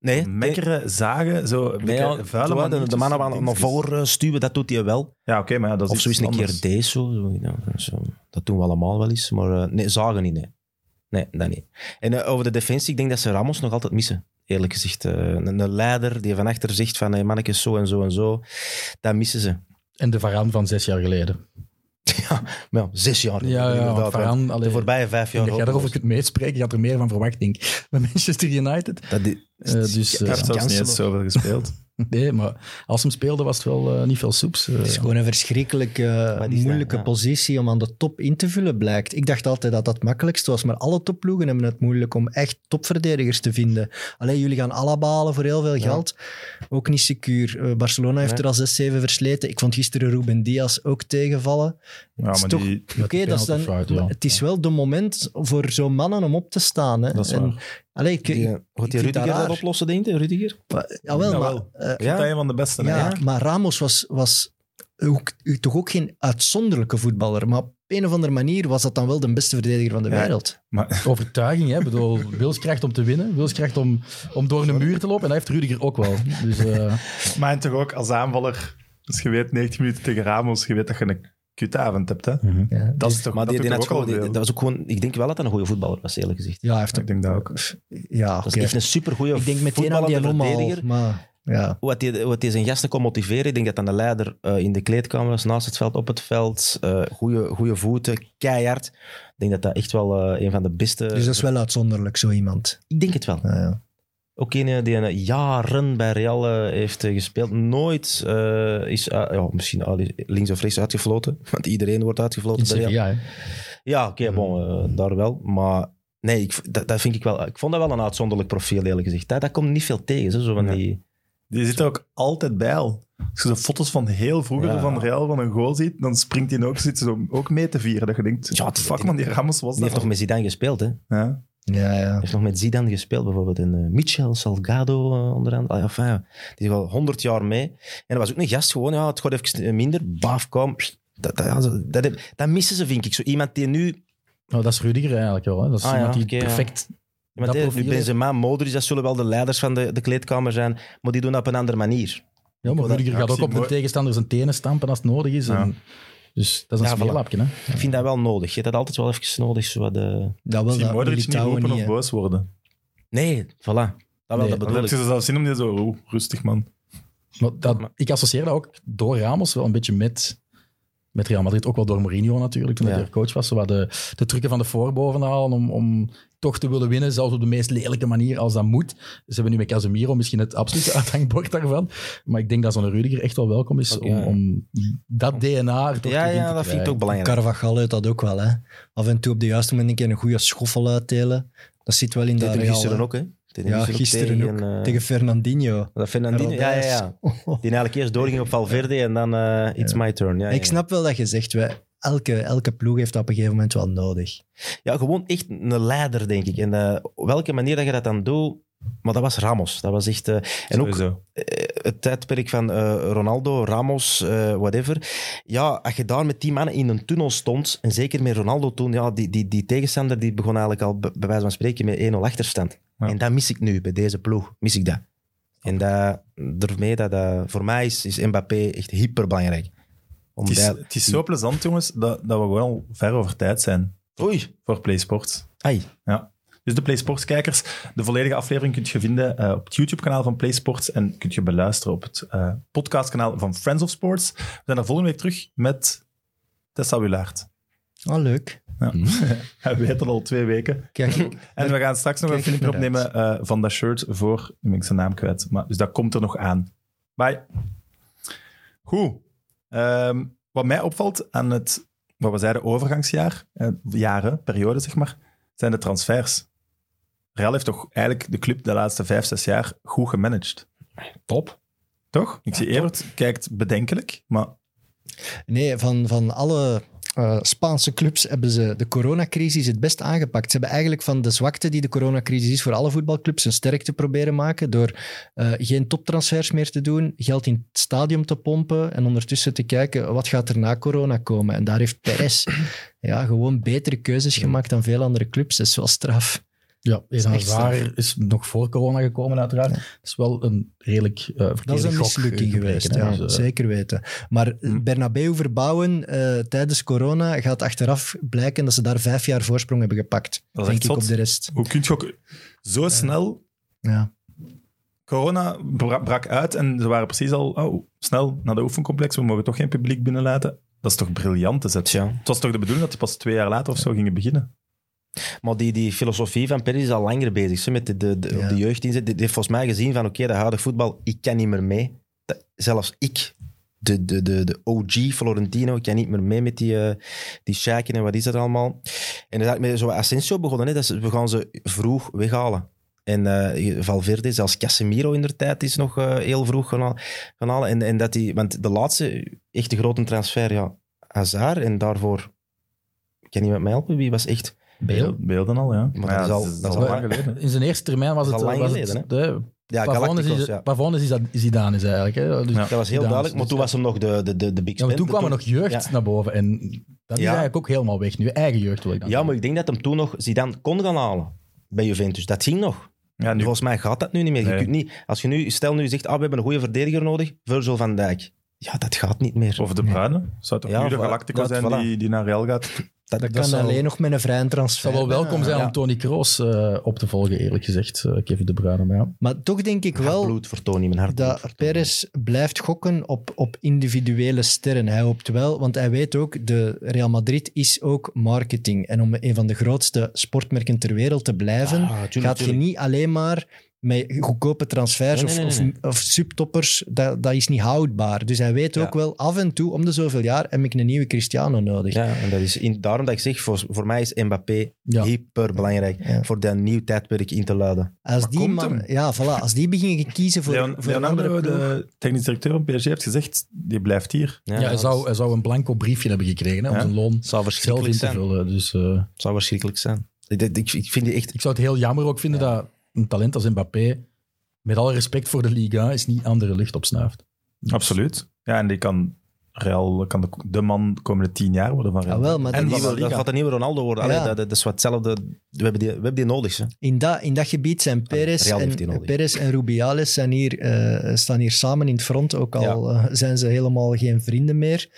Nee, Mekkeren, zagen, zo een nee, beetje ja, vuile zo, de- maniertjes, de mannen zo aan- naar dingetjes. voren eh, stuwen, dat doet hij wel. Ja, oké, maar ja, dat is Of zo iets eens een keer anders. deze. Zo, ja, zo. Dat doen we allemaal wel eens. Maar eh, nee, zagen niet, nee. Nee, dat niet. En eh, over de defensie, ik denk dat ze Ramos nog altijd missen. Eerlijk gezegd. Eh, een, een leider die van achter zegt van, hey, mannetjes, zo en zo en zo. Dat missen ze. En de Varaan van zes jaar geleden. Maar ja, zes jaar. Ja, ja, want Varaan, want allee, de voorbije vijf jaar. dat jij ook daarover was. kunt meespreken, je had er meer van verwacht, denk ik. <laughs> Bij Manchester United. Dat die- Eh, Hij dus, eh, heeft zelfs niet eens Chancellor. zoveel <laughs> gespeeld. Nee, maar als hem speelde was het wel eh, niet veel soeps. eh. Het is gewoon een verschrikkelijke, Maar die is moeilijke daar, ja. positie om aan de top in te vullen, blijkt. Ik dacht altijd dat dat het makkelijkste was, maar alle topploegen hebben het moeilijk om echt topverdedigers te vinden. Alleen jullie gaan Alaba halen voor heel veel geld. Ook niet secuur. Eh, Barcelona heeft Nee. er al zes, zeven versleten. Ik vond gisteren Ruben Diaz ook tegenvallen. Ja, maar is toch- die, Oké, dat is dan... penaltyfout, ja. maar Het is wel de moment voor zo'n mannen om op te staan. Hè. dat is En- waar. allee, ik, Die, ik- gaat die vind dat Rudiger raar. dat oplossen, denk je? Rudiger? jawel, maar... Jawel. eh, Ik vind dat een van de beste. hè. ja, maar Ramos was, was ook, toch ook geen uitzonderlijke voetballer. Maar op een of andere manier was dat dan wel de beste verdediger van de Ja. wereld. Maar, overtuiging, hè? Ik bedoel, wilskracht om te winnen, wilskracht om, om door een muur te lopen. En dat heeft Rudiger ook wel. Dus, eh, <laughs> maar en toch ook als aanvaller, als je weet 90 minuten tegen Ramos, je weet dat je een kutavond hebt, hè. Ja. Dat is toch, Maar die, dat doet die had toch ook gewoon, al die- dat veel. was ook gewoon... Ik denk wel dat hij een goede voetballer was, eerlijk gezegd. Ja, hij heeft Ik denk dat ook. Ja, Dat is oké. echt een supergoeie Ik denk meteen aan die voetballende allemaal. verdediger. Eh, Maar ja, Wat die, wat die zijn gasten kon motiveren. Ik denk dat dan de leider eh, in de kleedkamer was, naast het veld, op het veld. eh goede, goede voeten, keihard. Ik denk dat dat echt wel eh, een van de beste... dus dat is wel uitzonderlijk, zo iemand. Ik denk het wel. Ja, ja. Ook een eh, die eh, jaren bij Real eh, heeft eh, gespeeld. Nooit eh, is eh, ja, misschien al links of rechts uitgefloten. <laughs> Want iedereen wordt uitgefloten in bij Real. Sevilla, hè. Ja, oké, bon, eh, daar wel. Maar nee, ik, v- dat, dat vind ik wel... Ik vond dat wel een uitzonderlijk profiel, eerlijk gezegd. Dat, dat komt niet veel tegen, zo, zo van Ja. die... Die zit er ook altijd bij al. Als je zo foto's van heel vroeger Ja. van Real van een goal ziet, dan springt hij ook, zit ze zo ook mee te vieren. Dat je denkt, Ja, ja, die- fuck die- man, die Ramos was Die heeft nog dat. met Zidane gespeeld, hè. Die Ja. Ja, ja. heeft nog met Zidane gespeeld, bijvoorbeeld. En eh, Michel Salgado, eh, onder andere. Ah, Enfin, ja, die is al honderd jaar mee. En dat was ook een gast, gewoon, ja, het gaat even eh, minder. Baaf, kom. Pst, Dat, dat, ja, zo- dat, heb- dat missen ze, vind ik. Zo iemand die nu Nou, dat is Rudiger eigenlijk wel. Hè. Dat is Ah, ja, iemand die oké, ja. perfect... Ja, Dat maar dat profiel nu Benzema, Modric, dat zullen wel de leiders van de, de kleedkamer zijn, maar die doen dat op een andere manier. Ja, maar Rudiger Ja, gaat ik ook zie op de mooi- tegenstander zijn tenen stampen als het nodig is. En, dus dat is Ja, een voilà. speerlapje, hè. Ik vind dat wel nodig. Je hebt dat altijd wel even nodig. Zo wat, eh, Dat wel, Zie dat Modric niet Militao roepen niet, of hè. boos worden. Nee, voilà. Dat wel, Nee, dat Dan bedoel heb je ik. ze zelfs zin om die zo, oeh, rustig man. Maar dat, ik associeer dat ook door Ramos wel een beetje met, met Real Madrid. Ook wel door Mourinho natuurlijk, toen Ja. hij er coach was. Zo wat de, de trucken van de voorboven halen om, om toch te willen winnen. Zelfs op de meest lelijke manier als dat moet. Ze hebben nu met Casemiro misschien het absolute <laughs> uithangbord daarvan. Maar ik denk dat zo'n Rudiger echt wel welkom is Ook, om, ja. om dat DNA er toch Ja, terug in ja, dat te vind ik krijgen. ook belangrijk. Carvajal uit dat ook wel. Hè. Af en toe op de juiste moment een keer een goede schoffel uitdelen. Dat zit wel in Dat dat deed hem Real, gisteren hè. ook, hè? Deed hem Ja, gisteren ook. tegen, eh, Tegen Fernandinho. dat Fernandinho, ja, ja, ja. ja. Die eigenlijk eerst doorging op Valverde en dan eh, it's my turn. Ja, ja, Ik ja. snap wel dat je zegt, wij, elke, elke ploeg heeft dat op een gegeven moment wel nodig. Ja, gewoon echt een leider, denk ik. En eh, op welke manier dat je dat dan doet... Maar dat was Ramos. Dat was echt... eh, en ook Sowieso. eh, het tijdperk van eh, Ronaldo, Ramos, eh, whatever. Ja, als je daar met die mannen in een tunnel stond, en zeker met Ronaldo toen, ja, die, die, die tegenstander die begon eigenlijk al, bij bij wijze van spreken, met 1-0 achterstand. Ja. En dat mis ik nu, bij deze ploeg. Mis ik dat. En dat, daarmee dat, dat- voor mij is, is Mbappé echt hyperbelangrijk. Om Het is, dat- het is zo plezant, jongens, dat, dat we wel ver over tijd zijn Oei, voor PlaySports. ai. Dus de PlaySports-kijkers, de volledige aflevering kunt je vinden eh, op het YouTube-kanaal van PlaySports en kunt je beluisteren op het eh, podcastkanaal van Friends of Sports. We zijn er volgende week terug met Tessa Wilaert. Oh, leuk. We weten al twee weken. Kijk, ik- En Dus we gaan straks nog een Kijk filmpje naar uit. opnemen eh, van dat shirt voor... Nu ben ik zijn naam kwijt. Maar, dus dat komt er nog aan. Bye. Goed. Ehm, wat mij opvalt aan het... Wat we zeiden, overgangsjaar. eh, jaren, periode zeg maar. Zijn de transfers. Real heeft toch eigenlijk de club de laatste vijf, zes jaar goed gemanaged. Top. Toch? Ik zie Evert kijkt bedenkelijk, maar... Nee, van, van alle eh, Spaanse clubs hebben ze de coronacrisis het best aangepakt. Ze hebben eigenlijk van de zwakte die de coronacrisis is voor alle voetbalclubs een sterkte proberen maken door eh, geen toptransfers meer te doen, geld in het stadion te pompen en ondertussen te kijken wat gaat er na corona komen. En daar heeft Perez ja, gewoon betere keuzes gemaakt dan veel andere clubs. Dat is wel straf. Ja, is Eden echt Hazard is nog voor corona gekomen uiteraard. Ja. Het is wel een redelijk eh verkeerde Dat is een gok, mislukking eh, geweest, gebleken, ja, hè. Hm. Dus, eh, zeker weten. Maar eh, Bernabeu verbouwen eh, tijdens corona gaat achteraf blijken dat ze daar vijf jaar voorsprong hebben gepakt. Dat is denk echt ik zot. op de rest. Hoe kun je ook zo snel... Ja. Corona bra- brak uit en ze waren precies al oh, snel naar de oefencomplex. We mogen toch geen publiek binnenlaten. Dat is toch briljant te zetten. Tja. Het was toch de bedoeling dat die pas twee jaar later of zo gingen beginnen? Maar die, die filosofie van Perry is al langer bezig. Ze met de, de, de, Ja. op de jeugdinzet. Die, die heeft volgens mij gezien van, oké, dat huidige voetbal, ik kan niet meer mee. Dat- zelfs ik, de, de, de, de OG Florentino, ik kan niet meer mee met die, eh die sheiken en wat is dat allemaal. En dan is eigenlijk met zo'n Asensio begonnen. Hè, dat ze, we gaan ze vroeg weghalen. En eh, Valverde, zelfs Casemiro in der tijd, is nog eh, heel vroeg gaan, haal- gaan halen. En, en dat die, want de laatste echte grote transfer, ja, Hazard. En daarvoor, kan iemand mij helpen? Wie was echt... Bale. Beelden al, ja. dat is al- dat is al lang geleden. In zijn eerste termijn was Dat het... is al lang was het- eh, geleden, de- Ja, Pavon is, Galacticos, is, ja. Pavon is, Zida- Zidane is eigenlijk. Hè. Dus, Ja. ja. Dat was heel Zidane, duidelijk, maar dus toen ja. was hem nog de, de, de, de Big maar Spender. toen kwam er nog jeugd ja. naar boven. En dat is Ja. eigenlijk ook helemaal weg nu. Eigen jeugd wil ik dan Ja, maar zeggen. ik denk dat hem toen nog Zidane kon gaan halen bij Juventus. Dat ging nog. Ja, nu, Volgens mij gaat dat nu niet meer. Je Nee. kunt niet, als je nu, stel nu zegt, ah, we hebben een goede verdediger nodig, Virgil van Dijk. Ja, dat gaat niet meer. of de Bruine. Zou toch Ja, nu de voilà. Galactico Dat- zijn voilà. die, die naar Real gaat? Dat, Dat, dat kan zou- alleen nog met een vrije Het transfer. zou wel welkom zijn Ja. om Tony Kroos eh, op te volgen, eerlijk gezegd, eh, Kevin De Bruyne. Maar ja. Maar toch denk ik wel... wel bloed voor Tony, mijn hart. bloedt dat voor Tony. Perez blijft gokken op, op individuele sterren. Hij hoopt wel, want hij weet ook, de Real Madrid is ook marketing. En om een van de grootste sportmerken ter wereld te blijven, Ah, tuurlijk, gaat je tuurlijk. niet alleen maar met goedkope transfers Nee, nee, of, nee, nee. Of, of subtoppers, dat, dat is niet houdbaar. Dus hij weet Ja. ook wel, af en toe, om de zoveel jaar, heb ik een nieuwe Cristiano nodig. Ja, en dat is in, daarom dat ik zeg, voor, voor mij is Mbappé Ja. hyperbelangrijk. Ja. Voor dat nieuw tijdperk in te luiden. Als, Maar die komt man, hem? ja, voilà, als die beginnen kiezen voor, Leon- voor een andere Leonardo, ploeg- de technisch directeur van PSG, heeft gezegd, die blijft hier. Ja, hij, dat zou, is- hij zou een blanco briefje hebben gekregen hè, om Ja. zijn loon zou zelf verschrikkelijk in te zijn. vullen. Dus eh, zou verschrikkelijk zijn. Ik, ik, ik vind die echt ik zou het heel jammer ook vinden dat een talent als Mbappé, met alle respect voor de Liga, is niet andere lucht opsnuift. Absoluut. Ja, en die kan Real, kan de, de man de komende tien jaar worden van Real. Ah, wel, maar en dat Die van is- La wil- dat Liga. gaat een nieuwe Ronaldo worden. Ja. Allee, dat, dat is wat hetzelfde. We hebben die, we hebben die nodig. Hè. In dat, in dat gebied zijn Perez Ah, Real heeft die en, nodig. Perez en Rubiales zijn hier, eh, staan hier samen in het front, ook al eh, zijn ze helemaal geen vrienden meer.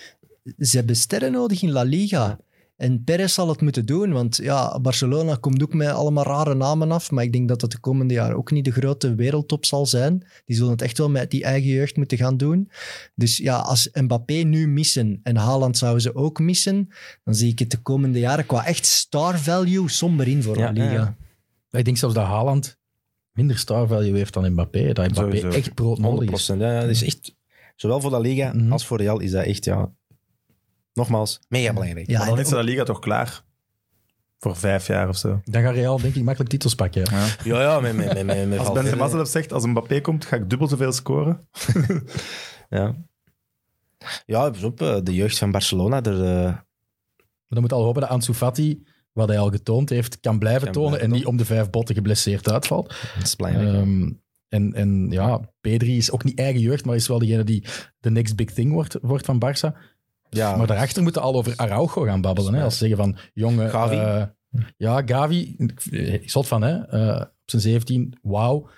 Ze hebben sterren nodig in La Liga. En Perez zal het moeten doen, want ja, Barcelona komt ook met allemaal rare namen af. Maar ik denk dat dat de komende jaren ook niet de grote wereldtop zal zijn. Die zullen het echt wel met die eigen jeugd moeten gaan doen. Dus ja, als Mbappé nu missen en Haaland zouden ze ook missen, dan zie ik het de komende jaren qua echt star value somber in voor Ja, La Liga. ja, ja. Ik denk zelfs dat Haaland minder star value heeft dan Mbappé. Dat Mbappé Sowieso. echt brood 100 nodig is. Ja, ja, dat is echt, zowel voor La Liga Mhm. als voor Real is dat echt, ja, nogmaals, mega belangrijk. Ja, Ja, Maar dan is de La Liga toch klaar? Voor vijf jaar of zo. Dan gaat Real denk ik makkelijk titels pakken. ja. ja, met, met, met, met, met Als Valverde. Benzema zelf zegt, als Mbappé komt, ga ik dubbel zoveel scoren. Ja. Ja, pas op, eh, de jeugd van Barcelona, er, eh, Maar dan moet al hopen dat Ansu Fati, wat hij al getoond heeft, kan blijven Kan tonen blijven en niet om de vijf botten geblesseerd uitvalt. dat is belangrijk. Ehm, en, en ja, P3 is ook niet eigen jeugd, maar is wel degene die de next big thing wordt, wordt van Barça. ja, Maar daarachter moeten al over Araujo gaan babbelen. Hè? Als ze zeggen van, jongen... Gavi. eh, ja, Gavi, ik zot van, hè. eh, op zijn 17, wauw.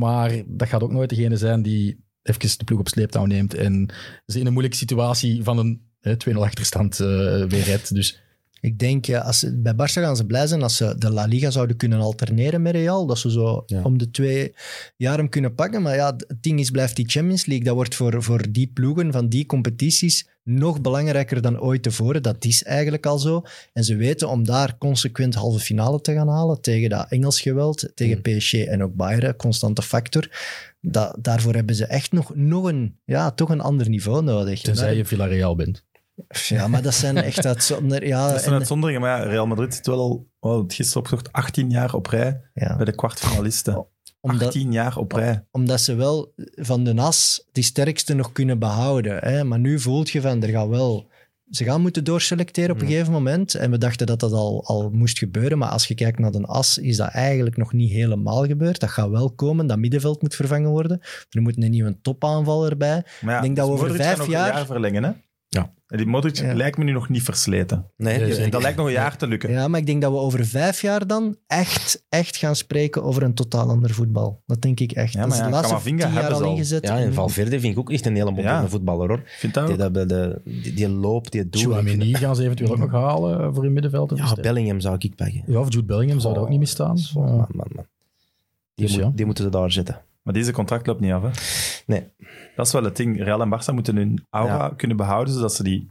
Maar dat gaat ook nooit degene zijn die even de ploeg op sleeptouw neemt en ze in een moeilijke situatie van een hè, 2-0 achterstand eh, weer redt. Dus Ik denk, eh, als ze, bij Barça gaan ze blij zijn als ze de La Liga zouden kunnen alterneren met Real. Dat ze zo Ja. om de twee jaar hem kunnen pakken. Maar ja, het ding is, blijft die Champions League. Dat wordt voor, voor die ploegen van die competities nog belangrijker dan ooit tevoren. Dat is eigenlijk al zo. En ze weten om daar consequent halve finale te gaan halen tegen dat Engels geweld, tegen PSG en ook Bayern, constante factor. Da- daarvoor hebben ze echt nog, nog een, ja, toch een ander niveau nodig. tenzij je Villarreal bent. Ja, maar dat zijn echt uitzonder... Ja, <laughs> Dat is een Ah, en- uitzondering, maar ja, Real Madrid zit wel al, oh, het gisteren opgezocht, 18 jaar op rij ja. bij de kwartfinalisten. 18 jaar op rij. omdat ze wel van de nas die sterkste nog kunnen behouden. Hè? Maar nu voelt je van, er gaat wel... Ze gaan moeten doorselecteren op een gegeven moment. En we dachten dat dat al, al moest gebeuren. Maar als je kijkt naar de as, is dat eigenlijk nog niet helemaal gebeurd. Dat gaat wel komen. Dat middenveld moet vervangen worden. Er moet een nieuwe topaanvaller bij. Maar ja, Ik denk dat we dus over Modric vijf kan nog jaar- een jaar verlengen, hè? Ja. En die Modric Ja. lijkt me nu nog niet versleten. nee, Nee, die- zeker. Dat lijkt nog een jaar te lukken. Ja, maar ik denk dat we over vijf jaar dan echt, echt gaan spreken over een totaal ander voetbal. Dat denk ik echt. Ja, dat maar is de ja, laatste tien Camavinga jaar hebben al ze al. ingezet. ja, en Valverde vind ik ook echt een hele moderne Ja. voetballer, hoor. Vind dat Die, ook? dat, bij de, die, die loopt, die doet. Chouameni gaan ze eventueel ook nog halen eh, voor hun middenveld. te Ja, versterken. Bellingham zou ik pakken. Oh, Ja, of Jude Bellingham zou daar ook niet mee staan. Oh, Man, man, man. Die, Dus moet- ja. die moeten ze daar zetten. Maar deze contract loopt niet af, hè? Nee. Dat is wel het ding. Real en Barça moeten hun aura kunnen behouden, zodat ze die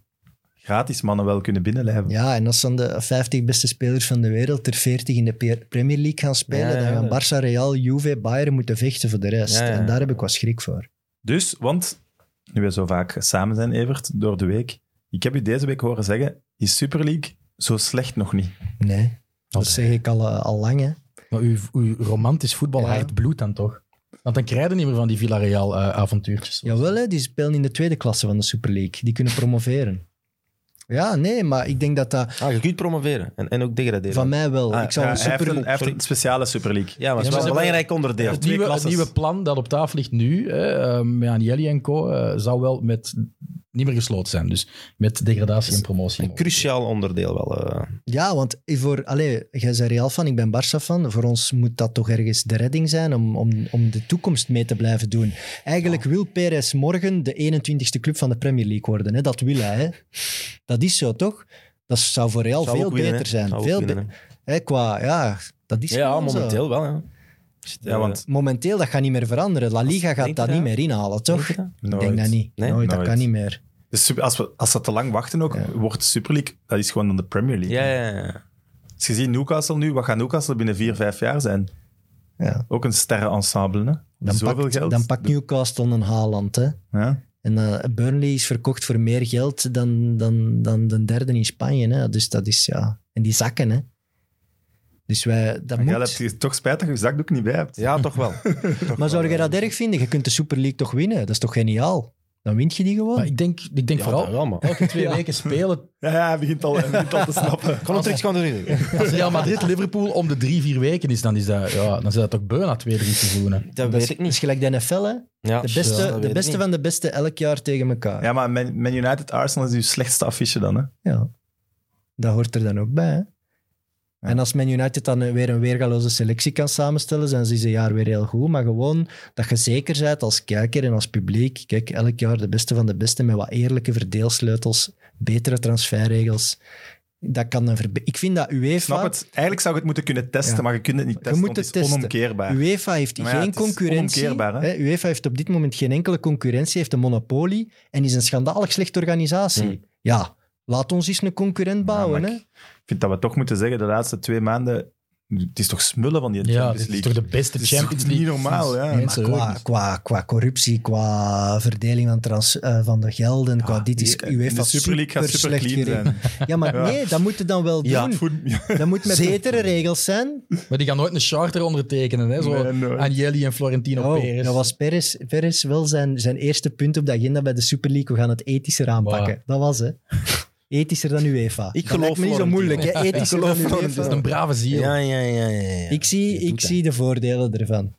gratis mannen wel kunnen binnenlijven. Ja, en als dan de 50 beste spelers van de wereld er 40 in de Pe- Premier League gaan spelen, Ja, ja, dan gaan ja. Barça, Real, Juve, Bayern moeten vechten voor de rest. Ja, ja, ja. En daar heb ik wat schrik voor. Dus, want nu we zo vaak samen zijn, Evert, door de week. Ik heb u deze week horen zeggen, is Super League zo slecht nog niet? Nee, dat Oké. zeg ik al, eh, al lang. Hè. Maar uw, uw romantisch voetbal Ja. haalt bloed dan toch? Want dan krijg je niet meer van die eh, Villarreal-avontuurtjes. Jawel, hè, die spelen in de tweede klasse van de Super League. Die kunnen promoveren. Ja, nee, maar ik denk dat dat Ah, je kunt promoveren en, en ook degraderen. van mij wel. Ah, ik zou Ja, een hij, heeft Super een, hij heeft een speciale Super League. ja, maar Ja, het is wel maar een ze belangrijk onderdeel. het, twee nieuwe, het klasses. nieuwe plan dat op tafel ligt nu, hè, ehm, ja, Jelly en co, eh, zou wel met, niet meer gesloten zijn. Dus met degradatie en promotie. Een cruciaal onderdeel wel. eh. Ja, want voor, allez, jij bent Real fan, ik ben Barça fan. Voor ons moet dat toch ergens de redding zijn om, om, om de toekomst mee te blijven doen. Eigenlijk wil Perez morgen de 21ste club van de Premier League worden. Hè? Dat wil hij. Hè? Dat is zo, toch? Dat zou voor Real Zou veel ook winnen, beter hè. zijn. Zou ook veel winnen, be- hè, qua, ja, dat is hè. Ja, gewoon zo. momenteel eh, wel. Ja, Ja, want Momenteel, dat gaat niet meer veranderen. La Liga gaat denk je dat niet dat? meer inhalen, toch? je dat? Ik denk dat niet. Nee? nooit, dat Nooit. kan niet meer. Dus super- als we, als we te lang wachten ook, wordt Super League, dat is gewoon dan de Premier League. Ja, ja, ja. Als je ziet Newcastle nu, wat gaat Newcastle binnen vier, vijf jaar zijn? Ja. Ook een sterrenensemble, hè? Dan Zoveel pakt, geld. dan pakt Newcastle een Haaland, hè? Ja. En eh, Burnley is verkocht voor meer geld dan, dan, dan de derde in Spanje. Hè? Dus dat is, ja... En die zakken, hè. Dus wij... Dat Jij moet. hebt je toch spijt dat je je zakdoek niet bij hebt. ja, toch wel. Maar zou je dat erg vinden? Je kunt de Super League toch winnen? Dat is toch geniaal? Dan win je die gewoon. Maar ik denk, ik denk Ja, vooral, dat wel, man. elke twee weken spelen Ja, ja, hij begint al, hij begint al te snappen. Kan het terug, kan het terug. als Real Madrid-Liverpool om de drie, vier weken is, dan is dat, ja, dan zijn dat toch beu na twee, drie seizoenen. Dat dat, is, weet ik dat is niet. gelijk de NFL, hè. Ja, De beste, dat weet de ik beste niet. van de beste elk jaar tegen elkaar. Ja. Ja, maar Man, Man United Arsenal is uw slechtste affiche dan, hè? Dat hoort er dan ook bij, hè. En als Man United dan eh, weer een weergaloze selectie kan samenstellen, zijn ze dit jaar weer heel goed. Maar gewoon dat je zeker bent als kijker en als publiek. Kijk, elk jaar de beste van de beste met wat eerlijke verdeelsleutels, betere transferregels. Dat kan een verbe- Ik vind dat UEFA... Snap het? Eigenlijk zou je het moeten kunnen testen, Ja. maar je kunt het niet testen, moet want het het is testen. onomkeerbaar. UEFA heeft Maar ja, geen het is concurrentie. onomkeerbaar, hè? Hè, UEFA heeft op dit moment geen enkele concurrentie, heeft een monopolie en is een schandalig slechte organisatie. Ja, laat ons eens een concurrent bouwen. Hmm. maar hè? ik- Ik vind dat we toch moeten zeggen, de laatste twee maanden, het is toch smullen van die Ja, Champions dit League. is toch de beste Het is toch Champions League. niet normaal, ja. sinds Maar mensen Qua, ooit. qua, qua corruptie, qua verdeling van, trans, eh, van de gelden, qua dit is Ah, Die- UEFA de Super League gaat super slecht clean geregeld. zijn. <laughs> Ja, maar Ja. nee, dat moet je dan wel Ja, doen. voet- ja, Dat moet met betere regels zijn. Maar die gaan nooit een charter ondertekenen, hè? Zo Nee, Ah, nooit. Agnelli en Florentino Oh, Perez. <laughs> dat was Perez, Perez wel zijn, zijn eerste punt op de agenda bij de Super League. We gaan het ethischer aanpakken. Dat was hè. Ethischer dan UEFA. Ik dat lijkt geloof me niet zo Florentino. moeilijk. Hè? Ik Ethischer geloof dan Dat UEFA. is een brave ziel. Ja, ja, ja. ja, ja. Ik, zie, doet ik dat. zie de voordelen ervan.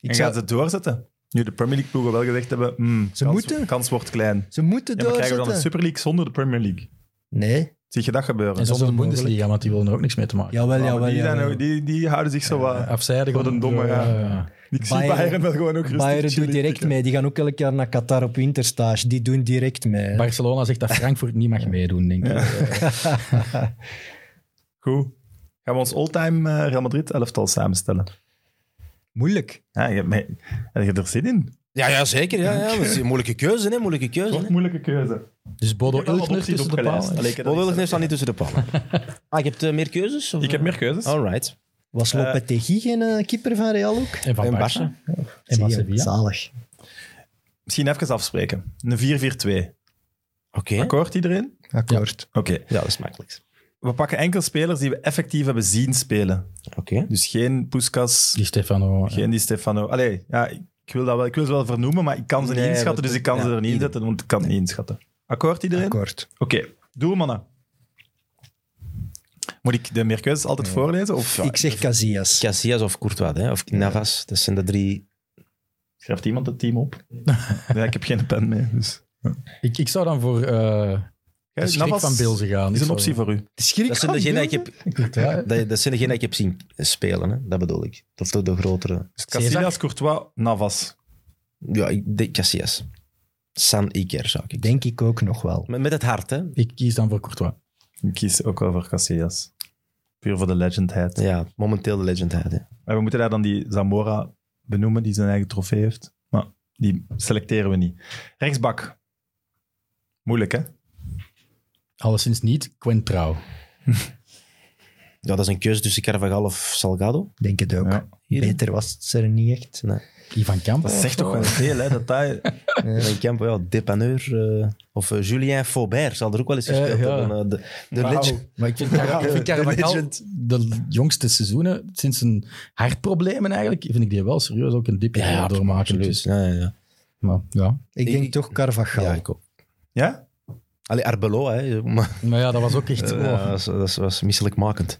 Ik En zou- gaan ze het doorzetten? Nu de Premier League ploegen wel gezegd hebben, hmm, Ze kans, moeten. kans wordt klein. Ze moeten Ja, maar krijgen we dan de doorzetten. Super League zonder de Premier League? Nee. Zie je dat gebeuren? En zonder de onmogelijk. Bundesliga, want die willen er ook niks mee te maken. Jawel, Ja, maar jawel. die, zijn jawel. ook- die, die houden zich zo wat... Afzijdig. Wat een domme, ja. Ik zie Bayern- Bayern wel gewoon ook rustig Bayern chillen doet direct tikken. mee. Die gaan ook elk jaar naar Qatar op winterstage. Die doen direct mee. Barcelona zegt dat Frankfurt niet mag meedoen, denk ik. Goed. Gaan we ons all-time eh, Real Madrid elftal samenstellen? Moeilijk. Ja, je, hebt mij- heb je er zin in? Ja, ja, zeker. Ja, ja. Dat is een moeilijke keuze, hè. Moeilijke keuze. Wat hè. moeilijke keuze. Dus Bodo Ilkner tussen de palen. Bob heeft nou staan niet tussen de palen. Ah, je hebt eh, meer keuzes? Of? Ik heb meer keuzes. All right. Was Lopetegui geen eh, keeper van Real ook? En van En Barca. Barca? En van Zie je, Sevilla. Zalig. Misschien even afspreken. Een 4-4-2. Oké. Akkoord iedereen? Akkoord. Oké. Ja, dat is makkelijk. We pakken enkel spelers die we effectief hebben zien spelen. Oké. Dus geen Puskas, Die Stefano. ja. geen Di Stefano. Allee, ja, ik, ik wil dat wel, ik wil ze wel vernoemen, maar ik kan ze Nee, niet inschatten, dat- dus ik kan ja, ze er niet inzetten, want ik kan het niet inschatten. Akkoord iedereen? Akkoord. Oké, doelmannen. Moet ik de meerkeuzes altijd voorlezen? Of Ik zeg Casillas. Casillas of Courtois, hè? of Navas. Dat zijn de drie. schrijft iemand het team <laughs> op? nee, ik heb geen pen mee. Dus. Ik, ik zou dan voor eh de schrik Navas van Bilze gaan. is Ik een zou- optie voor u. De schrik Dat zijn van degenen die ik Bilde? heb, <laughs> Ja, dat, dat zijn degenen die ik heb zien spelen, hè? dat bedoel ik. Of de, de grotere. Dus Casillas, Courtois, Navas. Ja, ik denk Casillas. San Iker zou ik Denk ik ook nog wel. Met, met het hart, hè? Ik kies dan voor Courtois. Ik kies ook wel voor Casillas. Puur voor de legendheid. Ja, momenteel de legendheid. Hè? En we moeten daar dan die Zamora benoemen, die zijn eigen trofee heeft. Maar die selecteren we niet. Rechtsbak. Moeilijk, hè? Alleszins niet Quentrao. Ja, dat is een keuze tussen Carvajal of Salgado. Denk het ook. Ja. Hier. Beter was het er niet echt. Ivan Kamp. Dat zegt toch wel veel, hè? Dat hij... Van Campo, Oh. <laughs> ja, Depaneur. eh, of eh, Julien Faubert zal er ook wel eens Eh, gespeeld ja. hebben. eh, de de Wauw. legend. Maar ik vind, Car- ik vind de Carvajal legend. de jongste seizoenen, sinds zijn hartproblemen eigenlijk, vind ik die wel serieus ook een dipje Ja, dus. doormaken. Dus, absoluut. Ja, ja, ja. Maar, ja. Ik Ik- denk toch Carvajal. ja, ik ook. Ja? Allee, Arbeloa, hè. <laughs> Maar maar ja, dat was ook echt... Eh, oh. dat, was, dat was misselijkmakend.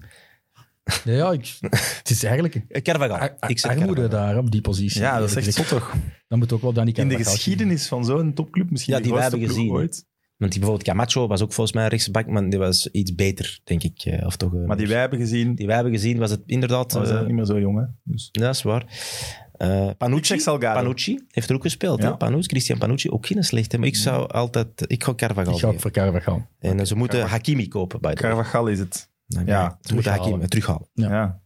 Ja, ja, ik, het is <laughs> eigenlijk een Eh, Carvajal. ar- armoede daar op die positie. Ja, dat is echt Eerlijk zot toch? gezegd. Dan moet ook wel Danny In de Carvajal geschiedenis van zo'n topclub misschien Ja, de die wij grootste hebben ploeg gezien. ooit. Want die bijvoorbeeld Camacho was ook volgens mij een rechtsback, maar die was iets beter, denk ik. eh, Of toch, eh, Maar die wij hebben gezien, die wij hebben gezien was het inderdaad... we eh, zijn ook niet meer zo jong, hè? Dus. ja, dat is waar. Eh, Panucci, zeg Salgado. Panucci heeft er ook gespeeld. Ja. hè. Panucci, Christian Panucci, ook geen slechte. Maar ik zou altijd... Ik ga Carvajal Ik ga ook geven. voor Carvajal. En eh, ze moeten Hakimi kopen, bij de way. Carvajal is het. Dan- Ja, Ze moeten terughalen. Hakimi eh, terughalen. Ja. Ja.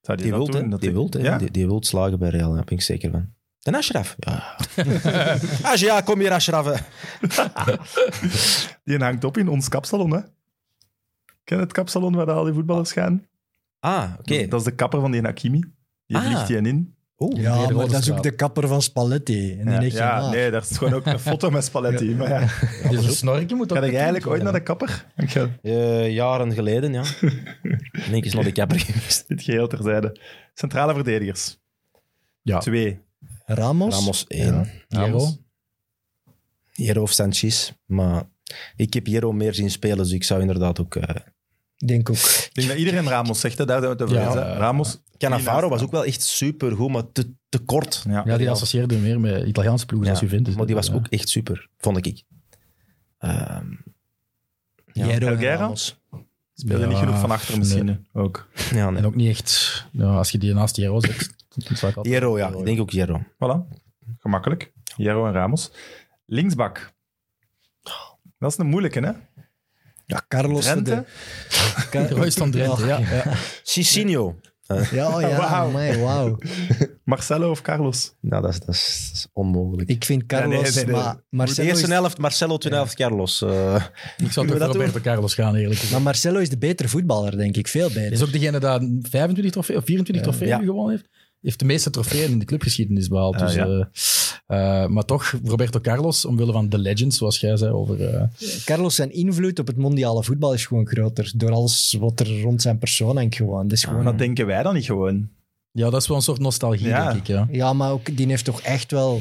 Zou die Die dat wilt, doen? hè. Dat Die wilt, hè. Ja? Die, die wilt slagen bij Real, daar ben ik zeker van. En Ashraf. <laughs> Ja. Als ja, kom hier Ashraf. hè. Die hangt op in ons kapsalon, hè? Ken je het kapsalon waar al die voetballers gaan? Ah, oké. Dat is de kapper van die Hakimi. Die Ah. vliegt die in. Oeh. Ja, Nee, maar dat is de ook Woldenstraat. de kapper van Spalletti. En dan Ja, denk je, ja ah, nee, daar is gewoon ook een foto met Spalletti. Maar ja. Dus een snorken moet ook... Ga je eigenlijk ooit naar de kapper? Ik ga Eh, jaren geleden, ja. En ik is nog de kapper <laughs> geweest. dit geheel terzijde. Centrale verdedigers. Ja. Twee. Ramos. Ramos 1. Jero. Jero of Sanchez. Maar ik heb Jero meer zien spelen, dus ik zou inderdaad ook... eh Ik denk ook. Ik denk dat iedereen Ramos zegt, hè. daar zijn we het over Ja. eens, hè. Ramos. Cannavaro was ook wel echt supergoed, maar te, te kort. Ja. Ja, die associeerde we meer met Italiaanse ploegen Ja, als Juventus. Maar die was Ja. ook echt super, vond ik. Ehm, Ja. Jero en Helguera? Ramos. Speelde niet Ja, genoeg van achter misschien hè. ook. ja, En nee. ook niet echt... Ja, als je die naast Jero zet... dan zou <laughs> ik altijd- Jero, ja. Ik denk ook Jero. Voilà, gemakkelijk. Jero en Ramos. Linksbak. Dat is een moeilijke, hè? Ja, Carlos de Drenthe? de- Car- Royce van Drenthe, ja. ja. Cicinho. Ja, oh ja, Wauw. amai, wauw. Marcelo of Carlos? Nou, dat is, dat is, dat is onmogelijk. Ik vind Carlos, Nee, nee, nee, nee. maar de Marcelo eerste is, helft, Marcelo, tweede helft, Carlos. eh. Ik zou Kunnen we toch dat voor Roberto Carlos gaan, eerlijk gezegd. maar Marcelo is de betere voetballer, denk ik. Veel beter. Is ook degene die 25 trofeeën of 24 trofeeën Ja. nu gewonnen heeft. Heeft de meeste trofeeën in de clubgeschiedenis behaald. Ah, dus, ja. eh, eh, maar toch, Roberto Carlos, omwille van de legend, zoals jij zei over... eh, Carlos zijn invloed op het mondiale voetbal is gewoon groter. Door alles wat er rond zijn persoon hangt gewoon. Dat is gewoon Hmm. Maar dat denken wij dan niet gewoon. ja, dat is wel een soort nostalgie, Ja. denk ik. Ja. Ja, maar ook, die heeft toch echt wel...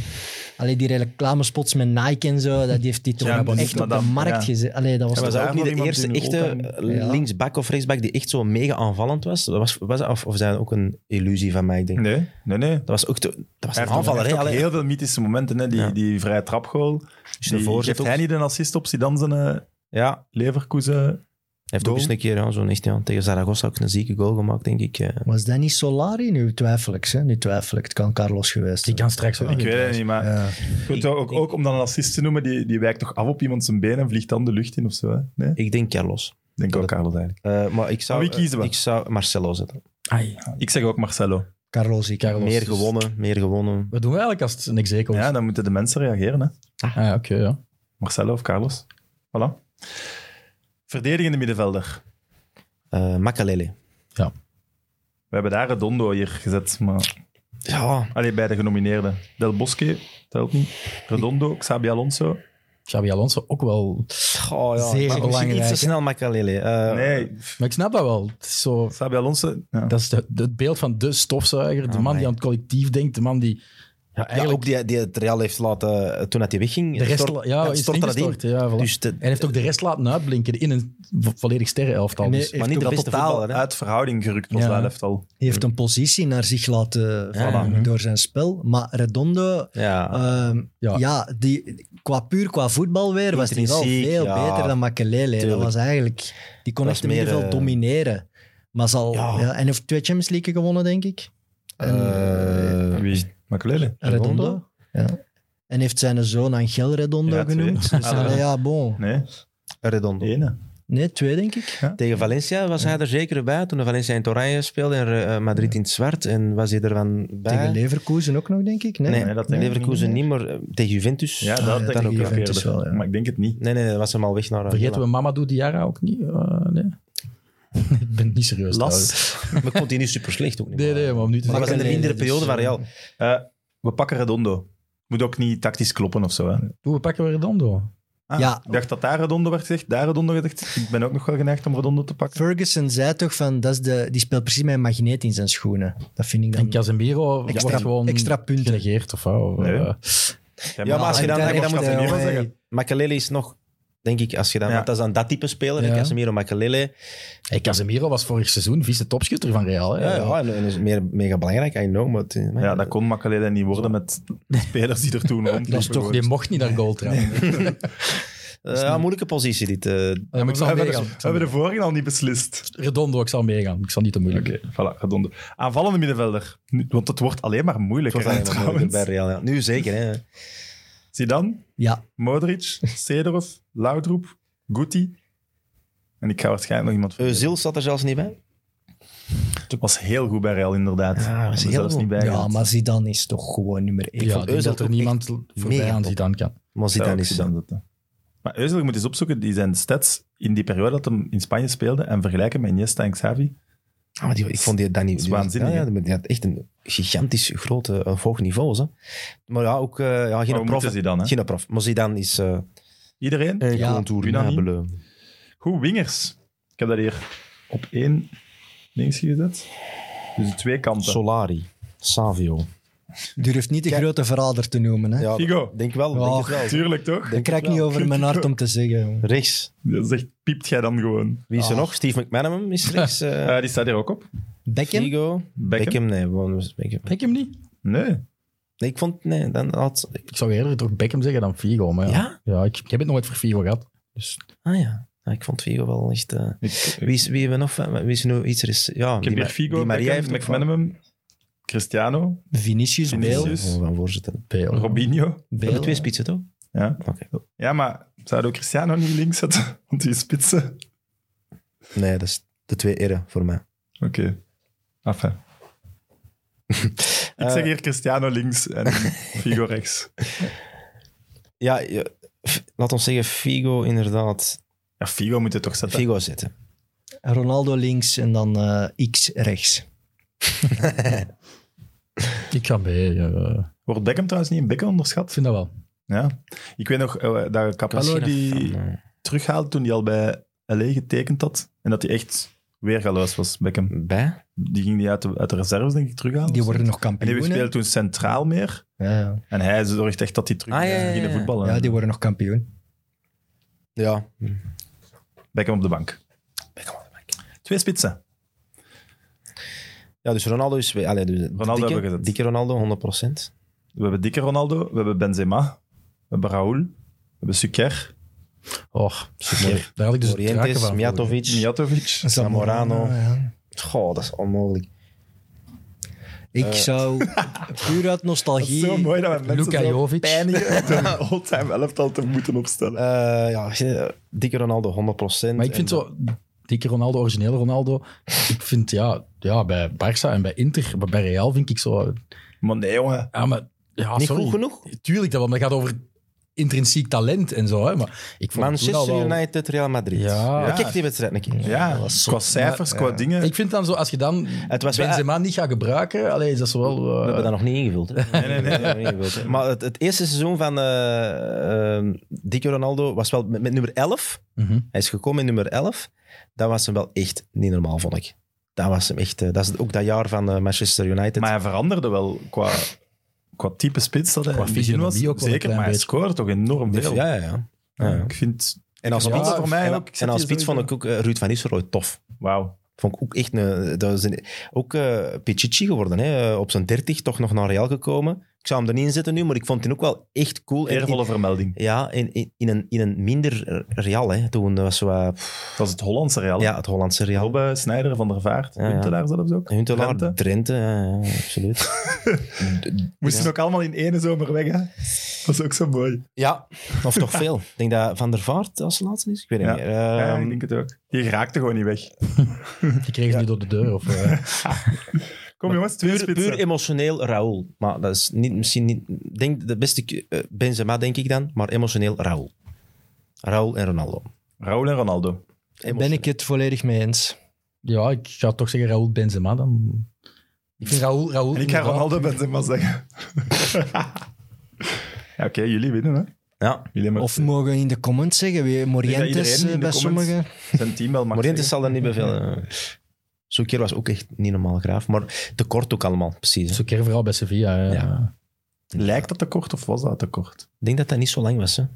Allee, die reclamespots met Nike en zo, dat die heeft die toch Ja, maar echt op de madame, markt ja. gezet. Allee, dat was Ja, was toch- maar dat ook daarvan niet de iemand eerste die een echte all-time- Ja. linksback of rechtsback die echt zo mega aanvallend was? Dat was, was dat, of, of zijn dat ook een illusie van mij, ik denk. Nee, nee, nee. Dat was ook te- dat was Hij heeft, een ook, aanvaller, hij heeft hè? ook Allee, heel veel mythische momenten. Hè? Die, Ja. die vrije trapgoal. dus een Die- voorzet geeft ook. hij niet een assist op Zidane zijn eh, Ja, hij Leverkusen? heeft Goal. ook eens een keer ja, zo'n echt, ja, tegen Zaragoza ook een zieke goal gemaakt, denk ik. eh. Was dat niet Solari? Nu twijfel ik, hè. Nu twijfel ik. Het kan Carlos geweest Die zijn. kan straks wel ik weer weet het thuis. niet, maar... Ja. Goed, Ik- ook, ik- ook om dan een assist te noemen, die, die wijkt toch af op iemand zijn been en vliegt dan de lucht in of zo. Hè? Nee? Ik denk Carlos. Denk ook Carlos eigenlijk. Eh, maar ik zou, Maar wie kiezen we? Ik zou Marcelo zetten. Ai, Ik zeg ook Marcelo. Carlos, ik. Carlos. meer dus- gewonnen, meer gewonnen. Wat doen we eigenlijk als het niks eco is? Ja, dan moeten de mensen reageren. Hè? Ah, ja, oké, ja. Marcelo of Carlos. Voilà. Verdedigende middenvelder. Eh Makalele. We hebben daar Redondo hier gezet. Maar... Ja, Allee, bij de genomineerden. Del Bosque, telt niet. Redondo, Xabi Alonso. Xabi Alonso ook wel. goh, Oh, ja. Zeer maar misschien belangrijk, iets hè? te snel Makalele. Eh, Nee, Maar ik snap dat wel. Het is zo, Xabi Alonso. Ja. dat is de- de- het beeld van de stofzuiger, de Oh Amai. man die aan het collectief denkt, de man die ja, Ja, eigenlijk ook die, die het Real heeft laten, eh, toen dat hij wegging, de rest stort- ja, dat is stortte dat in. ingestort, ja, voilà. Dus de- En heeft ook de rest laten uitblinken in een vo- volledig sterrenelftal. Nee, dus. heeft maar niet ook- de Dat beste totaal voetballer, hè? uit verhouding gerukt was Ja. dat elftal. Hij heeft een positie naar zich laten vallen mhm. door zijn spel. Maar Redondo, Ja. ehm, Ja. ja. die, qua puur qua voetbal weer, was hij wel Intrinsiek, veel ja. beter dan Makelele. Dat Tuurlijk. was eigenlijk... Die kon Dat echt was in ieder meer, geval eh, domineren. Maar zal... Ja. Ja. en heeft twee Champions League gewonnen, denk ik. En, Eh, Wie? Makelele. Redondo. Redondo? Ja. En heeft zijn zoon Angel Redondo Ja, twee. genoemd. Dus, Ah, ja. allee, <laughs> ja, bon. Nee, Redondo. ene. Nee, twee denk ik. Tegen Valencia was hij er zeker bij. Toen Valencia in het oranje speelde en eh, Madrid in het zwart. En was hij er van bij? Tegen Leverkusen ook nog, denk ik. Nee, nee, Nee, dat denk ik Leverkusen niet meer. Eh, Tegen Juventus? Ja, dat ja, denk tegen ik ook Juventus eerder. wel, ja. Maar ik denk het niet. Nee, nee, nee, dat was hem al weg naar... eh, Vergeten we Milan. Mamadou Diarra ook niet? Eh, nee. <laughs> ik ben niet serieus. trouwens. Las. Maar ik vond die niet super slecht ook niet. Nee, nee, maar om nu te Maar dat was in de Nee, mindere dus, periode van Real. Eh, we pakken Redondo. Moet ook niet tactisch kloppen of zo. Hè? Hoe we pakken we Redondo? Ah, Ja. Ik dacht dat daar Redondo werd gezegd, daar Redondo werd gezegd. Ik ben ook nog wel geneigd om Redondo te pakken. Ferguson zei toch van, dat is de, die speelt precies met een magneet in zijn schoenen. Dat vind ik En dan... Casemiro Extra- wordt gewoon extra punten. genegeerd of wat? Of, Nee. eh, Ja, maar als je dan- en als je daar dan moet wordt hij- zeggen, hij- Makelele is nog... Denk ik, als je dan... Ja. want dat is dan dat type speler. Ja. Ja. Casemiro, Makelele. hey, Casemiro was vorig seizoen vice-topschutter van Real. Hè? Ja, Dus ja, en, en is meer, mega belangrijk. I know, maar... het- eh, Ja, dat kon Makelele niet worden met de spelers die er toen rond. Dat is toch Die mocht niet naar goal trappen. Eh, ja, moeilijke positie dit. eh. Ja, maar ik We zal hebben, de, meegaan. we hebben de vorige al niet beslist. Redondo, ik zal meegaan. Ik zal niet te moeilijk. Oké, voilà, Redondo. Aanvallende middenvelder. Nu- Want het wordt alleen maar Het moeilijker, hè, wordt eigenlijk wel moeilijker trouwens. bij Real. Ja. Nu zeker, hè. Zidane, Ja, Modric, <laughs> Seedorf, Laudrup, Guti. En ik ga waarschijnlijk nog iemand... Özil zat er zelfs niet bij. Het was heel goed bij Real, Ah, inderdaad. Ja, was Was heel zelfs goed. niet bij ja gehad. maar Zidane is toch gewoon nummer één. Ik vond vond Özil dat er ook niemand voorbij mega aan top. Zidane kan. Zou Maar Zidane ook is Zidane zetten. Maar Özil, je moet eens opzoeken, die zijn stats in die periode dat hem in Spanje speelde en vergelijken met Iniesta en Xavi. Oh, Ah, maar die, ik vond die, dat niet... is die- waanzinnig, Ja, hè? ja, die- die had echt een gigantisch grote, eh, hoog niveau. Zo. Maar ja, ook eh, ja, geen Maar we prof. moeten Zidane, hè? Geen Eh. prof. Maar Zidane is... eh Iedereen? Eh, Ja. Unaniem. Goed, wingers. Ik heb dat hier op één links gezet. Dus de twee kanten. Solari. Savio. Durft niet de grote verrader te noemen. Hè. Ja, Figo. Denk wel, Ja, denk het wel. Tuurlijk, toch? dat krijg ik niet over mijn hart om te zeggen. Rechts. Dat zegt, piept jij dan gewoon. Wie is er Ah. nog? Steve McManaman is rechts. eh, <laughs> Eh, die staat hier ook op. Beckham? Figo. Beckham, nee. gewoon Beckham. Denk hem niet? Nee. Nee, ik vond... Nee, dan had... Ik zou eerder toch Beckham zeggen dan Figo. Maar ja, Ja? Ja, ik, ik heb het nooit voor Figo gehad. Ah ja. Ja, ik vond Figo wel echt... eh, Ik, Wie is, wie hebben we nog? van- Wie is er nu iets er is? Ja, ik heb hier Figo, Maria Beckham, ook McManaman, Cristiano, Vinicius, van- Vinicius. Bale. Maximus. van Oh, voorzitter. Beel. Robinho. We hebben Bale. twee spitsen toch? Ja. Oké. ja, maar Zouden we Cristiano niet links zetten? <laughs> Want die is spitsen. Nee, dat is de twee eren voor mij. Oké. Enfin. Ik zeg hier Cristiano links en Figo rechts. Ja, je- f- laat ons zeggen Figo inderdaad. Ja, Figo moet je toch zetten. Figo zetten. Ronaldo links en dan eh, X rechts. Ik kan mee. ja, eh, Wordt Beckham trouwens niet in Beckham ik onderschat? vind dat wel. Ja. Ik weet nog eh, dat Capello die eh, terughaalde toen hij al bij LA getekend had. En dat hij echt weergaloos was, Beckham. Bij? Die ging die uit de, uit de reserves, denk ik, terughalen. Die of zo. worden nog En die kampioen. speelde toen centraal meer. Ja, ja. En hij zorgt echt dat hij terug Ah, ja, eh, ja, ja. beginnen voetballen. ja, die worden nog kampioen. Ja. Hm. Beckham op de bank. Twee spitsen. Ja, dus Ronaldo is... we- Allee, dus Ronaldo dikke, hebben we gezet. Dikke Ronaldo, 100%. We hebben dikke Ronaldo, we hebben Benzema, we hebben Raúl, we hebben Suker, Oh, Super. daar had ik dus het kraken Orientes, van. Mijatovic. Mijatovic. Zamorano. Ja. Goh, dat is onmogelijk. Ik <laughs> zou puur uit Eh. Dat is nostalgie... zo mooi dat we mensen <laughs> Luka zo Jovic. pijnigen om een <laughs> all-time elftal te moeten opstellen. Eh, ja, eh, dikke Ronaldo, 100%. Maar ik vind En- zo, dikke Ronaldo, originele Ronaldo. Ik vind ja, ja bij Barça en bij Inter, maar bij Real vind ik zo. Maar nee, jongen. Ja, maar, ja, Niet sorry. goed genoeg? Tuurlijk, dat, want dat gaat over intrinsiek talent en zo. Hè, maar ik vond het toen al Manchester wel- United, Real Madrid. Ja. Ik kijk die wedstrijd een keer. Ja, qua cijfers, qua dingen. Ik vind dan zo, als je dan het was was wel- Benzema niet gaat gebruiken, allee, is dat zo wel... We eh, hebben dat nog niet ingevuld. hè. nee, nee. We hebben dat nog niet ingevuld, hè. Maar het, het eerste seizoen van eh, eh, Dikke Ronaldo was wel met, met nummer 11. mhm. Hij is gekomen in nummer 11. Dat was hem wel echt niet normaal, vond ik. Dat was hem echt... eh, dat is ook dat jaar van eh, Manchester United. Maar hij veranderde wel qua, qua type spits dat hij Qua in het begin was. fysionomie ook wel een Zeker, klein maar hij beetje. scoort toch enorm Dus- veel. ja, ja, ja. Ja, ja. Ik vind... En als Ja, spits, voor mij en, ook. Ik zet en als die spits vond sowieso. ik ook eh, Ruud van Nistelrooy tof. Wauw. Vond ik ook echt een... Dat is een ook eh Pichichi geworden, hè. Eh, op zijn 30 toch nog naar Real gekomen. Ik zou hem er niet in zetten nu, maar ik vond hem ook wel echt cool. En in- Eervolle vermelding. Ja, in, in, in, een, in een minder Real. Hè. Toen was zo, eh, pff, Dat is het Hollandse Real. ja, het Hollandse Real. Robbe, Snijder, Van der Vaart, Ja, ja. Huntelaar zelfs ook. Huntelaar, Drenthe. Drenthe, ja, ja, absoluut. Moesten ook allemaal in ene zomer weg, hè? Dat is ook zo mooi. ja, of <laughs> toch veel. Ik denk dat Van der Vaart als laatste is. Ik weet het Ja. niet meer. ja, Ehm, ik denk het ook. Die raakte gewoon niet weg. Je kreeg het niet door de deur. Of, eh, Kom jongens, twee puur, spitsen. puur emotioneel Raoul. Maar dat is niet, misschien niet... ik Denk de beste k- eh, Benzema, denk ik dan. Maar emotioneel Raoul. Raoul en Ronaldo. Raúl en Ronaldo. Eh, Ben ik het volledig mee eens. ja, ik zou toch zeggen Raúl Benzema dan. Ik vind Raúl... Raúl En ik ga inderdaad- Ronaldo Benzema zeggen. ja, Oké, jullie winnen, hè? Ja, Jullie hebben Of mogen we in de comments zeggen, wie Ik denk dat Morientes iedereen in eh, de bij comments- sommigen. zijn team wel mag Morientes zeggen. zal dat niet bevelen. Zo'n keer was ook echt niet normaal graaf. Maar te kort ook allemaal, precies. hè. Zo'n keer vooral bij Sevilla. eh. Ja. Lijkt dat te kort of was dat te kort? Ik denk dat dat niet zo lang was. Hè. Ik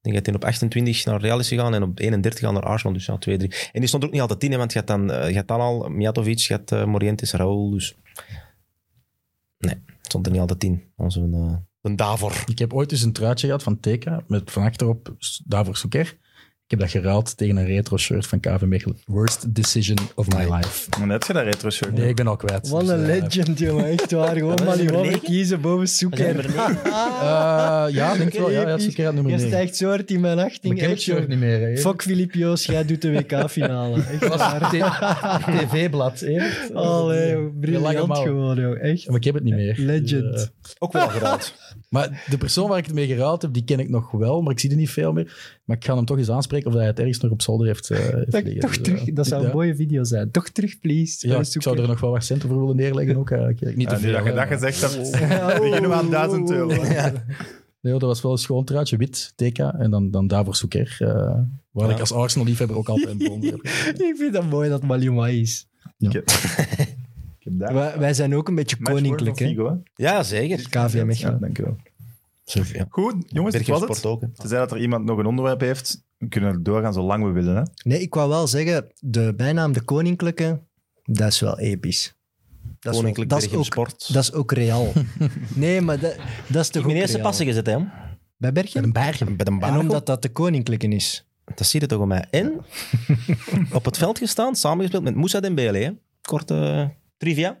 denk dat hij op 28 naar Real is gegaan en op 31 al naar Arsenal, dus ja, 2-3. En die stond er ook niet altijd in, hè, want je had dan, eh, je had dan al Mijatovic, je had eh, Morientes, Raul, dus... Nee, stond er niet altijd in. Onze, eh, een Davor. Ik heb ooit eens een truitje gehad van Teka met van achterop S- Davor Soeker. Ik heb dat geruild tegen een retro shirt van KV Mechelen. Worst decision of my life. Maar net je dat retro shirt. Nee, ik ben al kwijt. Wat Dus, een eh, legend, jongen. Echt waar. Gewoon is maar die nummer mannen negen? kiezen boven Dat is Soeker. nummer negen. eh, ja, denk ik wel. Ja, ja, Episch. Soeker had nummer Je 9. stijgt zo hard in mijn achting. ik heb het echt, shirt joh. niet meer. hè. Fuck Filip Joos, jij doet de <laughs> WK-finale. Echt waar. TV-blad. hè. <laughs> Allee, joh. Lange briljant mouw. gewoon, joh. Echt. Maar ik heb het niet meer. Legend. Dus, eh, Ook wel geraad. maar de persoon waar ik het mee geruild heb, die ken ik nog wel, maar ik zie er niet veel meer. Maar ik ga hem toch eens aanspreken of hij het ergens nog op zolder heeft, eh, heeft Dat, liggen. toch Dus, eh, terug, dat zou ja. een mooie video zijn. Toch terug, please. Ja, Voor ik zou Soeker. er nog wel wat centen voor willen neerleggen ook. eh, eigenlijk. Niet te Ah, Ja, nu veel, dat je hè, dat maar- gezegd hebt, <laughs> <laughs> Oh. beginnen we aan 1000 euro. Nee, hoor, dat was wel een schoon truitje, wit, TK, en dan, dan daarvoor Soeker. eh waar ik als Arsenal-liefhebber ook altijd een bond heb. Ik vind dat mooi dat Maluma is. Ik heb- Ik heb daar... Wij, wij zijn ook een beetje Match koninklijk, voor hè. Figo, hè? Ja, zeker. KV Ja, Mechelen. dankjewel. Zeker, ja. Goed, jongens, dit Bergen was het. Sport ook. hè. Tenzij dat er iemand nog een onderwerp heeft, we kunnen doorgaan zolang we willen. Hè? Nee, ik wou wel zeggen, de bijnaam de koninklijke, dat is wel episch. Dat is, Koninklijk dat is Berchem ook, Sport. Dat is ook <laughs> real. nee, maar dat, dat is toch Ik ben ook eerste real. passen gezet, hè. Bij Bergen? Bergen. Bij de En Bergen. omdat dat de koninklijke is. Dat zie je toch om mij. En <laughs> op het veld gestaan, samengespeeld met Moussa Dembele. Hè. Korte eh, trivia.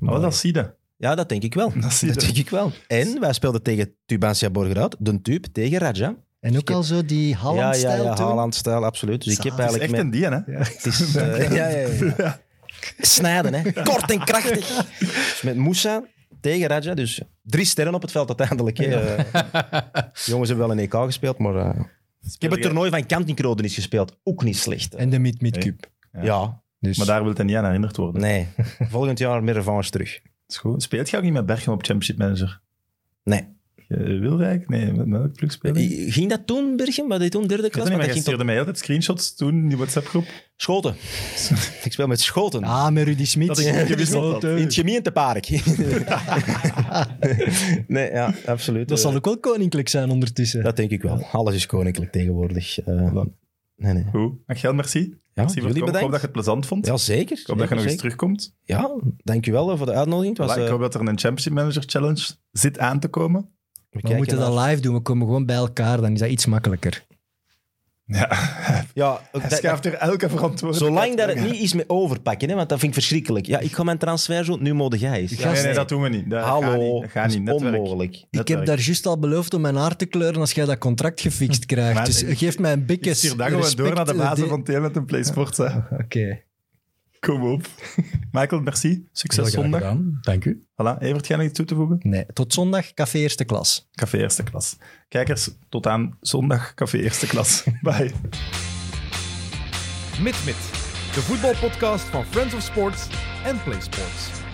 Oh, dat zie je. Ja, dat denk ik wel. Dat zie je. Dat denk ik wel. En wij speelden tegen Tubantia Borgerhout, de Tube, tegen Raja. En ook al zo die ja, Haaland-stijl ja, ja, toen. Haaland-stijl, absoluut. Dus ik heb Zalig. Het is echt een eigenlijk... die, hè? met- het is, eh, <laughs> ja, ja, <laughs> ja. Ja. Snijden, hè. Kort en krachtig. Dus met Moussa tegen Raja, dus drie sterren op het veld uiteindelijk. Hè. Eh, jongens hebben wel een EK gespeeld, maar... eh, ik heb het toernooi van Kantinkroden eens gespeeld. Ook niet slecht. hè. En de Mid-Mid-Cup. Ja. ja, Dus. Maar daar wil het niet aan herinnerd worden. nee. <laughs> Volgend jaar meer revanche terug. Is goed. Speelt je ook niet met Berchem op Championship Manager? Nee. Eh, Wilrijk? Nee, met welk club speelde je? Ik Ging dat toen, Bergen? Was dit toen derde weet klas? het niet, maar Maar dat je ging tot stuurde mij altijd screenshots toen in die WhatsApp-groep. Schoten. ik speel met <laughs> Schoten. <laughs> Ah, met Rudy Smit. Dat ik niet gewist had. In het gemeentepark. <laughs> nee, ja, absoluut. Dat Eh, zal ook wel koninklijk zijn ondertussen. dat denk ik wel. Alles is koninklijk tegenwoordig. Eh, nee, nee. Goed. Angel, merci. Ja, merci voor het komen. jullie Ik hoop dat bedankt. je het plezant vond. Ja, zeker. Ik hoop dat je nog eens terugkomt. Ja, dankjewel eh, voor de uitnodiging. Het was, Voilà, ik eh, hoop dat er een Championship Manager Challenge zit aan te komen. we Maar we kijken moeten dat naar- live doen. We komen gewoon bij elkaar. Dan is dat iets makkelijker. Ja, ook Hij dat- schuift er elke verantwoordelijkheid zolang dat het weg. niet is met overpakken, hè, want dat vind ik verschrikkelijk. Ja, ik ga mijn transfer zo, nu mode jij eens. Nee, Gast, nee, dat doen we niet. Dat gaat Hallo, niet. Dat gaat niet. dat is Netwerk. onmogelijk. Ik heb Netwerk. daar juist al beloofd om mijn haar te kleuren als jij dat contract <laughs> gefixt krijgt. Maar dus ik- geef mij een bikjes. Ik stuur dat gewoon door naar de bazen van Telenet en PlaySports. hè. Oké. Kom op. Michael, merci. Succes zondag. Dank u. Voilà. Evert, jij nog iets toe te voegen? Nee, tot zondag, café eerste klas. Café Eerste Klas. Kijkers, tot aan zondag Café Eerste Klas. <laughs> Bye. MidMid, de voetbalpodcast van Friends of Sports en Play Sports.